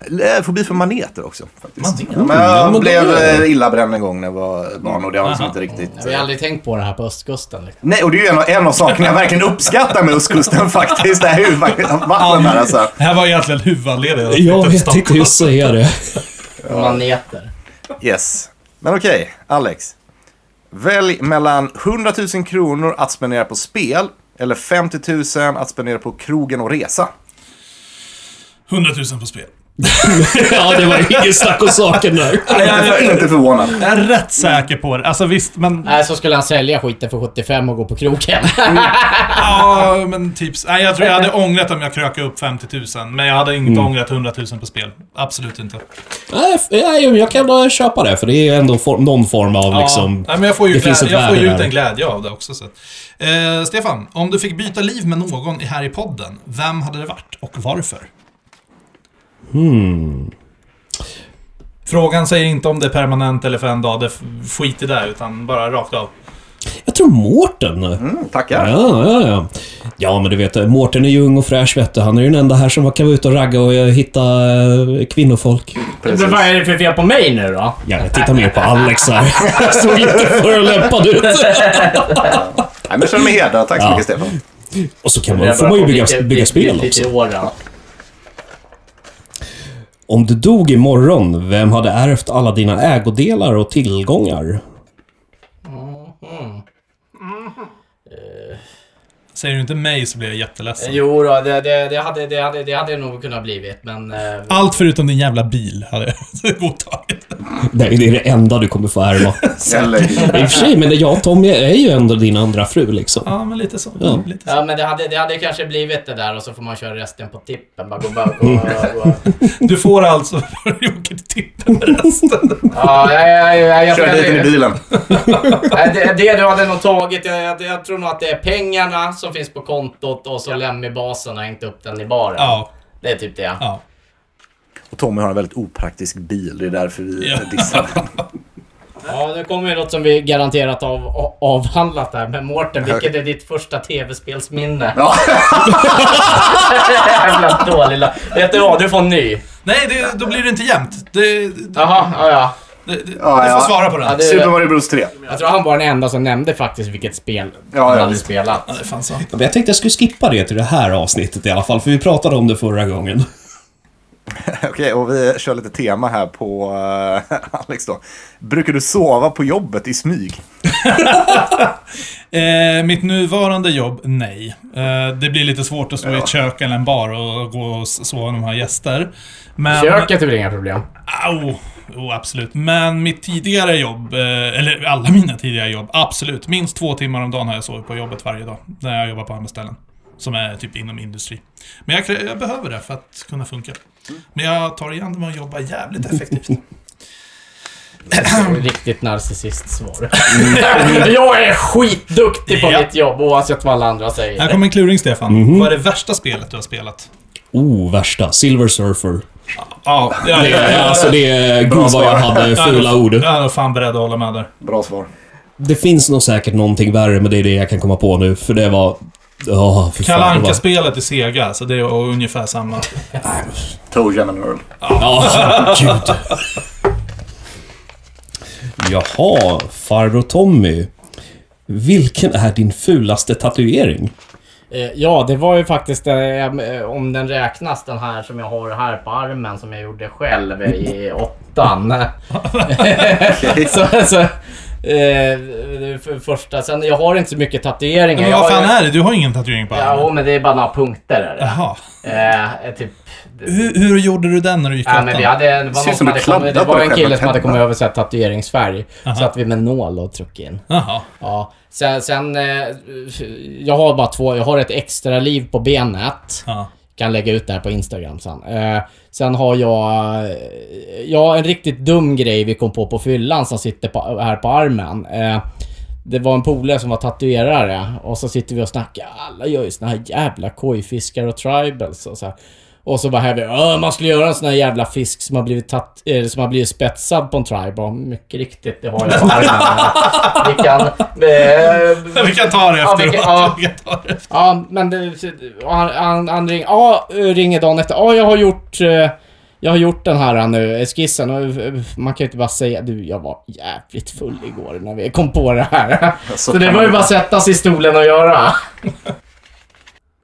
S3: Eller, Fobi för maneter också. Faktiskt.
S2: Maneter?
S3: Ja, men
S5: Ja,
S3: jag
S5: men
S3: blev
S5: då är
S3: eh, illabränd en gång när jag var barn och det har liksom inte riktigt...
S1: Vi har aldrig tänkt på det här på östkusten. Liksom.
S3: Nej, och det är ju en av, en av sakerna jag verkligen uppskattar med ostkusten faktiskt. Det är ju faktiskt vattnet där alltså.
S2: Det här var egentligen Typ huvudanledningen. att
S5: Jag
S2: flytta till
S5: vet inte
S2: Stockholm.
S5: hur jag säger det.
S1: Maneter.
S3: Yes.
S7: Men okej, Alex. Välj mellan 100 000 kronor att spendera på spel eller 50 000 att spendera på krogen och resa.
S2: 100 000 på spel.
S5: ja, det var ingen snack om saken där.
S7: Inte, för, inte förvånad.
S2: Jag är rätt säker på det. Alltså visst, men...
S1: Nej, så skulle han sälja skiten för 75 och gå på
S5: [laughs]
S1: krogen.
S2: Ja, men typ... Nej, jag tror jag hade ångrat om jag krökade upp 50 000. Men jag hade inte
S5: Mm.
S2: ångrat 100 000 på spel. Absolut inte.
S5: Nej, f- nej, men jag kan eh, köpa det, för det är ändå for, någon form av liksom...
S2: ja, nej, men jag får ju,
S5: det finns
S2: glä-
S5: ett
S2: jag får ju
S5: värde
S2: ut
S5: där.
S2: en glädje av det också. Så. att- Eh, Stefan, om du fick byta liv med någon i- här i podden, vem hade det varit och varför?
S5: Hmm.
S2: Frågan säger inte om det är permanent eller för en dag, det f- skit i det, utan bara rakt av.
S5: Jag tror Mårten.
S7: Mm, tackar.
S5: Ja, ja, ja. Ja, men du vet, Mårten är ju ung och fräsch, vet du. Han är ju den enda här som kan vara ute och ragga och eh, hitta eh, kvinnofolk.
S1: Men vad är det för fel på mig nu då?
S5: Ja, jag tittar mer på Alex här. [laughs] Jag såg inte förolämpad ut.
S7: Nej, men jag känner mig hedrad. Tack så
S5: Ja.
S7: mycket Stefan.
S5: Och så kan man, får man ju bygga, bygga spel också.
S1: också.
S5: Om du dog imorgon, vem hade ärvt alla dina ägodelar och tillgångar?
S2: Säger du inte mig så blir jag jätteledsen.
S1: Jo då, det, det, det, hade, det, hade, det hade nog kunnat blivit, men... eh,
S5: Ah.
S2: Allt förutom din jävla bil hade [laughs] jag godtagit.
S5: Nej, det är det enda du kommer få [laughs] ärva.
S7: Eller,
S5: I och för sig, men jag och Tommy är ju ändå din andra fru liksom.
S2: Ja, men lite så.
S5: Ja.
S2: Lite så.
S1: Ja, men det hade, det hade kanske blivit det där och så får man köra resten på tippen. Bara gå, bara
S5: Mm.
S1: gå, bara gå.
S2: Du får alltså [laughs] vad du åker till tippen med resten.
S1: Ja, jag, jag, jag, jag,
S7: kör dit in i
S1: jag,
S7: bilen.
S1: Nej, det, det du hade nog tagit, jag, jag, jag tror nog att det är pengarna som finns på kontot och så lämnar basen och hängt upp den i baren.
S2: Ja,
S1: Det är typ det.
S2: ja.
S7: Och Tommy har en väldigt opraktisk bil. Det är därför vi
S2: Ja.
S7: dissar [laughs] den.
S1: Ja, nu kommer ju något som vi garanterat av, a- avhandlat här med Mårten. Vilket är ditt första tv-spelsminne? [laughs]
S7: Ja.
S1: Jävla dålig la- Vet du vad? Du får en ny.
S2: Nej, det, då blir det inte jämnt. Det, det,
S1: Jaha, ja, ja.
S2: det, det,
S7: Ja,
S2: du
S7: ja.
S2: får svara på den.
S1: Ja,
S2: Ja,
S1: det-
S7: Super Mario Bros 3.
S1: Jag tror han var den enda som nämnde faktiskt vilket spel
S7: Ja,
S1: han
S7: ja,
S1: hade
S7: visst.
S1: spelat.
S2: det är fan sant.
S5: Men jag tänkte jag skulle skippa det till det här avsnittet i alla fall, för vi pratade om det förra gången.
S7: Okej, och vi kör lite tema här på eh, [laughs] Alex då. Brukar du sova på jobbet i smyg?
S2: Eh, mitt nuvarande jobb, nej. Eh, det blir lite svårt att stå i ett kök eller en bar och gå och s- sova när man har gäster. Men,
S1: Köket är väl inga problem?
S2: Au! Jo, absolut. Men mitt tidigare jobb, eh, eller alla mina tidigare jobb, absolut. Minst två timmar om dagen har jag sovit på jobbet varje dag. När jag jobbar på andra ställen. Som är typ inom industri. Men jag, krä- jag behöver det för att kunna funka. Men jag tar igen det med att jobba jävligt effektivt.
S1: Riktigt narcissist-svar.
S7: Mm.
S1: [laughs] jag är skitduktig på
S2: Ja.
S1: mitt jobb oavsett vad alla andra
S2: Här
S1: säger.
S2: kommer en kluring, Stefan. Vad är det värsta spelet du har spelat?
S5: Oh, värsta. Silver Surfer.
S2: Ja, ja, ja,
S5: Eh,
S2: ja.
S5: Alltså det är... Gud vad jag [laughs] hade fula ord.
S2: Jag är nog fan beredd att hålla med där.
S7: Bra svar.
S5: Det finns nog säkert någonting värre, men det är det jag kan komma på nu, för det var... Ja, fy fan.
S2: Kalle
S5: det var-
S2: Anka-spelet i Sega, så det är ungefär samma.
S7: Toe and Earl.
S5: Ja, gud. Jaha, farbror Tommy. Vilken är din fulaste tatuering?
S1: Eh, Ja, det var ju faktiskt, eh, eh, om den räknas, den här som jag har här på armen som jag gjorde själv i åttan. [laughs] så, så, eh, det är för första, sen jag har inte så mycket tatueringar.
S2: Men
S1: Jag
S2: vad
S1: har
S2: fan
S1: ju-
S2: är det? Du har ingen tatuering på
S1: Ja,
S2: armen?
S1: jo, men det är bara några punkter. Är det.
S2: Jaha.
S1: Eh, eh, typ, det,
S2: Hur, hur gjorde du den när du gick i
S1: ja, men vi hade, det
S7: ser
S1: var,
S7: ut
S1: någon
S7: som
S1: som
S7: du
S1: hade kommit, det
S7: kladdar på
S1: var
S7: dig
S1: en
S7: själv
S1: kille
S7: med
S1: som hade kommit
S7: tänderna.
S1: över så här, tatueringsfärg. Så att vi med nål och tryckte in.
S2: Jaha.
S1: Ja, sen, sen eh, jag har bara två, jag har ett extra liv på benet.
S2: Ja.
S1: Kan lägga ut det här på Instagram sen. Eh, sen har jag, eh, ja en riktigt dum grej vi kom på på fyllan som sitter på, här på armen. Eh, det var en polare som var tatuerare och så sitter vi och snackar, alla gör ju såna här jävla kojfiskar och tribals och så här. Och så bara här vi, "Åh, man skulle göra en sån här jävla fisk som har blivit, tat- eh, som har blivit spetsad på en tribal. Mycket riktigt, det har jag på armen. här. Vi kan... eh,
S2: [laughs] Vi kan ta det
S1: Ja,
S2: efteråt.
S1: vi kan- ja.
S2: Vi kan ta det.
S1: [laughs] Ja, men det, och han, han, han ringer, ja, ringer dagen efter. Ja, jag har gjort... eh, Jag har gjort den här nu, skissen. Och eh, man kan ju inte bara säga du, jag var jävligt full igår när vi kom på det här.
S7: Alltså,
S1: Så det
S7: kan
S1: var ju
S7: man-
S1: bara att sätta sig i stolen och göra.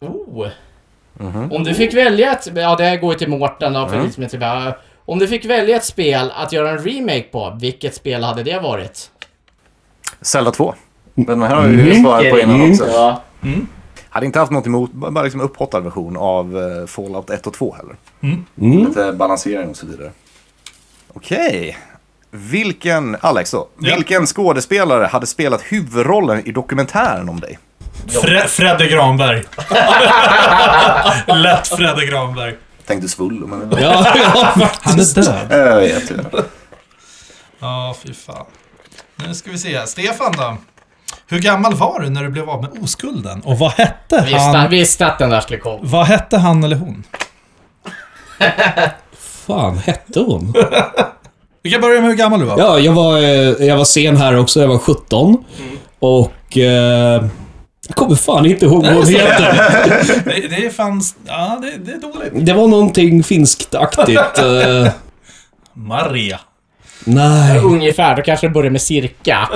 S1: Oh. Om du fick välja ett... Ja, det här går ju till Mårten då, för mm. liksom, typ, ja, Om du fick välja ett spel att göra en remake på, vilket spel hade det varit?
S3: Zelda 2. Men här har vi ju svarat på innan också.
S1: Ja.
S3: Hade inte haft något emot, b- bara liksom upphottad version av eh, Fallout 1 och 2 heller. Mm.
S5: Mm.
S3: Lite balansering och så vidare. Okej. Vilken, Alex då,
S2: Ja.
S3: vilken skådespelare hade spelat huvudrollen i dokumentären om dig?
S2: Fre-
S1: [laughs]
S2: Fredde Granberg. Lätt Fredde Granberg.
S3: Tänkte svull, men...
S5: Ja, ja faktiskt. Han är
S3: [laughs]
S5: död.
S3: Jag vet inte.
S2: Ja, fy fan. Nu ska vi se. Stefan då? Hur gammal var du när du blev av med oskulden? Och vad hette
S1: Visste,
S2: han?
S1: visste att den där skulle komma.
S2: Vad hette han eller hon?
S5: Fan, hette hon?
S2: Vi kan börja med hur gammal du var.
S5: Ja, jag var, eh, jag var sen här också. Jag var 17. Och... Eh, jag kommer fan inte ihåg vad hon heter.
S2: Det, det fanns... Ja, det, det är dåligt.
S5: Det var någonting finskt-aktigt. Eh,
S2: Maria.
S5: nej.
S1: Ungefär, då kanske det börjar med cirka.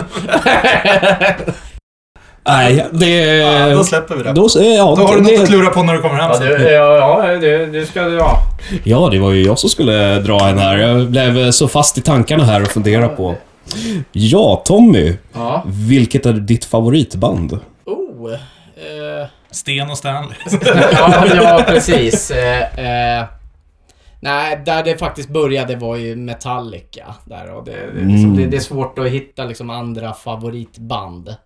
S5: Nej, det...
S1: Eh,
S2: Ja, då släpper vi det.
S5: Då, eh, ja,
S2: Då har du något att
S5: det,
S2: klura på när du kommer hem sen.
S1: ja, det, ska du ha.
S5: ja, det var ju jag som skulle dra en här. Jag blev eh, så fast i tankarna här och fundera på. Ja, Tommy.
S1: Ja.
S5: Vilket är ditt favoritband?
S1: Oh. Eh,
S2: Sten och Stanley. [laughs]
S1: ja, ja, precis. Eh, eh, nej, där det faktiskt började var ju Metallica. Där, och det, det, är
S5: Mm.
S1: liksom, det, det är svårt att hitta liksom andra favoritband.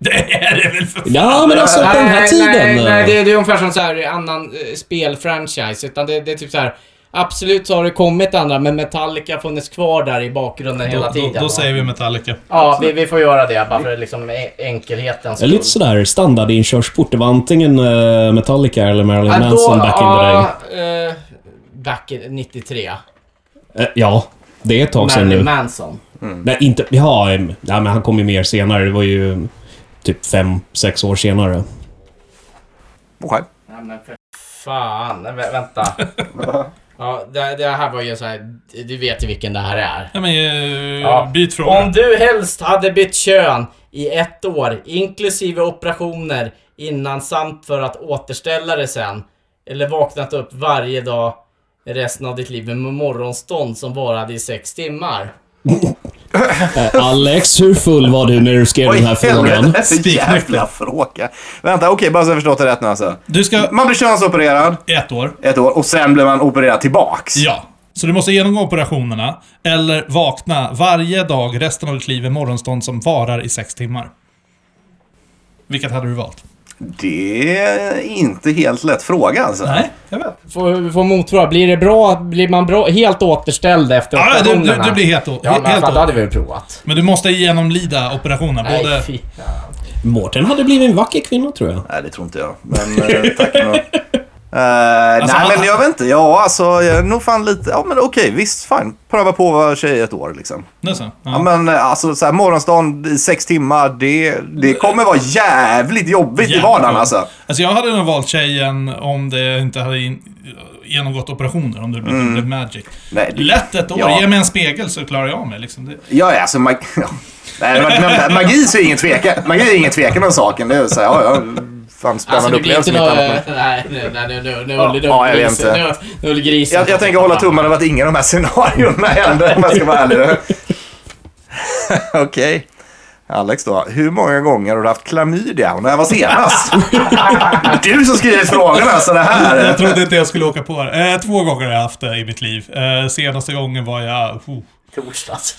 S2: Det är det väl för
S5: Ja, men alltså på den här tiden.
S1: Nej, nej
S5: eh,
S1: det, det är ungefär som så här annan eh, spelfranchise. Utan det, det är typ så här. Absolut så har det kommit andra, men Metallica har funnits kvar där i bakgrunden hela
S2: då,
S1: tiden.
S2: då, då
S1: va?
S2: säger vi Metallica.
S1: Ja, vi, vi får göra det bara för liksom e- enkelhetens
S5: Det är lite sådär standardinkörsport. Det var antingen eh, Metallica eller Marilyn
S1: Ja, Äh, då-
S5: Manson back in the
S1: ja, eh, back in 93.
S5: day. Eh, ja, det är ett tag sedan
S1: Marilyn
S5: nu.
S1: Manson.
S5: Nej, inte... Ja, em, ja, men han kom ju mer senare. Det var ju mm, typ fem, sex år senare.
S3: Okej.
S1: Nej, men för fan. Vä- [laughs] Vänta. ja, det, det här var ju så här. Du vet ju vilken det här är.
S2: Ja, men, eh,
S1: Ja.
S2: Byt fråga.
S1: Om du helst hade bytt kön i ett år, inklusive operationer innan samt för att återställa det sen, eller vaknat upp varje dag resten av ditt liv med morgonstånd som varade i sex timmar.
S5: Eh,
S1: [laughs]
S5: Alex, hur full var du när du skrev den här frågan?
S3: För jävla fråga. Vänta, okej, bara så jag förstått det rätt nu alltså.
S2: Du ska...
S3: Man blir könsopererad
S2: Ett år.
S3: ett år och sen blir man opererad tillbaks.
S2: Ja. Så du måste genomgå operationerna, eller vakna varje dag resten av ditt liv i morgonstånd som varar i sex timmar. Vilket hade du valt?
S3: Det är inte helt lätt fråga alltså.
S2: Nej, jag vet.
S1: Får, får motvara, blir det bra, blir man bra, helt återställd efter
S2: Ja, du, du,
S1: operationerna?
S2: du blir helt då.
S1: Ja, men
S2: helt
S1: fan,
S2: då.
S1: då hade vi ju provat.
S2: Men du måste genomlida operationen. Både...
S1: Nej, fy.
S5: Mårten hade blivit en vacker kvinna, tror jag.
S3: Nej, det tror inte jag. Men eh, tack ändå. Eh,
S2: Alltså,
S3: nej,
S2: han-
S3: men jag vet inte. Ja, alltså, jag är nog fan lite... Ja, men okej, visst, fine. Pröva på att vara tjej ett år, liksom.
S2: Nu så.
S3: Ja,
S2: Ja.
S3: men eh, alltså, så här, morgonstånd i sex timmar, det, det kommer vara jävligt jobbigt i vardagen,
S2: Jävlar.
S3: alltså.
S2: Alltså jag hade nog valt tjejen om det inte hade in, genomgått operationer, om det blev blev magic.
S3: Mm. Nej, det-
S2: Lätt ett år.
S3: Ja.
S2: Ge mig en spegel så klarar jag mig. Liksom. Det,
S3: [laughs] Ja, ja, alltså, mag- ja. Nej, men, men, magi så är ingen tvekan. Magi är ingen tvekan om saken. Det är så här, ja, ja. Fan, spännande
S1: Alltså det blir
S3: upplevelse.
S1: inte
S3: om inte
S1: något...
S3: annat, men-
S1: Nej, nu, nej, nu, nu, nu,
S3: Ja,
S1: nu,
S3: ja, jag vet
S1: grisen-
S3: inte.
S1: nu, nu, nu grisen.
S3: Jag, jag tänker hålla tummarna över att inga av de här scenarierna [laughs] händer om jag ska vara ärlig. [laughs] Okej. Alex då, hur många gånger har du haft klamydia? Och när var senast? [laughs] du som skrivit frågorna, så det här...
S2: Jag trodde inte jag skulle åka på det. Eh, två gånger har jag haft det i mitt liv. Eh, senaste gången var jag... Oh.
S1: Torsdags.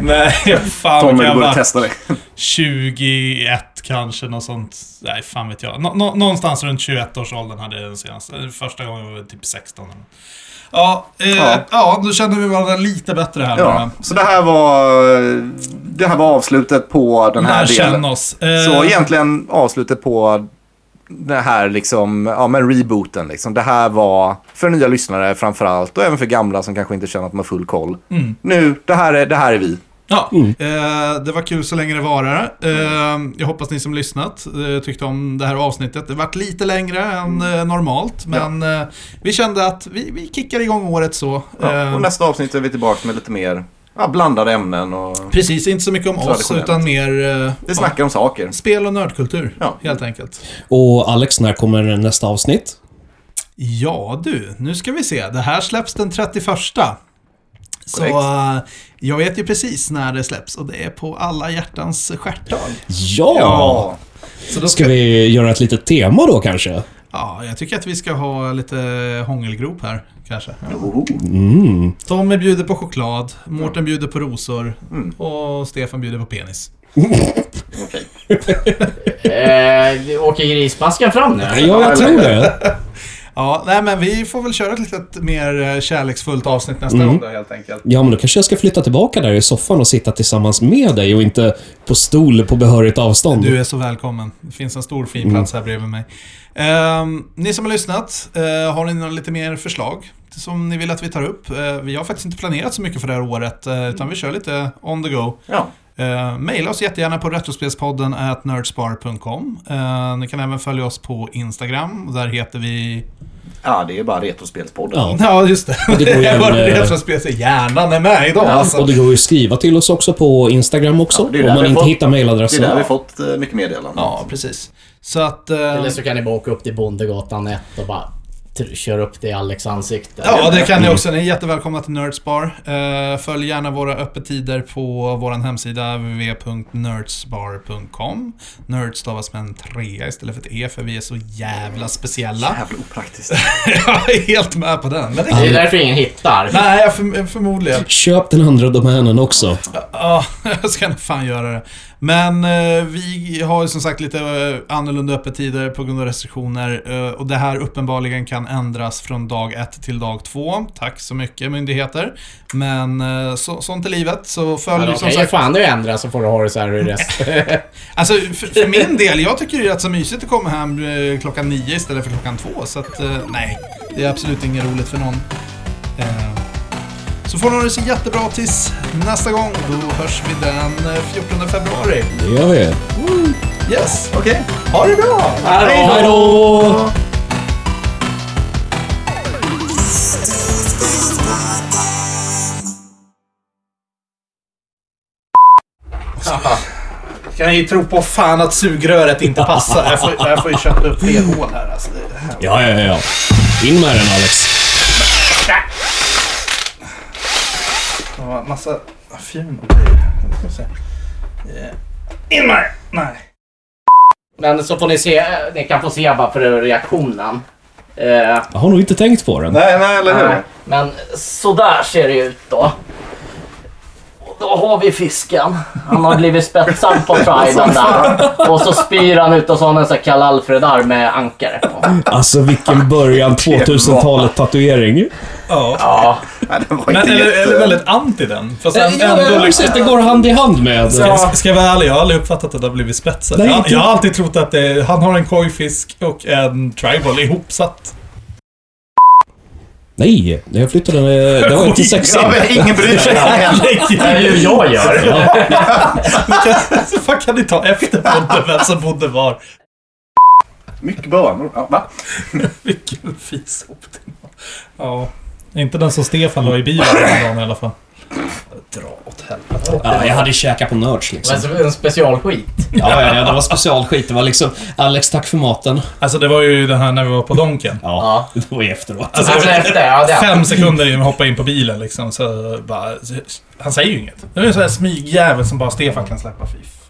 S2: Nej, [laughs] fan
S3: Tommy,
S2: kan
S3: du
S2: jag
S3: borde
S2: vara?
S3: testa det.
S2: 21 kanske, något sånt. Nej, fan vet jag. Nå- nå- någonstans runt 21-årsåldern hade jag den senaste. Den Första gången var jag typ 16. eller något. Ja, eh, ja.
S3: Ja.
S2: nu känner vi varandra lite bättre här.
S3: Ja,
S2: Ja.
S3: så det här var... Det här var avslutet på den här
S2: Lär känna
S3: delen.
S2: oss. Eh,
S3: Så egentligen avslutet på det här liksom, ja men rebooten liksom. Det här var för nya lyssnare framförallt och även för gamla som kanske inte känner att de har full koll.
S2: Mm.
S3: Nu, det här är, det här är vi.
S2: Ja, eh, det var kul så länge det varar. Eh, jag hoppas ni som lyssnat eh, tyckte om det här avsnittet. Det vart lite längre än eh, normalt, men eh, vi kände att vi, vi kickar igång året så.
S3: Ja,
S2: Eh,
S3: och nästa avsnitt är vi tillbaka med lite mer ja, blandade ämnen och
S2: precis, inte så mycket om oss,
S3: Traditionellt.
S2: utan mer eh,
S3: vi snackar om saker.
S2: spel och nördkultur,
S3: Ja.
S2: helt enkelt.
S5: Och Alex, när kommer nästa avsnitt?
S2: Ja du, nu ska vi se. Det här släpps den 31. Så
S7: Korrekt.
S2: eh, jag vet ju precis när det släpps och det är på alla hjärtans stjärtdag.
S5: Ja!
S7: Ja.
S2: Så då
S5: Ska vi göra ett litet tema då kanske?
S2: Ja, jag tycker att vi ska ha lite hångelgrop här, kanske. Ja. Tommy bjuder på choklad, Mårten bjuder på rosor
S3: Mm.
S2: och Stefan bjuder på penis.
S7: Okej.
S1: Eh, åker grismaskan fram nu?
S5: Ja, jag tror det.
S2: Ja, nej men vi får väl köra ett litet mer eh, kärleksfullt avsnitt nästa gång då, helt enkelt.
S5: Ja, men då kanske jag ska flytta tillbaka där i soffan och sitta tillsammans med dig och inte på stol på behörigt avstånd.
S2: Du är så välkommen. Det finns en stor fin plats här bredvid mig. Ehm, ni som har lyssnat, eh, har ni några lite mer förslag som ni vill att vi tar upp? Eh, vi har faktiskt inte planerat så mycket för det här året, eh, utan vi kör lite on the go.
S7: Ja.
S2: Eh, maila oss jättegärna på retrospelspodden at nerdspar.com. Eh, ni kan även följa oss på Instagram, och där heter vi...
S7: ja, det är bara Retrospelspodden.
S5: Ja.
S2: Ja, just det.
S5: Och det
S2: [laughs]
S5: går ju
S2: är bara
S5: en, eh,
S2: retrospel, så hjärnan är med idag alltså.
S5: Och det går ju att skriva till oss också på Instagram också,
S7: Ja, det är där
S5: om man
S7: vi
S5: inte
S7: fått-
S5: hittar
S7: Det är
S5: mailadressen.
S7: där vi fått eh, mycket meddelanden.
S2: Ja, precis. Så att... eh,
S1: Eller så kan ni bara åka upp till Bondegatan 1 och bara tr- köra upp det i Alex ansikte.
S2: Ja, det kan ni också. Ni är jättevälkomna till Nerdspar. Eh, Följ gärna våra öppettider på vår hemsida www.nerdspar.com. Nerd stavas med en trea istället för ett e, för vi är så jävla speciella.
S7: Jävla opraktiskt.
S2: [laughs] Jag är helt med på den. Men det
S1: Det är därför ingen hittar.
S2: Nej, jag förm- förmodligen.
S5: Köp den andra domänen också.
S2: Ja, [laughs] jag ska nog fan göra det. Men eh, vi har ju som sagt lite eh, annorlunda öppettider på grund av restriktioner eh, och det här uppenbarligen kan ändras från dag ett till dag två. Tack så mycket myndigheter. Men eh, så, sånt är livet, så följ
S1: Men de
S2: som
S1: kan ju
S2: sagt...
S1: fan nu ändra så får du ha det så här i resten.
S2: Alltså för, för min del, jag tycker det är rätt så mysigt att komma hem eh, klockan nio istället för klockan två. Så att eh, nej, det är absolut inget roligt för någon. Eh, Så får ni ha det så jättebra tills nästa gång. Då hörs vi den eh, 14 februari.
S5: Det gör vi.
S2: Yes, okej. Ha det bra!
S5: Hej då!
S2: Kan ju tro på fan att sugröret inte passar. [laughs] Jag får, jag får ju köpa upp fler hål här alltså. Det här-
S5: Ja, ja, ja. In med den Alex.
S2: Det var massa fjun och grejer. Jag ska se. Eh, In med det! Nej.
S1: Men så får ni se, ni kan få se bara för reaktionen. Eh,
S5: Jag har nog inte tänkt på den.
S7: nej, nej, eller hur?
S1: men sådär ser det ut då. Och då har vi fisken. Han har blivit spetsad på priden där. Och så spyr han ut och så har han en sån här Kalle Alfred-arm med ankare på.
S5: Alltså
S7: [laughs]
S5: vilken början 2000-talet tatuering.
S1: Ja.
S7: Nej, det var
S8: Men,
S7: inte
S8: eller,
S7: jätte...
S8: eller väldigt anti den. Fast
S1: Eh,
S8: ändå liksom-
S5: precis. Det går hand i hand med.
S8: Ska, ska jag vara ärlig, jag har aldrig uppfattat att det har blivit spetsat.
S5: Nej,
S8: Jag,
S5: inte-
S8: jag har alltid trott att det, han har en kojfisk och en tribal ihopsatt.
S5: Nej, jag flyttade den. eh, Det var inte [laughs] sexigt.
S7: Ja, men ingen bryr
S8: [laughs]
S2: [laughs]
S7: sig.
S1: Det är ju jag gör.
S8: Vad kan ni ta efter podden, vem som bodde var?
S7: Mycket bönor. Ja, va?
S8: Vilken fis Ja. Inte den som Stefan la i bilen den dagen i alla fall. Dra åt helvete.
S5: Ja, jag hade käkat på Nörds liksom.
S1: Men så- En specialskit.
S5: Ja, ja, ja, det var specialskit. Det var liksom Alex, tack för maten.
S8: Alltså det var ju den här när vi var på Donken.
S5: Ja, det var ju efteråt.
S8: Alltså,
S1: Alltså efter, ja det är
S8: Fem sekunder innan vi hoppade in på bilen liksom, så bara... Han säger ju inget. Det är en sån här smygjävel som bara Stefan kan släppa. Fy